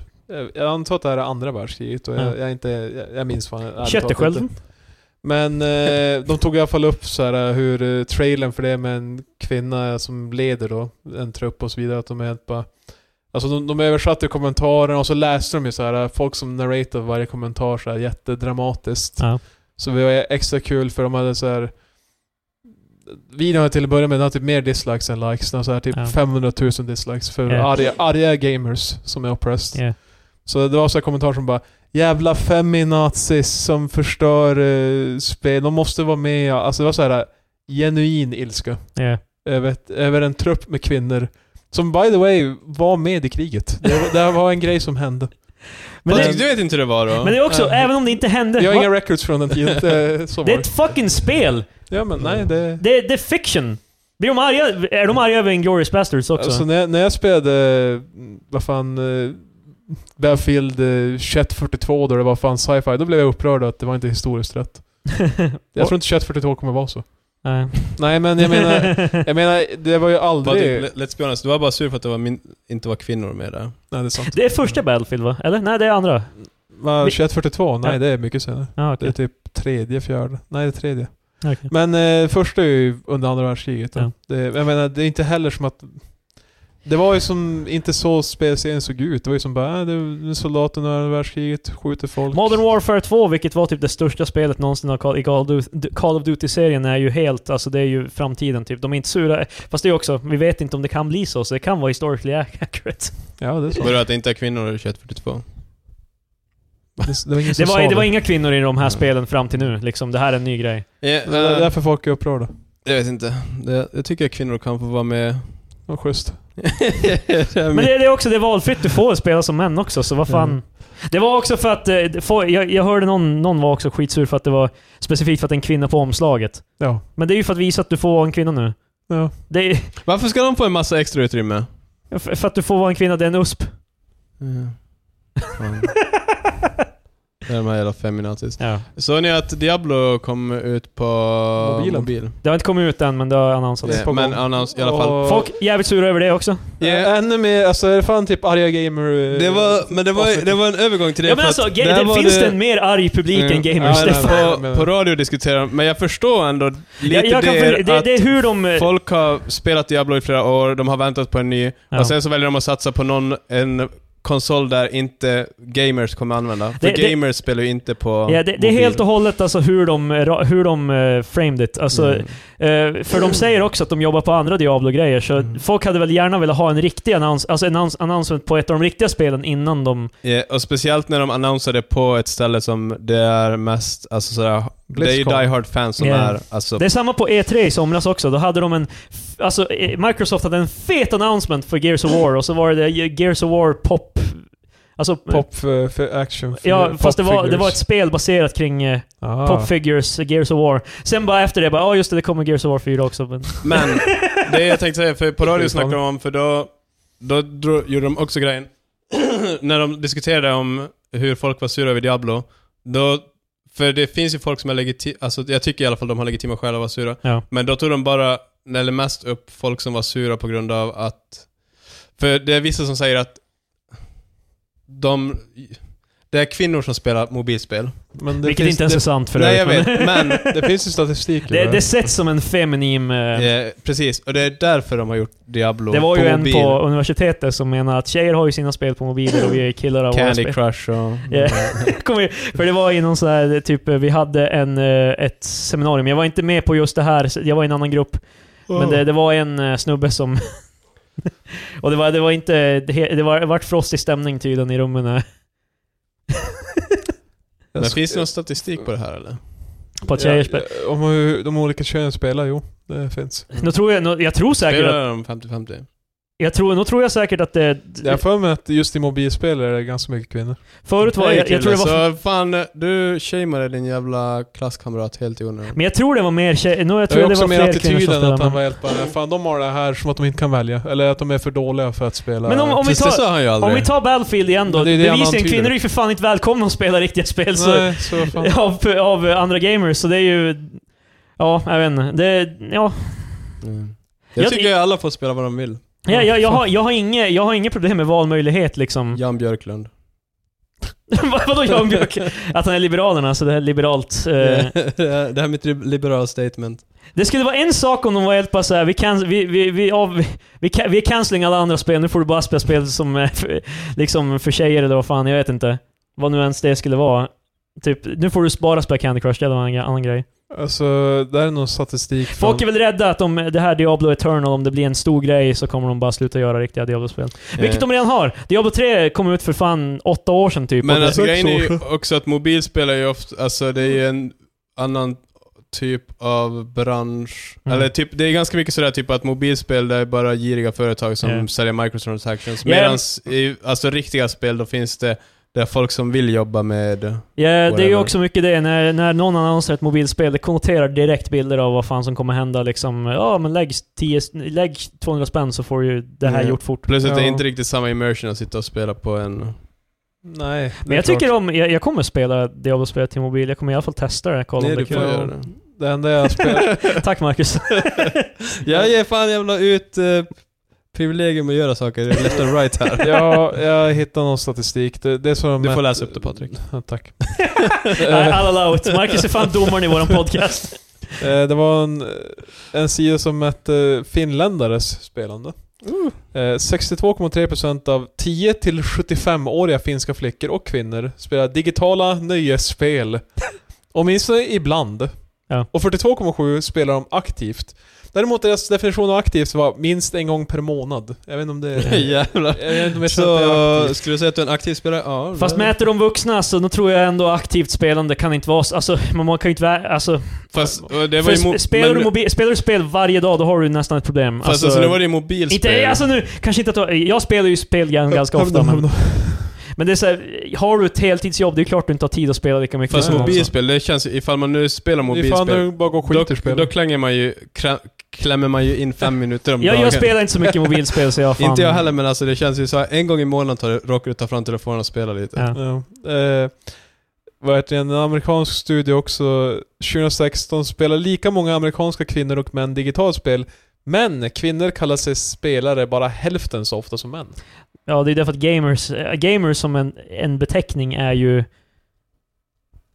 Speaker 3: Jag antar att det här är andra världskriget och jag,
Speaker 2: Ja.
Speaker 3: jag, är inte, jag, jag minns fan ärligt talat inte.
Speaker 2: Kötteskölden?
Speaker 3: Men eh, de tog i alla fall upp så här, hur eh, trailern för det med en kvinna som leder då, en trupp och så vidare, att de är helt bara... Alltså de, de översatte kommentarerna och så läste de ju så här eh, folk som narratar varje kommentar så här jättedramatiskt.
Speaker 2: Ja.
Speaker 3: Så det var extra kul för de hade så här. Videon hade till att börja med den hade typ mer dislikes än likes. Den har så här typ
Speaker 2: Ja.
Speaker 3: 500 000 dislikes för
Speaker 2: Ja.
Speaker 3: arga, arga gamers som är oppressed.
Speaker 2: Ja.
Speaker 3: Så det var så här kommentarer som bara Jävla feminazis som förstör eh, spel, de måste vara med. Alltså det var så här genuin ilska
Speaker 2: Ja.
Speaker 3: över, ett, över en trupp med kvinnor. Som by the way var med i kriget. Det, var- det här var en grej som hände.
Speaker 2: Men,
Speaker 1: Fast
Speaker 2: det,
Speaker 1: du vet inte hur det var då?
Speaker 2: men det är också,
Speaker 3: Ja.
Speaker 2: även om det inte hände...
Speaker 3: Jag har
Speaker 2: va?
Speaker 3: inga records från den tiden. Det, så
Speaker 2: det
Speaker 3: var
Speaker 2: är
Speaker 3: det.
Speaker 2: ett Mm. fucking spel!
Speaker 3: Ja men nej det...
Speaker 2: Det, det är fiction! Blir de arga, är de arga över Inglourious Bastards också?
Speaker 3: Alltså när, jag- när jag spelade, eh, vad fan, eh, Battlefield eh, 2142 då det var fan sci-fi, då blev jag upprörd att det var inte historiskt rätt. Jag tror inte 2142 kommer vara så.
Speaker 2: Nej.
Speaker 3: Nej men jag menar, jag menar det var ju
Speaker 1: Bara typ,
Speaker 3: aldrig...
Speaker 1: let- Let's be honest, du var bara sur för att det var min, inte var kvinnor med där.
Speaker 3: Nej det är sant.
Speaker 2: det är första Battlefield va? Eller? Nej, det är andra.
Speaker 3: Va, 2142? Nej
Speaker 2: Ja.
Speaker 3: det är mycket senare.
Speaker 2: Ja,
Speaker 3: Det
Speaker 2: okej.
Speaker 3: är typ tredje, fjärde. Nej det är tredje.
Speaker 2: Okej.
Speaker 3: Men eh, första är ju under andra världskriget. då.
Speaker 2: Ja.
Speaker 3: Det, jag menar det är inte heller som att... Det var ju som inte så spelserien såg ut. Det var ju som bara, äh, det är soldater under andra världskriget, skjuter folk.
Speaker 2: Modern Warfare 2, vilket var typ det största spelet någonsin av Call- i Call of Du- Call of Duty-serien, är ju helt... Alltså det är ju framtiden typ. De är inte sura. Fast det är också, vi vet inte om det kan bli så, så det kan vara historically accurate.
Speaker 3: Ja, det är så.
Speaker 1: Var det att det inte är kvinnor i 2142?
Speaker 3: Det, det var ingen som
Speaker 2: Det var,
Speaker 3: sa
Speaker 2: det var inga kvinnor i de här
Speaker 1: Mm.
Speaker 2: spelen fram till nu, liksom. Det här är en ny grej.
Speaker 1: Ja,
Speaker 3: Det är
Speaker 1: eh,
Speaker 3: därför folk är upprörda.
Speaker 1: jag vet inte. Det, jag tycker att kvinnor kan få vara med.
Speaker 3: Det var schysst.
Speaker 1: Det är
Speaker 2: Men
Speaker 1: min-
Speaker 2: det, det är också det är valfritt, du får spela som män också, så vad fan.
Speaker 3: Mm.
Speaker 2: Det var också för att... eh, det får- Jag, jag hörde någon, någon var också skitsur för att det var specifikt för att det är en kvinna på omslaget.
Speaker 3: Ja.
Speaker 2: Men det är ju för att visa att du får vara en kvinna nu.
Speaker 3: ja.
Speaker 2: Det är,
Speaker 1: Varför ska de få en massa extra utrymme?
Speaker 2: för för att du får vara en kvinna, det är en USP.
Speaker 1: Mm. Fan. Det är de här jävla feminazis.
Speaker 2: Ja.
Speaker 1: Såg ni att Diablo kom ut på
Speaker 3: Mobilen.
Speaker 1: mobil?
Speaker 2: Det har inte kommit ut än, men det har annonsats.
Speaker 1: Nej, men annons i alla fall.
Speaker 3: Och-
Speaker 2: Folk är jävligt sura över det också.
Speaker 1: Ja.
Speaker 3: Yeah. Ännu mer, alltså är det fan typ arga gamer... eh,
Speaker 1: Det var, men det var, det var en övergång till det.
Speaker 2: Ja men
Speaker 1: för
Speaker 2: alltså,
Speaker 1: att
Speaker 2: grejen
Speaker 1: där
Speaker 2: är,
Speaker 1: var
Speaker 2: finns det en mer arg publik
Speaker 1: Mm.
Speaker 2: än gamers?
Speaker 3: Ja,
Speaker 2: det,
Speaker 3: nej,
Speaker 2: är
Speaker 3: nej.
Speaker 2: fan-
Speaker 1: på, på radio diskuterar de, men jag förstår ändå lite
Speaker 2: jag, jag kan,
Speaker 1: det,
Speaker 2: fundera- det,
Speaker 1: att
Speaker 2: det är hur de... eh,
Speaker 1: folk har spelat Diablo i flera år, de har väntat på en ny,
Speaker 2: Ja.
Speaker 1: och sen så väljer de att satsa på någon, en konsol där inte gamers kommer använda. För
Speaker 2: Det- det-
Speaker 1: gamers spelar ju inte på
Speaker 2: Ja, det, det är
Speaker 1: mobil.
Speaker 2: helt och hållet alltså hur de, eh, ra- hur de eh, framed it. Alltså,
Speaker 1: Mm.
Speaker 2: eh, för de säger också att de jobbar på andra Diablo-grejer, så
Speaker 3: Mm.
Speaker 2: folk hade väl gärna velat ha en riktig annons, alltså en annons, annonsment på ett av de riktiga spelen innan de...
Speaker 1: Ja, Eh, och speciellt när de annonsade på ett ställe som det är mest, alltså sådär, det är ju
Speaker 3: Blizzcon.
Speaker 1: Die Hard fans som
Speaker 2: Ja.
Speaker 1: är, alltså,
Speaker 2: Det är samma på E3 i somras också, då hade de en... f- Alltså, eh, Microsoft hade en fet announcement för Gears of War, och så var det eh, Gears of War pop... Alltså...
Speaker 3: Pop för, för action. För
Speaker 2: Ja,
Speaker 3: pop
Speaker 2: fast det var, det
Speaker 3: figures.
Speaker 2: var ett spel baserat kring eh,
Speaker 3: Ah.
Speaker 2: Pop Figures, Gears of War. Sen bara efter det, bara ja just det, det kommer Gears of War 4 också. Men,
Speaker 1: Men det jag tänkte säga, för på radio snackade de om, för då, då dro, gjorde de också grejen. När de diskuterade om hur folk var sura över Diablo, då, för det finns ju folk som är legitima, alltså jag tycker i alla fall de har legitima skäl att vara sura.
Speaker 2: Ja.
Speaker 1: Men då tog de bara, eller mest upp folk som var sura på grund av att, för det är vissa som säger att de, det är kvinnor som spelar mobilspel.
Speaker 3: Men
Speaker 2: vilket
Speaker 3: finns-
Speaker 2: inte ens är sant för
Speaker 1: Nej jag
Speaker 2: övrigt,
Speaker 1: vet,
Speaker 2: men-
Speaker 1: men
Speaker 3: Det finns ju statistik
Speaker 2: Det, det sätts som en feminim... eh,
Speaker 1: eh, precis, och det är därför de har gjort Diablo
Speaker 2: det var ju
Speaker 1: på
Speaker 2: en
Speaker 1: mobil.
Speaker 2: på universitetet som menar att tjejer har ju sina spel på mobiler och vi killar har våra
Speaker 1: Candy
Speaker 2: spel.
Speaker 1: Crush och...
Speaker 2: Ja. Kommer ju- För det var ju någon sån här, eh, typ, eh, vi hade en, eh, ett seminarium. Jag var inte med på just det här, så jag var i en annan grupp. Men det, det var en eh, snubbe som... och det var, det var inte... Det, he- det var, det vart frostig stämning tydligen i rummen. eh,
Speaker 1: Men finns det någon statistik på det här eller?
Speaker 2: På att tjejer spelar.
Speaker 3: Om hur de olika könen spelar, jo. Det finns.
Speaker 2: Nu tror jag, nu, jag tror säkert att,
Speaker 1: Spelar de 50-50?
Speaker 2: jag tror, nu tror jag säkert att det...
Speaker 3: Jag har för mig att just i mobilspel är det ganska mycket kvinnor.
Speaker 2: Förut var jag, jag tror det var
Speaker 1: Så fan, du shameade din jävla klasskamrat helt i onödan.
Speaker 2: Men jag tror det var mer tjejer. No, jag
Speaker 3: Det
Speaker 2: tror
Speaker 3: är
Speaker 2: det,
Speaker 3: också
Speaker 2: var
Speaker 3: mer
Speaker 2: fler kvinnor som
Speaker 3: attityden att
Speaker 2: spelade.
Speaker 3: han var
Speaker 2: Men,
Speaker 3: helt bara Fan de har det här som att de inte kan välja. Eller att de är för dåliga för att spela.
Speaker 2: Men om vi
Speaker 1: Fast
Speaker 2: tar-
Speaker 1: det sa han ju aldrig.
Speaker 2: om vi tar Battlefield igen då.
Speaker 3: Men det är det han
Speaker 2: Bevisligen,
Speaker 3: antyder.
Speaker 2: kvinnor är ju för fan inte välkomna att spela riktiga spel så,
Speaker 3: Nej, så vad
Speaker 2: av,
Speaker 3: fan.
Speaker 2: av andra gamers, så det är ju... Ja, jag vet inte. Det, ja.
Speaker 1: Mm. Jag,
Speaker 2: Jag-
Speaker 1: tycker alla får spela vad de vill.
Speaker 2: Ja, jag, jag, har, jag, har inge, jag har inget problem med valmöjlighet liksom.
Speaker 1: Jan Björklund.
Speaker 2: Vad- Vadå Jan Björk? Att han är Liberalerna, så det är liberalt. Eh,
Speaker 1: det här är mitt liberala statement.
Speaker 2: det skulle vara en sak om de var helt bara såhär, vi, can, vi, vi, vi, av, vi, ca- vi är cancelling alla andra spel, nu får du bara spela spel som är för, liksom för tjejer eller vad fan, jag vet inte. Vad nu ens det skulle vara. Typ, nu får du bara spela Candy Crush, det var en annan grej.
Speaker 3: Alltså, det här är någon statistik. från-
Speaker 2: Folk är väl rädda att om det här Diablo Eternal, om det blir en stor grej så kommer de bara sluta göra riktiga Diablo-spel.
Speaker 1: Eh,
Speaker 2: Vilket de redan har. Diablo 3 kom ut för fan åtta år sedan typ. Och
Speaker 1: Men
Speaker 2: det-
Speaker 1: alltså
Speaker 3: så-
Speaker 1: grejen är ju
Speaker 3: så.
Speaker 1: också att mobilspel är ju ofta, alltså det är ju en annan typ av bransch.
Speaker 2: Mm.
Speaker 1: Eller typ, det är ganska mycket sådär typ att mobilspel det är bara giriga företag som
Speaker 2: Ja.
Speaker 1: säljer microtransactions.
Speaker 2: Ja.
Speaker 1: Medans i alltså riktiga spel då finns det, det är folk som vill jobba med...
Speaker 2: Ja, det är ju
Speaker 1: Whatever.
Speaker 2: också mycket det. När, när någon annonserar ett mobilspel, det konnoterar direkt bilder av vad fan som kommer hända. Liksom, ja men lägg, 10, lägg 200 spänn så får ju det här
Speaker 1: Mm.
Speaker 2: gjort fort.
Speaker 1: Plus att det är
Speaker 3: Ja.
Speaker 1: inte riktigt samma immersion att sitta och spela på en...
Speaker 3: Nej. det
Speaker 2: Men
Speaker 3: är
Speaker 2: jag
Speaker 3: klart.
Speaker 2: tycker om, jag, jag kommer spela Diablo-spelet till mobil. Jag kommer i alla fall testa det. Kolla
Speaker 1: Nej,
Speaker 2: om det
Speaker 1: du
Speaker 2: är
Speaker 1: får
Speaker 2: kul.
Speaker 1: göra det.
Speaker 3: Det enda jag spelar...
Speaker 2: Tack Marcus.
Speaker 1: Jag ger fan jävla ut eh, privilegium att göra saker left and right här.
Speaker 3: jag, jag hittar någon statistik. Det, det är så de
Speaker 1: Du får
Speaker 3: mät-
Speaker 1: läsa upp det Patrik.
Speaker 3: Ja, Tack.
Speaker 2: Nej, all allowed. Marcus är fan domaren i våran podcast.
Speaker 3: Eh, Det var en, en sida som mätte finländares spelande. Eh, 62,3% av 10-75-åriga finska flickor och kvinnor spelar digitala nöjesspel. Åtminstone ibland.
Speaker 2: Ja.
Speaker 3: Och 42,7 spelar de aktivt. Däremot deras definition av aktivt var minst en gång per månad. Jag vet inte om det är...
Speaker 1: Jävlar.
Speaker 3: Jag vet inte om jag känner att det är
Speaker 1: Så,
Speaker 3: aktivt.
Speaker 1: skulle du säga att du är en aktiv spelare? Ja.
Speaker 2: Fast
Speaker 1: det-
Speaker 2: mäter de vuxna så då tror jag ändå aktivt spelande kan inte vara så... Alltså, man man kan ju inte... vä- Alltså,
Speaker 1: Fast, och det var
Speaker 2: för
Speaker 1: ju mo-
Speaker 2: sp- spelar,
Speaker 1: men-
Speaker 2: du mobil, spelar du spel varje dag, då har du nästan ett problem.
Speaker 1: Fast alltså, nu var det ju mobilspel.
Speaker 2: Inte, alltså nu, kanske inte att du, Jag spelar ju spel gan- ganska ofta, men, men det är så här, har du ett heltidsjobb, det är klart du inte har tid att spela lika mycket.
Speaker 1: Fast
Speaker 2: som någon
Speaker 1: mobilspel, det känns ju, ifall man nu spelar
Speaker 3: Det är fan när
Speaker 1: mobilspel,
Speaker 3: du bara går och
Speaker 1: då,
Speaker 3: skiter
Speaker 1: då
Speaker 3: i spelet.
Speaker 1: klänger man ju, krä- klämmer man ju in fem minuter om
Speaker 2: annan. Jag,
Speaker 1: dagen.
Speaker 2: jag spelar inte så mycket mobilspel, så jag fan...
Speaker 1: Inte jag heller, men alltså det känns ju så här, en gång i månaden tar, du- råkar du ta fram telefonen och spela lite.
Speaker 2: Ja.
Speaker 3: Ja. Eh, vad heter det, en amerikansk studie också 2016 spelar lika många amerikanska kvinnor och män digitalt spel. Men kvinnor kallar sig spelare bara hälften så ofta som män.
Speaker 2: Ja, det är därför att gamers, eh, gamers som en, en beteckning är ju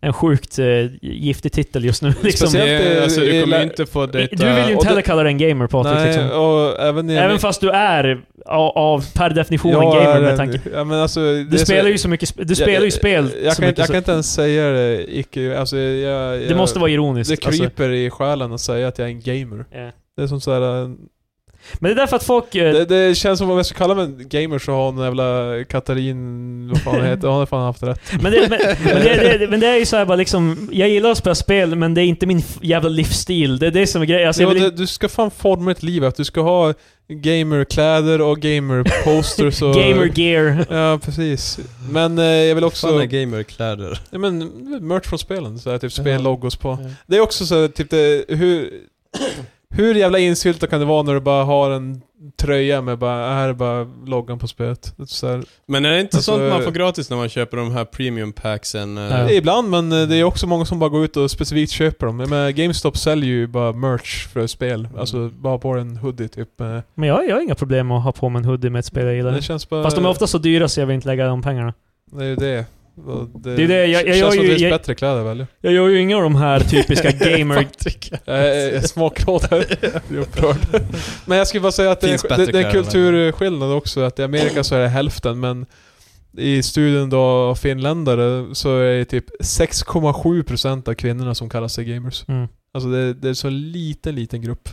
Speaker 2: en sjukt eh, giftig titel just nu. Liksom.
Speaker 3: Speciellt
Speaker 1: Det,
Speaker 3: i-
Speaker 1: alltså, du
Speaker 3: i-
Speaker 1: kommer
Speaker 3: i-
Speaker 1: ju inte få
Speaker 2: Du
Speaker 1: dejta...
Speaker 2: vill ju
Speaker 3: och
Speaker 2: inte
Speaker 3: det-
Speaker 2: heller kalla dig en gamer Patrik.
Speaker 3: Nej,
Speaker 2: Liksom.
Speaker 3: och även... i-
Speaker 2: Även fast du är av, av per definition
Speaker 3: Jag
Speaker 2: en gamer
Speaker 3: är
Speaker 2: med
Speaker 3: en-
Speaker 2: tanke...
Speaker 3: Ja, men alltså, det
Speaker 2: Du
Speaker 3: är så-
Speaker 2: spelar ju så mycket... sp- Du spelar ju
Speaker 3: jag,
Speaker 2: spel
Speaker 3: jag, jag
Speaker 2: så
Speaker 3: kan, inte-
Speaker 2: mycket
Speaker 3: jag kan
Speaker 2: så,
Speaker 3: inte ens säga det icke... Alltså, jag, jag,
Speaker 2: Det måste vara ironiskt.
Speaker 3: Det kryper
Speaker 2: alltså.
Speaker 3: i själen att säga att jag är en gamer.
Speaker 2: Ja.
Speaker 3: Det är som såhär...
Speaker 2: Men det är därför att folk... eh,
Speaker 3: Det, det känns som om jag ska kalla mig en gamer så har hon den jävla Katarin... Vad fan hon heter? Hon har fan haft rätt.
Speaker 2: Men det, men, men, det, det, men det är ju såhär bara liksom, jag gillar att spela spel men det är inte min f- jävla livsstil. Det är det som är grejen. Alltså, jag
Speaker 3: Ja,
Speaker 2: vill
Speaker 3: det,
Speaker 2: inte-
Speaker 3: du ska fan forma ett liv att du ska ha gamerkläder och gamerposters och...
Speaker 2: Gamer gear.
Speaker 3: Ja, precis. Men eh, jag vill också...
Speaker 1: Fan är gamerkläder.
Speaker 3: Ja, men merch från spelen. Så här, typ
Speaker 1: Ja.
Speaker 3: spellogos på. Det är också så här, typ det, hur... Hur jävla insyltat kan det vara när du bara har en tröja med bara, här är bara loggan på spelet. Så här,
Speaker 1: Men är det inte
Speaker 3: Alltså-
Speaker 1: sånt man får gratis när man köper de här premium packsen? eh?
Speaker 2: Ja.
Speaker 3: Ibland, men eh, det är också många som bara går ut och specifikt köper dem. Jag menar, GameStop säljer ju bara merch för spel.
Speaker 2: Mm.
Speaker 3: Alltså, bara på en hoodie typ. Eh,
Speaker 2: Men jag, jag har inga problem med att ha på mig en hoodie med ett spel jag gillar.
Speaker 3: Det känns bara...
Speaker 2: Fast de är ofta så dyra så jag vill inte lägga de pengarna.
Speaker 3: Det är ju det. Och Det,
Speaker 2: Det är det, jag- jag
Speaker 3: känns
Speaker 2: gör
Speaker 3: som
Speaker 2: ju-
Speaker 3: det finns
Speaker 2: jag-
Speaker 3: bättre kläder väl?
Speaker 2: Jag gör ju inga av de här typiska gamer...
Speaker 3: Eh, Jag smakrådar. Jag blir upprörd. Men jag skulle bara säga att det
Speaker 1: Finns
Speaker 3: är,
Speaker 1: bättre
Speaker 3: det, det är en
Speaker 1: kläder,
Speaker 3: kulturskillnad också. Att i Amerika så är det hälften, men i studien då av finländare så är det typ 6,7% av kvinnorna som kallar sig gamers.
Speaker 2: Mm.
Speaker 3: Alltså det, det är så liten, liten grupp.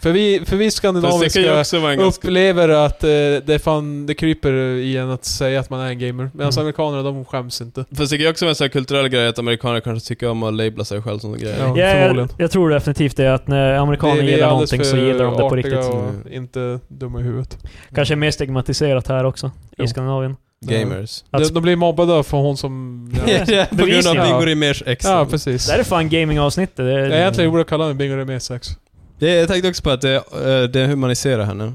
Speaker 3: För vi, för vi
Speaker 1: Fast det kan ju
Speaker 3: skandinaviska
Speaker 1: också vara en ganska...
Speaker 3: upplever att eh, det, är fan, det kryper i en att säga att man är en gamer. Medan
Speaker 2: Mm.
Speaker 3: amerikanerna, de skäms inte.
Speaker 1: Fast det kan ju också vara en sån här kulturell grej att amerikaner kanske tycker om att labla sig själv som grejer.
Speaker 3: Ja.
Speaker 2: Ja, jag,
Speaker 3: förmodligen.
Speaker 2: jag tror definitivt det att när amerikaner
Speaker 3: Vi- vi är
Speaker 2: gillar
Speaker 3: alldeles
Speaker 2: någonting så
Speaker 3: för
Speaker 2: gillar de det på
Speaker 3: artiga
Speaker 2: riktigt.
Speaker 3: och
Speaker 1: Mm.
Speaker 3: inte dumma i huvudet.
Speaker 2: Kanske mer stigmatiserat här också,
Speaker 3: Jo.
Speaker 2: i Skandinavien.
Speaker 1: Gamers.
Speaker 2: Att
Speaker 3: De, de blir mobbade för hon som... Ja,
Speaker 1: På grund av
Speaker 2: Bevisligen.
Speaker 1: Bingo Rimérs ex.
Speaker 3: ja precis.
Speaker 2: Det här är fan gaming-avsnittet. Det är-
Speaker 3: Jag egentligen borde kalla mig Bingo Remé 6.
Speaker 1: Det, jag tänkte också på att det, eh, det humaniserar henne.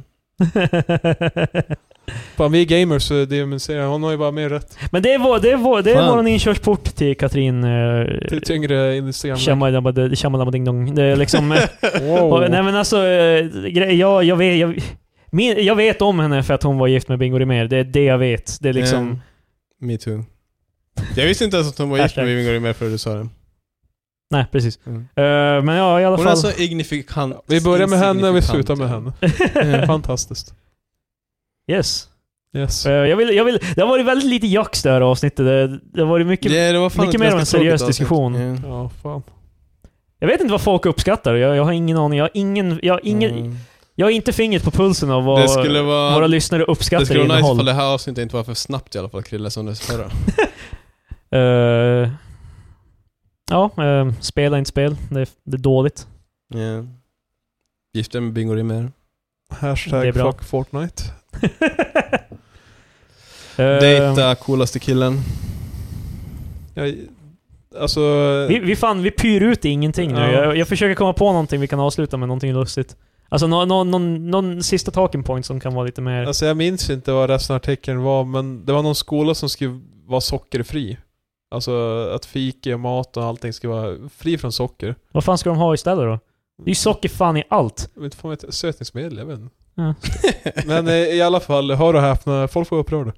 Speaker 3: Fan, vi är gamers, så det är min serie. Hon har ju bara mer rätt.
Speaker 2: Men det är vår, det är vår, det är
Speaker 1: Fan.
Speaker 2: vår inkörsport till Katrin... eh,
Speaker 3: Till tyngre industrin.
Speaker 2: Shamalabad- Shamalabadingdong. Det är liksom... eh, och,
Speaker 3: Wow.
Speaker 2: nej men alltså, eh, grej- jag, jag, vet, jag, min, jag vet om henne för att hon var gift med Bingo Rimér. Det är det jag vet. Det är liksom...
Speaker 1: Mm. Me too. Jag visste inte ens att hon var gift med
Speaker 2: Hashtag. Mm.
Speaker 1: Bingo Rimér förrän du sa det.
Speaker 2: Nej, precis.
Speaker 1: Mm.
Speaker 2: Eh, men ja, i alla
Speaker 1: Hon är alltså
Speaker 2: fall.
Speaker 1: så ignifikant.
Speaker 3: Vi börjar med henne, vi slutar med henne. Fantastiskt.
Speaker 2: yes.
Speaker 3: Yes.
Speaker 2: Eh, jag vill, jag vill, det har varit väldigt lite jax det här avsnittet. Det, det har varit mycket...
Speaker 1: Ja, det var fan
Speaker 2: mycket
Speaker 1: ett
Speaker 2: mer av en
Speaker 1: ganska tråkigt
Speaker 2: seriös
Speaker 1: avsnitt.
Speaker 2: diskussion.
Speaker 1: Ja.
Speaker 3: Ja, fan.
Speaker 2: Jag vet inte vad folk uppskattar. Jag, jag har ingen aning. Jag har, ingen, jag, har ingen,
Speaker 1: Mm.
Speaker 2: jag har inte fingret på pulsen av vad
Speaker 1: Det skulle vara...
Speaker 2: våra lyssnare uppskattar
Speaker 1: det skulle vara
Speaker 2: i
Speaker 1: nice
Speaker 2: innehåll.
Speaker 1: ifall det här avsnittet inte var för snabbt i alla fall, Krille, som det förra.
Speaker 2: Eh, ja, eh, spela inte spel. Det är, det är dåligt.
Speaker 1: Ja. Gift dig med Bingo Rimér.
Speaker 2: Det är
Speaker 3: Hashtag
Speaker 2: bra.
Speaker 3: fuck Fortnite.
Speaker 2: Eh,
Speaker 1: Dejta coolaste killen.
Speaker 3: Jag, alltså...
Speaker 2: vi, vi, fan, vi pyr ut i ingenting nu.
Speaker 3: Ja.
Speaker 2: Jag, jag försöker komma på någonting vi kan avsluta med, någonting lustigt. Alltså någon nå, nå, någon sista talking point som kan vara lite mer...
Speaker 3: Alltså jag minns inte vad resten av artikeln var, men det var någon skola som skulle vara sockerfri. Alltså att fika och mat och allting ska vara fri från socker.
Speaker 2: Vad fan ska de ha istället då? Det är ju socker fan i allt.
Speaker 3: Jag vet inte, fan vet jag, sötningsmedel, jag vet inte.
Speaker 2: Ja.
Speaker 3: Men eh, i alla fall, hör och häpna, folk var upprörda.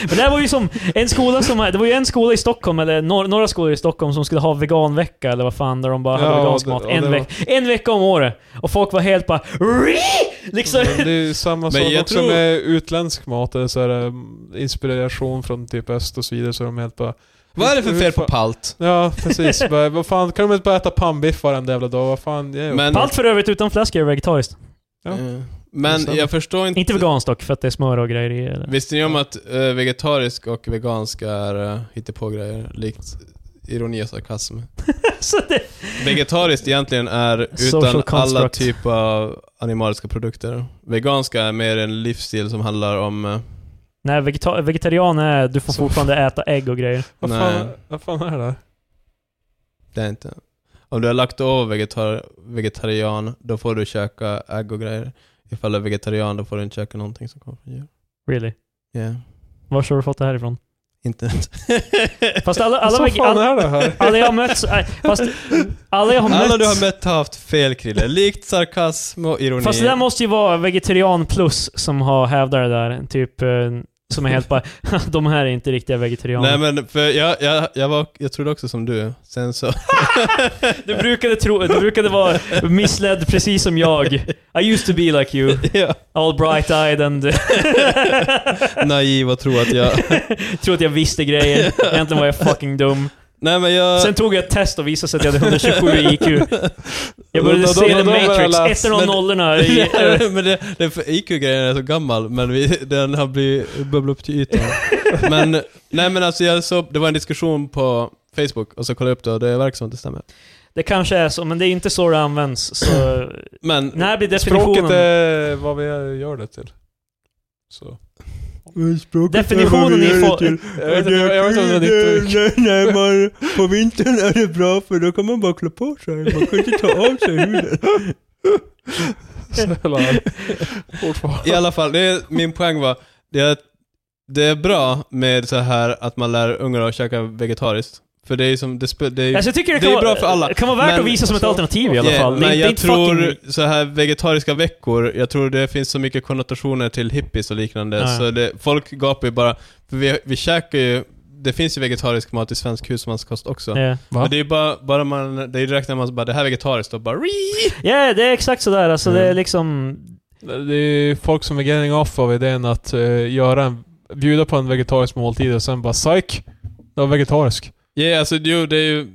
Speaker 2: Men det här var ju som en skola som... Det var ju en skola i Stockholm, eller nor, några skolor i Stockholm, som skulle ha veganvecka eller vad fan, där de bara
Speaker 3: Ja,
Speaker 2: hade vegansk
Speaker 3: det-
Speaker 2: mat.
Speaker 3: ja, det
Speaker 2: en,
Speaker 3: var-
Speaker 2: veck, en vecka om året. Och folk var helt bara... "Ri!" Liksom.
Speaker 3: Men det är ju samma
Speaker 1: Men
Speaker 3: sak
Speaker 1: jag
Speaker 3: också
Speaker 1: tror-
Speaker 3: med utländsk mat, eller så här, eh, inspiration från typ öst och så vidare, så är de helt bara...
Speaker 1: Vad är det för
Speaker 3: Hur
Speaker 1: fel på
Speaker 3: fan-
Speaker 1: palt?
Speaker 3: Ja, precis. bara, vad fan, kan de inte bara äta pannbiff varenda jävla dag? Vad fan, jag är
Speaker 1: Men,
Speaker 2: Allt för övrigt utan fläsk är vegetariskt.
Speaker 3: Ja.
Speaker 1: Eh,
Speaker 3: Det
Speaker 1: men
Speaker 3: stämmer.
Speaker 1: jag förstår inte...
Speaker 2: Inte veganskt dock, för att det är smör och grejer i. Eller?
Speaker 1: Visste ni om att eh, vegetarisk och vegansk är uh, hittepågrejer, likt ironi och sarkasm?
Speaker 2: Så det,
Speaker 1: Vegetariskt egentligen är
Speaker 2: Social
Speaker 1: utan alla
Speaker 2: construct.
Speaker 1: typer av animaliska produkter. Veganska är mer en livsstil som handlar om... eh,
Speaker 2: nej, vegeta vegetarian är du får
Speaker 3: Så-
Speaker 2: fortfarande äta ägg och grejer.
Speaker 3: vad,
Speaker 1: nej,
Speaker 3: fan, vad fan är det här?
Speaker 1: det är inte. Om du har lagt av vegetar vegetarian, då får du käka ägg och grejer. Ifall du är vegetarian, då får du inte käka någonting som kommer från djur.
Speaker 2: Really.
Speaker 1: Yeah.
Speaker 2: Var har du fått det här ifrån?
Speaker 1: internet.
Speaker 2: Fast alla, alla,
Speaker 3: Vad
Speaker 2: alla,
Speaker 3: fan
Speaker 2: alla,
Speaker 3: är det här?
Speaker 2: alla jag har mött... nej, Fast alla jag har mött...
Speaker 1: Alla du har mött har haft fel Krille. Likt sarkasm och ironi.
Speaker 2: Fast det där måste ju vara vegetarian plus som har hävdat det där. Typ, eh, som är helt bara De här är inte riktiga vegetarianer.
Speaker 1: Nej men, för jag, jag, jag, var, jag trodde också som du. Sen så...
Speaker 2: Du brukade, tro, du brukade vara missledd precis som jag. I used to be like you.
Speaker 1: ja.
Speaker 2: All bright-eyed and...
Speaker 1: Naiv och tro att jag...
Speaker 2: Trodde att jag visste grejer. Egentligen var jag fucking dum.
Speaker 1: Nej men jag...
Speaker 2: Sen tog jag ett test och visade sig att jag hade 127 i IQ. Jag började
Speaker 3: Då- då-
Speaker 2: se
Speaker 3: då-
Speaker 2: The
Speaker 3: då började jag
Speaker 2: Matrix,
Speaker 3: läsa,
Speaker 2: ettan och
Speaker 1: men-
Speaker 2: nollorna. i-
Speaker 1: Nej, men det, det för IQ-grejen är så gammal, men vi, den har blivit bubblat upp till ytan. men, nej men alltså jag såg, det var en diskussion på Facebook, och så kollade jag upp det och det verkar som att det stämmer.
Speaker 2: Det kanske är så, men det är inte så det används. Så
Speaker 1: Men,
Speaker 2: när blir definitionen...
Speaker 3: Språket är vad vi gör det till. Så.
Speaker 2: Definitionen i... Fo-
Speaker 3: Jag vet inte jag vet inte om det är ditt uttryck.
Speaker 1: när man, på vintern är det bra för då kan man bara klä på sig, man kan inte ta av sig huden.
Speaker 3: Snälla. Fortfarande.
Speaker 1: I alla fall, det är, min poäng var, det är, det är bra med så här att man lär ungar att käka vegetariskt. För det är ju som, det, spe- det är ju
Speaker 2: Alltså jag tycker det
Speaker 1: Det
Speaker 2: kan,
Speaker 1: är
Speaker 2: vara-
Speaker 1: bra för alla,
Speaker 2: det kan vara värt
Speaker 1: men-
Speaker 2: att visa som ett
Speaker 1: så-
Speaker 2: alternativ i alla
Speaker 1: Yeah,
Speaker 2: fall. Det är
Speaker 1: men
Speaker 2: inte-
Speaker 1: jag
Speaker 2: inte
Speaker 1: tror
Speaker 2: fucking-
Speaker 1: så här vegetariska veckor, jag tror det finns så mycket konnotationer till hippies och liknande,
Speaker 2: Ja.
Speaker 1: så det, folk gapar ju bara, för vi, vi käkar ju, det finns ju vegetarisk mat i svensk husmanskost också.
Speaker 2: Ja,
Speaker 3: Va?
Speaker 1: Men det är ju bara, bara man, det är ju direkt när man bara det här är vegetariskt, och bara "Rii!"
Speaker 2: Ja, det är exakt sådär. Alltså det är
Speaker 1: Mm.
Speaker 2: liksom...
Speaker 3: Det är folk som är getting off av idén att eh, göra en, bjuda på en vegetarisk måltid och sen bara psyk. Det var vegetarisk.
Speaker 1: Ja, alltså jo, det är ju...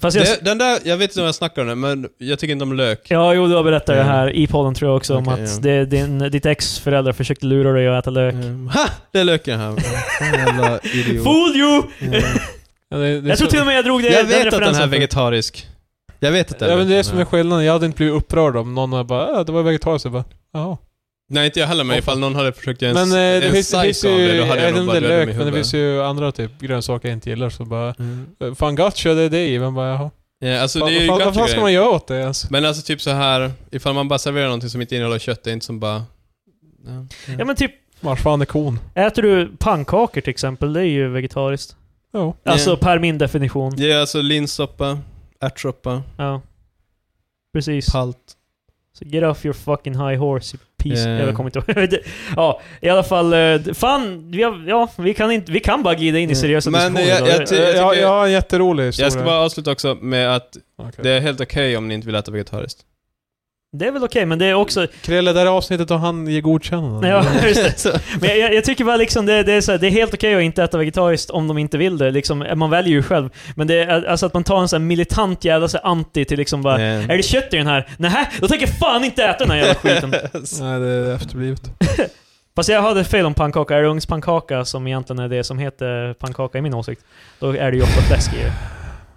Speaker 2: Fast jag...
Speaker 1: Det, den där, jag vet inte om jag snackar om det, men jag tycker inte om lök.
Speaker 2: Ja, jo, du har berättat det
Speaker 1: Ja.
Speaker 2: här i podden tror jag också om
Speaker 1: Okej,
Speaker 2: att
Speaker 1: ja.
Speaker 2: det, din, ditt ex föräldrar försökte lura dig att äta lök.
Speaker 1: Ehm, Ha! Det är löken här. Fan, Jävla idiot.
Speaker 2: Fool you!
Speaker 1: Ehm,
Speaker 3: Ja, det- det är
Speaker 2: Jag
Speaker 3: så-
Speaker 2: tror till och med jag drog det,
Speaker 1: Jag vet att den
Speaker 2: referensen
Speaker 1: här är
Speaker 2: för-
Speaker 1: vegetarisk. Jag vet att den
Speaker 3: Ja men det är som är
Speaker 1: löken
Speaker 3: skillnaden. Jag hade inte blivit upprörd om någon hade bara äh, det var vegetariskt. Jag bara jaha.
Speaker 1: Nej inte jag heller, men ifall någon hade försökt göra
Speaker 3: Men
Speaker 1: en,
Speaker 3: eh, det
Speaker 1: en
Speaker 3: finns, det finns
Speaker 1: psycho
Speaker 3: ju,
Speaker 1: av det, då
Speaker 3: jag
Speaker 1: hade
Speaker 3: vet
Speaker 1: jag nog
Speaker 3: inte om
Speaker 1: bara
Speaker 3: det är
Speaker 1: dödat
Speaker 3: lök,
Speaker 1: mig i
Speaker 3: men det
Speaker 1: huvudet.
Speaker 3: finns ju andra typ grönsaker jag inte gillar så bara
Speaker 1: Mm.
Speaker 3: eh, Fan gacha, det är det i. Men bara jaha.
Speaker 1: Ja, alltså
Speaker 3: Vad
Speaker 1: det är ju
Speaker 3: fan- vad fan
Speaker 1: gott
Speaker 3: ska man göra åt det ens?
Speaker 1: Men alltså typ så här ifall man bara serverar någonting som inte innehåller kött, det är inte som bara... Ja,
Speaker 2: Ja men typ,
Speaker 3: Vars fan är kon?
Speaker 2: äter du pannkakor till exempel, det är ju vegetariskt.
Speaker 3: Jo.
Speaker 1: Ja.
Speaker 2: Alltså per min definition.
Speaker 1: ja alltså linssoppa, ärtsoppa,
Speaker 2: Ja. Precis.
Speaker 1: palt.
Speaker 2: So get off your fucking high horse, you piece.
Speaker 1: Eh.
Speaker 2: Jag kommer inte ihåg. Det- ja, i alla fall. eh, Fan, vi, har, ja, vi, kan inte, vi kan bara glida in i
Speaker 1: Mm.
Speaker 2: seriösa
Speaker 1: Men
Speaker 2: diskussioner.
Speaker 1: jag-
Speaker 2: idag.
Speaker 1: jag
Speaker 2: Det-
Speaker 1: ty-
Speaker 3: Jag, jag,
Speaker 1: tycker-
Speaker 3: har en jätterolig historia.
Speaker 1: Jag ska bara avsluta också med att
Speaker 3: Okej.
Speaker 1: det är helt okej om ni inte vill äta vegetariskt.
Speaker 2: det är väl okej, men det är också...
Speaker 3: Krille, det här avsnittet och han ger godkännande.
Speaker 2: Ja, just det.
Speaker 1: Så-
Speaker 2: Men jag- jag, jag tycker bara liksom det, det, är så här, det är helt okej att inte äta vegetariskt om de inte vill det. Liksom, man väljer ju själv. Men det är alltså att man tar en sån här militant jävla så här anti till liksom bara...
Speaker 1: Nej.
Speaker 2: Är det kött i den här? Nähä, då tänker jag fan inte äta den här jävla skiten.
Speaker 3: Nej, det är efterblivet.
Speaker 2: Fast jag hade fel om pannkaka. Är det ugnspannkaka som egentligen är det som heter pannkaka i min åsikt, då är det ju ofta fläsk i det.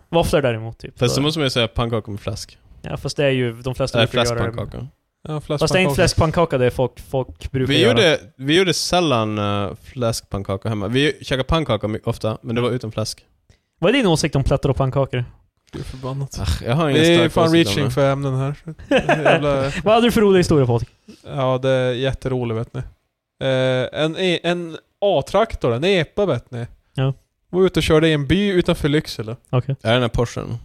Speaker 2: Våfflor däremot, typ.
Speaker 1: Fast så
Speaker 2: Då-
Speaker 1: måste man ju säga pannkakor med fläsk.
Speaker 2: ja, fast det är ju de flesta
Speaker 1: Eller
Speaker 2: brukar göra det.
Speaker 1: fläskpannkakor.
Speaker 3: Ja,
Speaker 2: Fast det är inte fläskpannkaka det är folk, folk brukar
Speaker 1: Vi
Speaker 2: göra.
Speaker 1: gjorde, vi gjorde sällan uh, fläskpannkakor hemma. Vi käkade pannkakor my- ofta, men det var utan fläsk.
Speaker 2: Vad är din åsikt om plättar och pannkakor?
Speaker 3: Gud förbannat.
Speaker 1: Ach, jag har ingen
Speaker 3: Vi är
Speaker 1: stark
Speaker 3: fan
Speaker 1: åsikt om
Speaker 3: reaching
Speaker 1: det.
Speaker 3: för ämnen här. Jävla,
Speaker 2: Vad hade du för rolig historia Patrik?
Speaker 3: ja, det är jätteroligt vet ni. Eh, en E- en A-traktor, en epa vet ni.
Speaker 2: Ja.
Speaker 3: Var ute och körde i en by utanför Lycksele.
Speaker 2: Okej.
Speaker 1: Är det den här Porschen?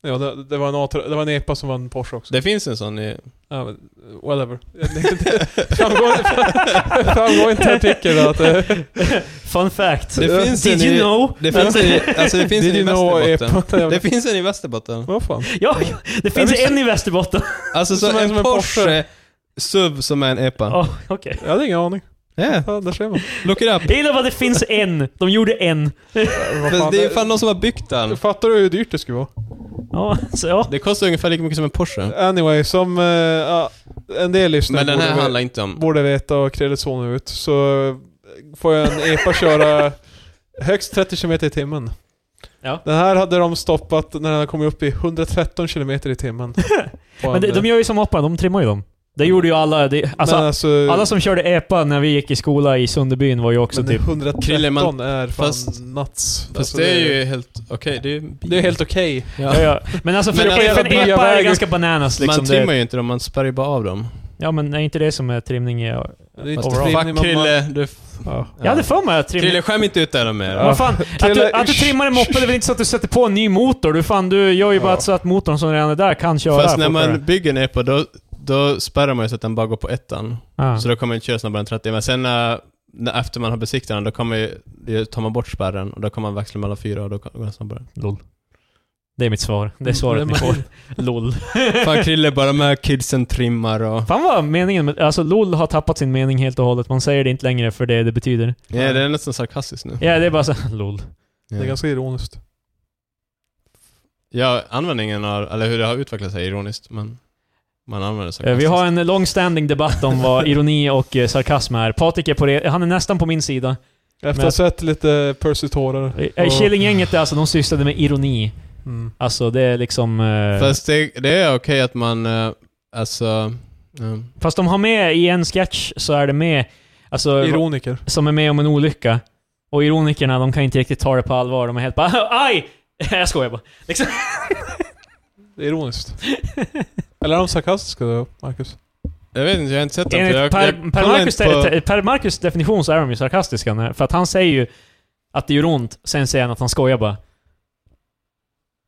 Speaker 3: Ja, det, det, var en A-tra- det var en epa som var en Porsche också.
Speaker 1: Det finns en sån i...
Speaker 3: Ja, men, whatever. framgår, framgår inte i artikeln att... eh,
Speaker 2: Fun fact.
Speaker 1: Det finns
Speaker 2: Did
Speaker 1: en
Speaker 2: you
Speaker 1: i-
Speaker 2: know?
Speaker 1: Det finns en i, alltså det finns
Speaker 3: Did
Speaker 1: en i
Speaker 3: you know
Speaker 1: Västerbotten.
Speaker 3: epa?
Speaker 1: Det finns en i Västerbotten.
Speaker 3: Vad fan?
Speaker 2: Ja, ja, det finns
Speaker 3: visst.
Speaker 2: en i Västerbotten.
Speaker 1: Alltså så
Speaker 3: Som en-
Speaker 1: en,
Speaker 3: som en Porsche.
Speaker 1: Porsche SUV som är en EPA.
Speaker 2: Ja, okej.
Speaker 3: Jag hade ingen aning.
Speaker 1: Yeah,
Speaker 3: Ja, där ser man.
Speaker 1: look it up.
Speaker 2: Jag gillar vad det finns en. De gjorde en.
Speaker 3: Vad
Speaker 1: Fast
Speaker 3: fan,
Speaker 1: det är fan någon som har byggt den.
Speaker 3: Fattar du hur dyrt det skulle vara?
Speaker 2: Ja, så ja.
Speaker 1: Det kostar ungefär lika mycket som en Porsche.
Speaker 3: Anyway, som eh, ja, en del lyssnare
Speaker 1: Men den här
Speaker 3: borde,
Speaker 1: handlar inte om...
Speaker 3: borde veta och kredit zonar ut, så eh, får jag en EPA köra högst 30 km i timmen.
Speaker 2: Ja.
Speaker 3: Den här hade de stoppat när den kom upp i 113 km i timmen. På
Speaker 2: Men de,
Speaker 3: en,
Speaker 2: de gör ju som apan, de trimmar ju dem. Det gjorde ju alla. Det, alltså,
Speaker 3: men alltså,
Speaker 2: alla som körde EPA när vi gick i skola i Sunderbyn var ju också
Speaker 3: men
Speaker 2: typ...
Speaker 3: 113
Speaker 1: Krille, man-
Speaker 3: är fan
Speaker 1: fast-
Speaker 3: nuts.
Speaker 1: Fast
Speaker 3: Alltså,
Speaker 1: Alltså, det är ju helt okej. det är ju en bil.
Speaker 3: Det är helt okej.
Speaker 2: Ja, ja. Men alltså för,
Speaker 1: Men alltså,
Speaker 2: för en
Speaker 3: jag
Speaker 2: EPA är det
Speaker 3: väger-
Speaker 2: ganska bananas liksom.
Speaker 1: Man trimmar
Speaker 2: det,
Speaker 1: ju inte dem, man spärrar ju bara av dem.
Speaker 2: ja men är inte det som är trimning i
Speaker 3: Det är inte
Speaker 2: Overall.
Speaker 3: trimning,
Speaker 1: Fuck
Speaker 3: man-
Speaker 1: Krille, du... f-
Speaker 3: Ja.
Speaker 2: Jag hade för mig att trimma...
Speaker 1: Krille, skäm inte ut det här mer.
Speaker 2: Vad fan, att du,
Speaker 3: Krille-
Speaker 2: att du trimmar en moppe det är väl inte så att du sätter på en ny motor? Du fan, du gör ju bara
Speaker 3: Ja.
Speaker 2: så att motorn som redan är där kan köra.
Speaker 1: Fast när
Speaker 2: fortare.
Speaker 1: man bygger en epo, då, då spärrar man ju så att den bara går på ettan.
Speaker 2: Ja.
Speaker 1: Så då kommer den inte köra snabbare än 30. Men sen när, när efter man har besiktat den, då kommer ju, tar man bort spärren och då kommer man växla mellan fyra och då går den snabbare.
Speaker 2: LOL. Det är mitt svar. Det är svaret
Speaker 3: Mm,
Speaker 2: ni får. LOL.
Speaker 1: Fan Krille, bara med kidsen trimmar och...
Speaker 2: Fan vad meningen med... Alltså LOL har tappat sin mening helt och hållet. Man säger det inte längre för det det betyder.
Speaker 1: Ja, det är nästan sarkastiskt nu.
Speaker 2: Ja, det är bara så här, LOL.
Speaker 3: Det är ganska ironiskt.
Speaker 1: Ja, användningen av, eller hur det har utvecklat sig är ironiskt, men man använder det
Speaker 2: Eh,
Speaker 1: sarkastiskt.
Speaker 2: Vi har en longstanding debatt om vad ironi och eh, sarkasm är. Patrik är på det. Han är nästan på min sida.
Speaker 3: Efter att
Speaker 2: Men-
Speaker 3: ha sett lite Percy tårar.
Speaker 2: Eh,
Speaker 3: och-
Speaker 2: Killinggänget, alltså, de sysslade med ironi.
Speaker 3: Mm.
Speaker 2: Alltså, det är liksom... eh,
Speaker 1: Fast det, det är okej att man, eh, alltså... ja.
Speaker 2: Fast de har med i en sketch så är det med, alltså,
Speaker 3: Ironiker.
Speaker 2: som är med om en olycka. Och ironikerna, de kan inte riktigt ta det på allvar. De är helt bara aj! Jag skojar bara. Liksom.
Speaker 3: Det är ironiskt. Eller är de sarkastiska då, Marcus?
Speaker 1: Jag vet inte, jag har inte sett den. för
Speaker 2: Enligt
Speaker 1: jag,
Speaker 2: per,
Speaker 1: jag
Speaker 2: per,
Speaker 1: kollar
Speaker 2: Marcus,
Speaker 1: inte på-
Speaker 2: per Marcus definition så är de ju sarkastiska. när- För att han säger ju att det gör ont, sen säger han att han skojar bara.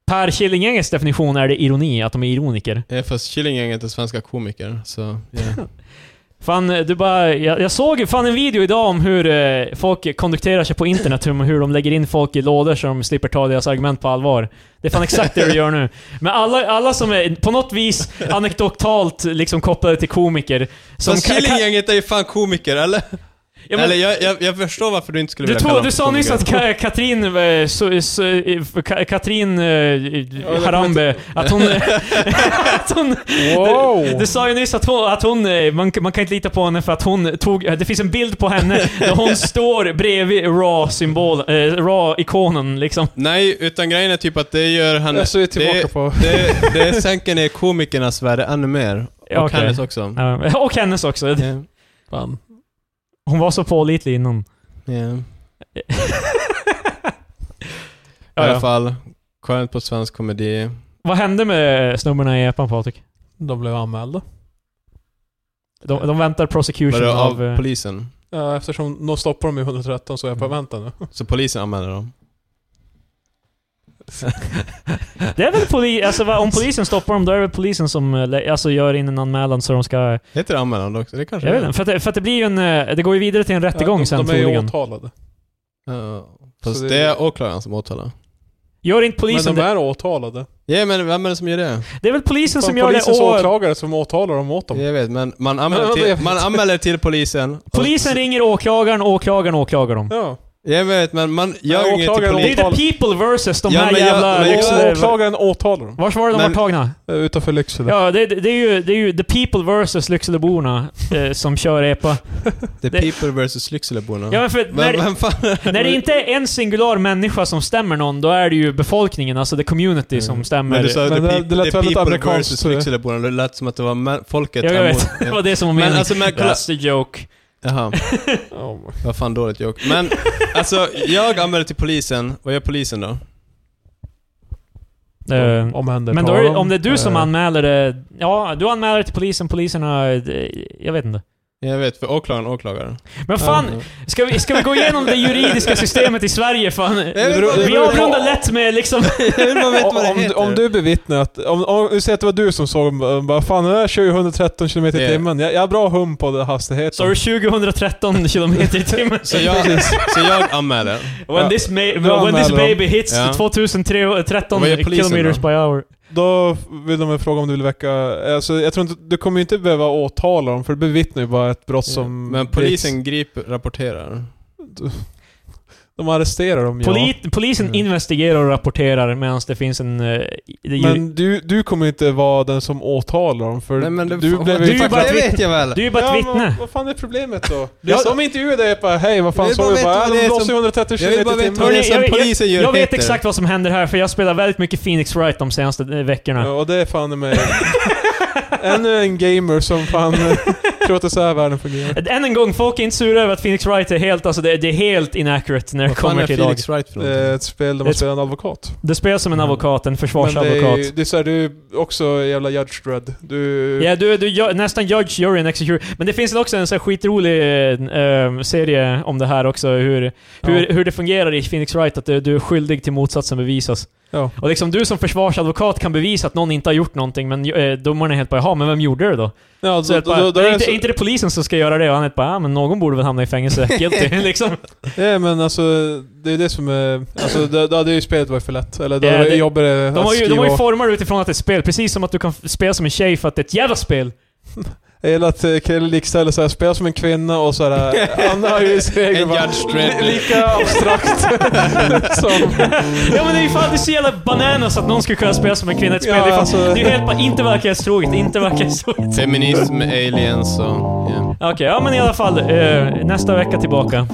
Speaker 2: Per Killinggängets definition är det ironi, att de är ironiker.
Speaker 1: Ja, fast Killinggänget är svenska komiker, så... ja.
Speaker 2: Fan, du bara... Jag, jag såg ju fan en video idag om hur eh, folk kondukterar sig på internet, hur, hur de lägger in folk i lådor så de slipper ta deras argument på allvar. Det är fan exakt det du gör nu. Men alla, alla som är på något vis anekdotalt liksom kopplade till komiker, som
Speaker 1: Fast
Speaker 2: kan- kan-
Speaker 1: Killinggänget är ju fan komiker, eller?
Speaker 2: Ja, men-
Speaker 1: Eller jag, jag, jag förstår varför du inte skulle
Speaker 2: Du,
Speaker 1: vilja
Speaker 2: tog,
Speaker 1: kalla
Speaker 2: du
Speaker 1: dem
Speaker 2: sa
Speaker 1: komiker.
Speaker 2: nyss att Ka- Katrin, eh, så, så, eh, Ka- Katrin eh,
Speaker 3: kommer
Speaker 2: Harambe, att hon... att hon
Speaker 3: Wow!
Speaker 2: du, du sa ju nyss att hon, att hon eh, man, man kan inte lita på henne för att hon tog, eh, det finns en bild på henne där hon står bredvid RAW-symbol, eh, RAW-ikonen liksom.
Speaker 1: Nej, utan grejen är typ att det gör han...
Speaker 3: Jag ser tillbaka
Speaker 1: det,
Speaker 3: på...
Speaker 1: det, det sänker ner komikernas värde ännu mer. Och
Speaker 2: Ja, okej.
Speaker 1: hennes också.
Speaker 2: Ja, Och hennes också.
Speaker 1: Ja.
Speaker 3: Fan.
Speaker 2: Hon var så pålitlig innan.
Speaker 1: ja. I
Speaker 2: Ja,
Speaker 1: alla
Speaker 2: ja.
Speaker 1: fall, skönt på svensk komedi.
Speaker 2: Vad hände med snubbarna i epan Patrik?
Speaker 3: De blev anmälda.
Speaker 2: De, de väntar
Speaker 1: Var
Speaker 2: prosecution
Speaker 1: det
Speaker 2: av...
Speaker 1: av
Speaker 2: eh,
Speaker 1: polisen?
Speaker 3: Ja, eftersom de stoppade dem i 113 så jag
Speaker 1: Mm.
Speaker 3: bara, vänta nu.
Speaker 1: Så polisen anmäler dem?
Speaker 2: Det är väl poli alltså, va- om polisen stoppar dem, då är det väl polisen som eh, lä- alltså, gör in en anmälan så de ska...
Speaker 1: Heter det anmälan också? Det kanske
Speaker 2: Jag vet inte, för att, det- för att det blir ju en... eh, Det går ju vidare till en rättegång
Speaker 3: de,
Speaker 2: sen
Speaker 3: De är ju
Speaker 2: troligen.
Speaker 3: åtalade.
Speaker 1: Ja, fast
Speaker 3: Så
Speaker 1: det...
Speaker 3: det-
Speaker 1: är åklagaren som åtalar.
Speaker 2: Gör inte polisen
Speaker 3: men
Speaker 2: det?
Speaker 3: de är åtalade.
Speaker 1: Ja, men vem är det som gör det?
Speaker 2: Det är väl polisen
Speaker 3: Fan,
Speaker 2: som gör det
Speaker 3: Polisens
Speaker 2: och...
Speaker 3: åklagare som åtalar dem åt dem.
Speaker 1: Jag vet, men man
Speaker 3: Ja,
Speaker 1: anmäler
Speaker 3: det-
Speaker 1: till, man anmäler till polisen. och-
Speaker 2: Polisen ringer åklagaren, åklagaren åklagar dem.
Speaker 3: Ja.
Speaker 1: Jag vet, men man gör
Speaker 3: Nej,
Speaker 1: inget till
Speaker 3: åklagaren
Speaker 2: Det är ju
Speaker 1: polisen.
Speaker 3: åtal-
Speaker 2: the people versus de
Speaker 1: Ja,
Speaker 2: här
Speaker 1: men jag-
Speaker 2: jävla...
Speaker 1: men jag-
Speaker 2: Lycksele-
Speaker 3: Åklagaren åtalar dem.
Speaker 2: Vars var det de
Speaker 1: Men-
Speaker 2: var tagna?
Speaker 3: Eh, Utanför Lycksele.
Speaker 2: Ja, det, det, är ju, det är ju the people versus Lyckseleborna eh, som kör EPA.
Speaker 1: The
Speaker 2: det-
Speaker 1: people vs Lyckseleborna.
Speaker 2: Ja, men för när,
Speaker 1: vem, vem fan?
Speaker 2: när det inte är en singular människa som stämmer någon, då är det ju befolkningen, alltså the community,
Speaker 1: Mm.
Speaker 2: som stämmer.
Speaker 1: Men du sa
Speaker 3: Men
Speaker 1: the,
Speaker 3: det-
Speaker 1: peop-
Speaker 3: det
Speaker 1: the
Speaker 3: lät väldigt
Speaker 1: people
Speaker 3: amerikanskt,
Speaker 1: versus
Speaker 3: så det-
Speaker 1: Lyckseleborna. Det lät som att det var mä- folket
Speaker 2: Ja, jag vet.
Speaker 1: emot-
Speaker 2: Det var det som var meningen.
Speaker 1: Men alltså, men kolla.
Speaker 2: That's the joke.
Speaker 1: Jaha,
Speaker 3: Oh.
Speaker 1: vad fan dåligt joke. Men alltså, jag anmäler till polisen. Vad gör polisen då?
Speaker 2: Eh,
Speaker 3: Omhändertar
Speaker 2: men då är, det-
Speaker 3: dem.
Speaker 2: om det är du som
Speaker 3: Eh,
Speaker 2: anmäler det... Ja, du anmäler det till polisen, poliserna... eh, Jag vet inte.
Speaker 1: Jag vet, för åklagaren åklagar.
Speaker 2: Men fan, ska vi, ska vi gå igenom det juridiska systemet i Sverige? Fan?
Speaker 1: vet
Speaker 3: inte, det
Speaker 2: Vi
Speaker 3: beror på-
Speaker 2: avrundar lätt med liksom...
Speaker 1: man vet vad det
Speaker 3: om,
Speaker 1: heter.
Speaker 3: om du bevittnar att, om, om vi säger att det var du som såg dem, bara fan den där kör ju 113 km i
Speaker 1: Det-
Speaker 3: timmen. Jag, jag har bra hum på det hastigheten.
Speaker 2: Så har du 2013 kilometer i timmen.
Speaker 1: Så jag, så jag anmäler.
Speaker 2: When this, ma-
Speaker 3: anmäler
Speaker 2: when this
Speaker 3: dem.
Speaker 2: baby hits
Speaker 1: Ja.
Speaker 2: 2013
Speaker 1: Vad gör polisen
Speaker 2: kilometers
Speaker 1: då?
Speaker 2: by hour.
Speaker 3: Då vill de väl fråga om du vill väcka... Alltså, jag tror inte, du kommer ju inte behöva åtala dem, för du bevittnar ju bara ett brott som...
Speaker 1: Men polisen griper, rapporterar.
Speaker 3: De arresterar dem ja.
Speaker 2: Poli- polisen
Speaker 1: Mm.
Speaker 2: investigerar och rapporterar medan det finns en... eh, det ju-
Speaker 3: Men du, du kommer ju inte vara den som åtalar dem, för du blev
Speaker 2: du är ju bara ett vittne.
Speaker 1: jag väl.
Speaker 2: Du är ju bara ett
Speaker 3: Ja, men
Speaker 2: vittne.
Speaker 3: vad- vad fan är problemet då?
Speaker 2: Ja.
Speaker 3: Ja. De intervjuade dig och bara hej, vad
Speaker 1: Jag
Speaker 3: fan
Speaker 1: vill
Speaker 3: sa
Speaker 1: bara
Speaker 3: du?
Speaker 1: veta
Speaker 3: Bara,
Speaker 1: vad det
Speaker 3: äh,
Speaker 1: är
Speaker 3: de blåser
Speaker 1: som-
Speaker 3: 130
Speaker 1: jag vill bara
Speaker 3: km i
Speaker 1: veta vad
Speaker 3: timmen.
Speaker 1: det är
Speaker 2: Hörrni,
Speaker 1: som
Speaker 2: jag-
Speaker 1: polisen gör
Speaker 2: Jag vet
Speaker 1: heter.
Speaker 2: exakt vad som händer här, för jag spelar väldigt mycket Phoenix Wright de senaste eh, veckorna.
Speaker 3: Ja, och det är fan med Ännu en gamer som fan eh, tror att det är så här världen fungerar.
Speaker 2: Än en gång, folk är inte sura över att Phoenix Wright är helt, alltså det, det är helt inaccurate när det
Speaker 1: Vad fan
Speaker 2: kommer
Speaker 1: är
Speaker 2: till idag.
Speaker 1: Felix Wright för
Speaker 3: Det är
Speaker 1: någonting?
Speaker 3: ett spel där man
Speaker 2: Ett-
Speaker 3: spelar en advokat.
Speaker 2: Det spelas som en
Speaker 1: Mm.
Speaker 2: advokat, en
Speaker 3: Men det är,
Speaker 2: försvarsadvokat.
Speaker 3: ju- det är så här, du är också jävla judge dread. Du...
Speaker 2: Ja, du, du ju- nästan judge, jury and executor. Men det finns också en så här skitrolig eh, serie om det här också, hur, hur, hur det fungerar i Phoenix Wright, att du, du är skyldig till motsatsen bevisas.
Speaker 3: Ja.
Speaker 2: Och liksom du som försvarsadvokat kan bevisa att någon inte har gjort någonting, men eh, domarna är helt bara ”Jaha, men vem gjorde det då?”
Speaker 3: Ja, alltså,
Speaker 2: Så
Speaker 3: då-
Speaker 2: är det bara,
Speaker 3: då- då- då
Speaker 2: "Men
Speaker 3: är det
Speaker 2: inte,
Speaker 3: så-
Speaker 2: inte det polisen som ska göra det?” och han är bara ah, men någon borde väl hamna i fängelse, guilty” liksom.
Speaker 3: Nej men alltså, det är det som är... Alltså då då hade ju spelet varit för lätt. Eller då
Speaker 2: Ja,
Speaker 3: yeah,
Speaker 2: det-
Speaker 3: jobbar det
Speaker 2: De har
Speaker 3: att
Speaker 2: ju,
Speaker 3: skriva...
Speaker 2: de har ju format det utifrån att det är ett spel, precis som att du kan f- spela som en tjej för att det är ett jävla spel.
Speaker 3: Jag gillar att eh, Kalle likställer såhär, spela som en kvinna och såhär... Anna har ju sin egen...
Speaker 1: En
Speaker 3: bara-
Speaker 1: judge dread.
Speaker 3: li- Lika abstrakt som...
Speaker 2: Ja men det är ju fan, det är så jävla bananas att någon skulle kunna spela som en kvinna i ett spel.
Speaker 3: Ja,
Speaker 2: det, är fan,
Speaker 3: alltså-
Speaker 2: det är ju helt bara, inte verklighetstroget, inte verklighetstroget.
Speaker 1: Feminism, aliens och... ja.
Speaker 2: Okej, ja men i alla fall, eh, nästa vecka tillbaka.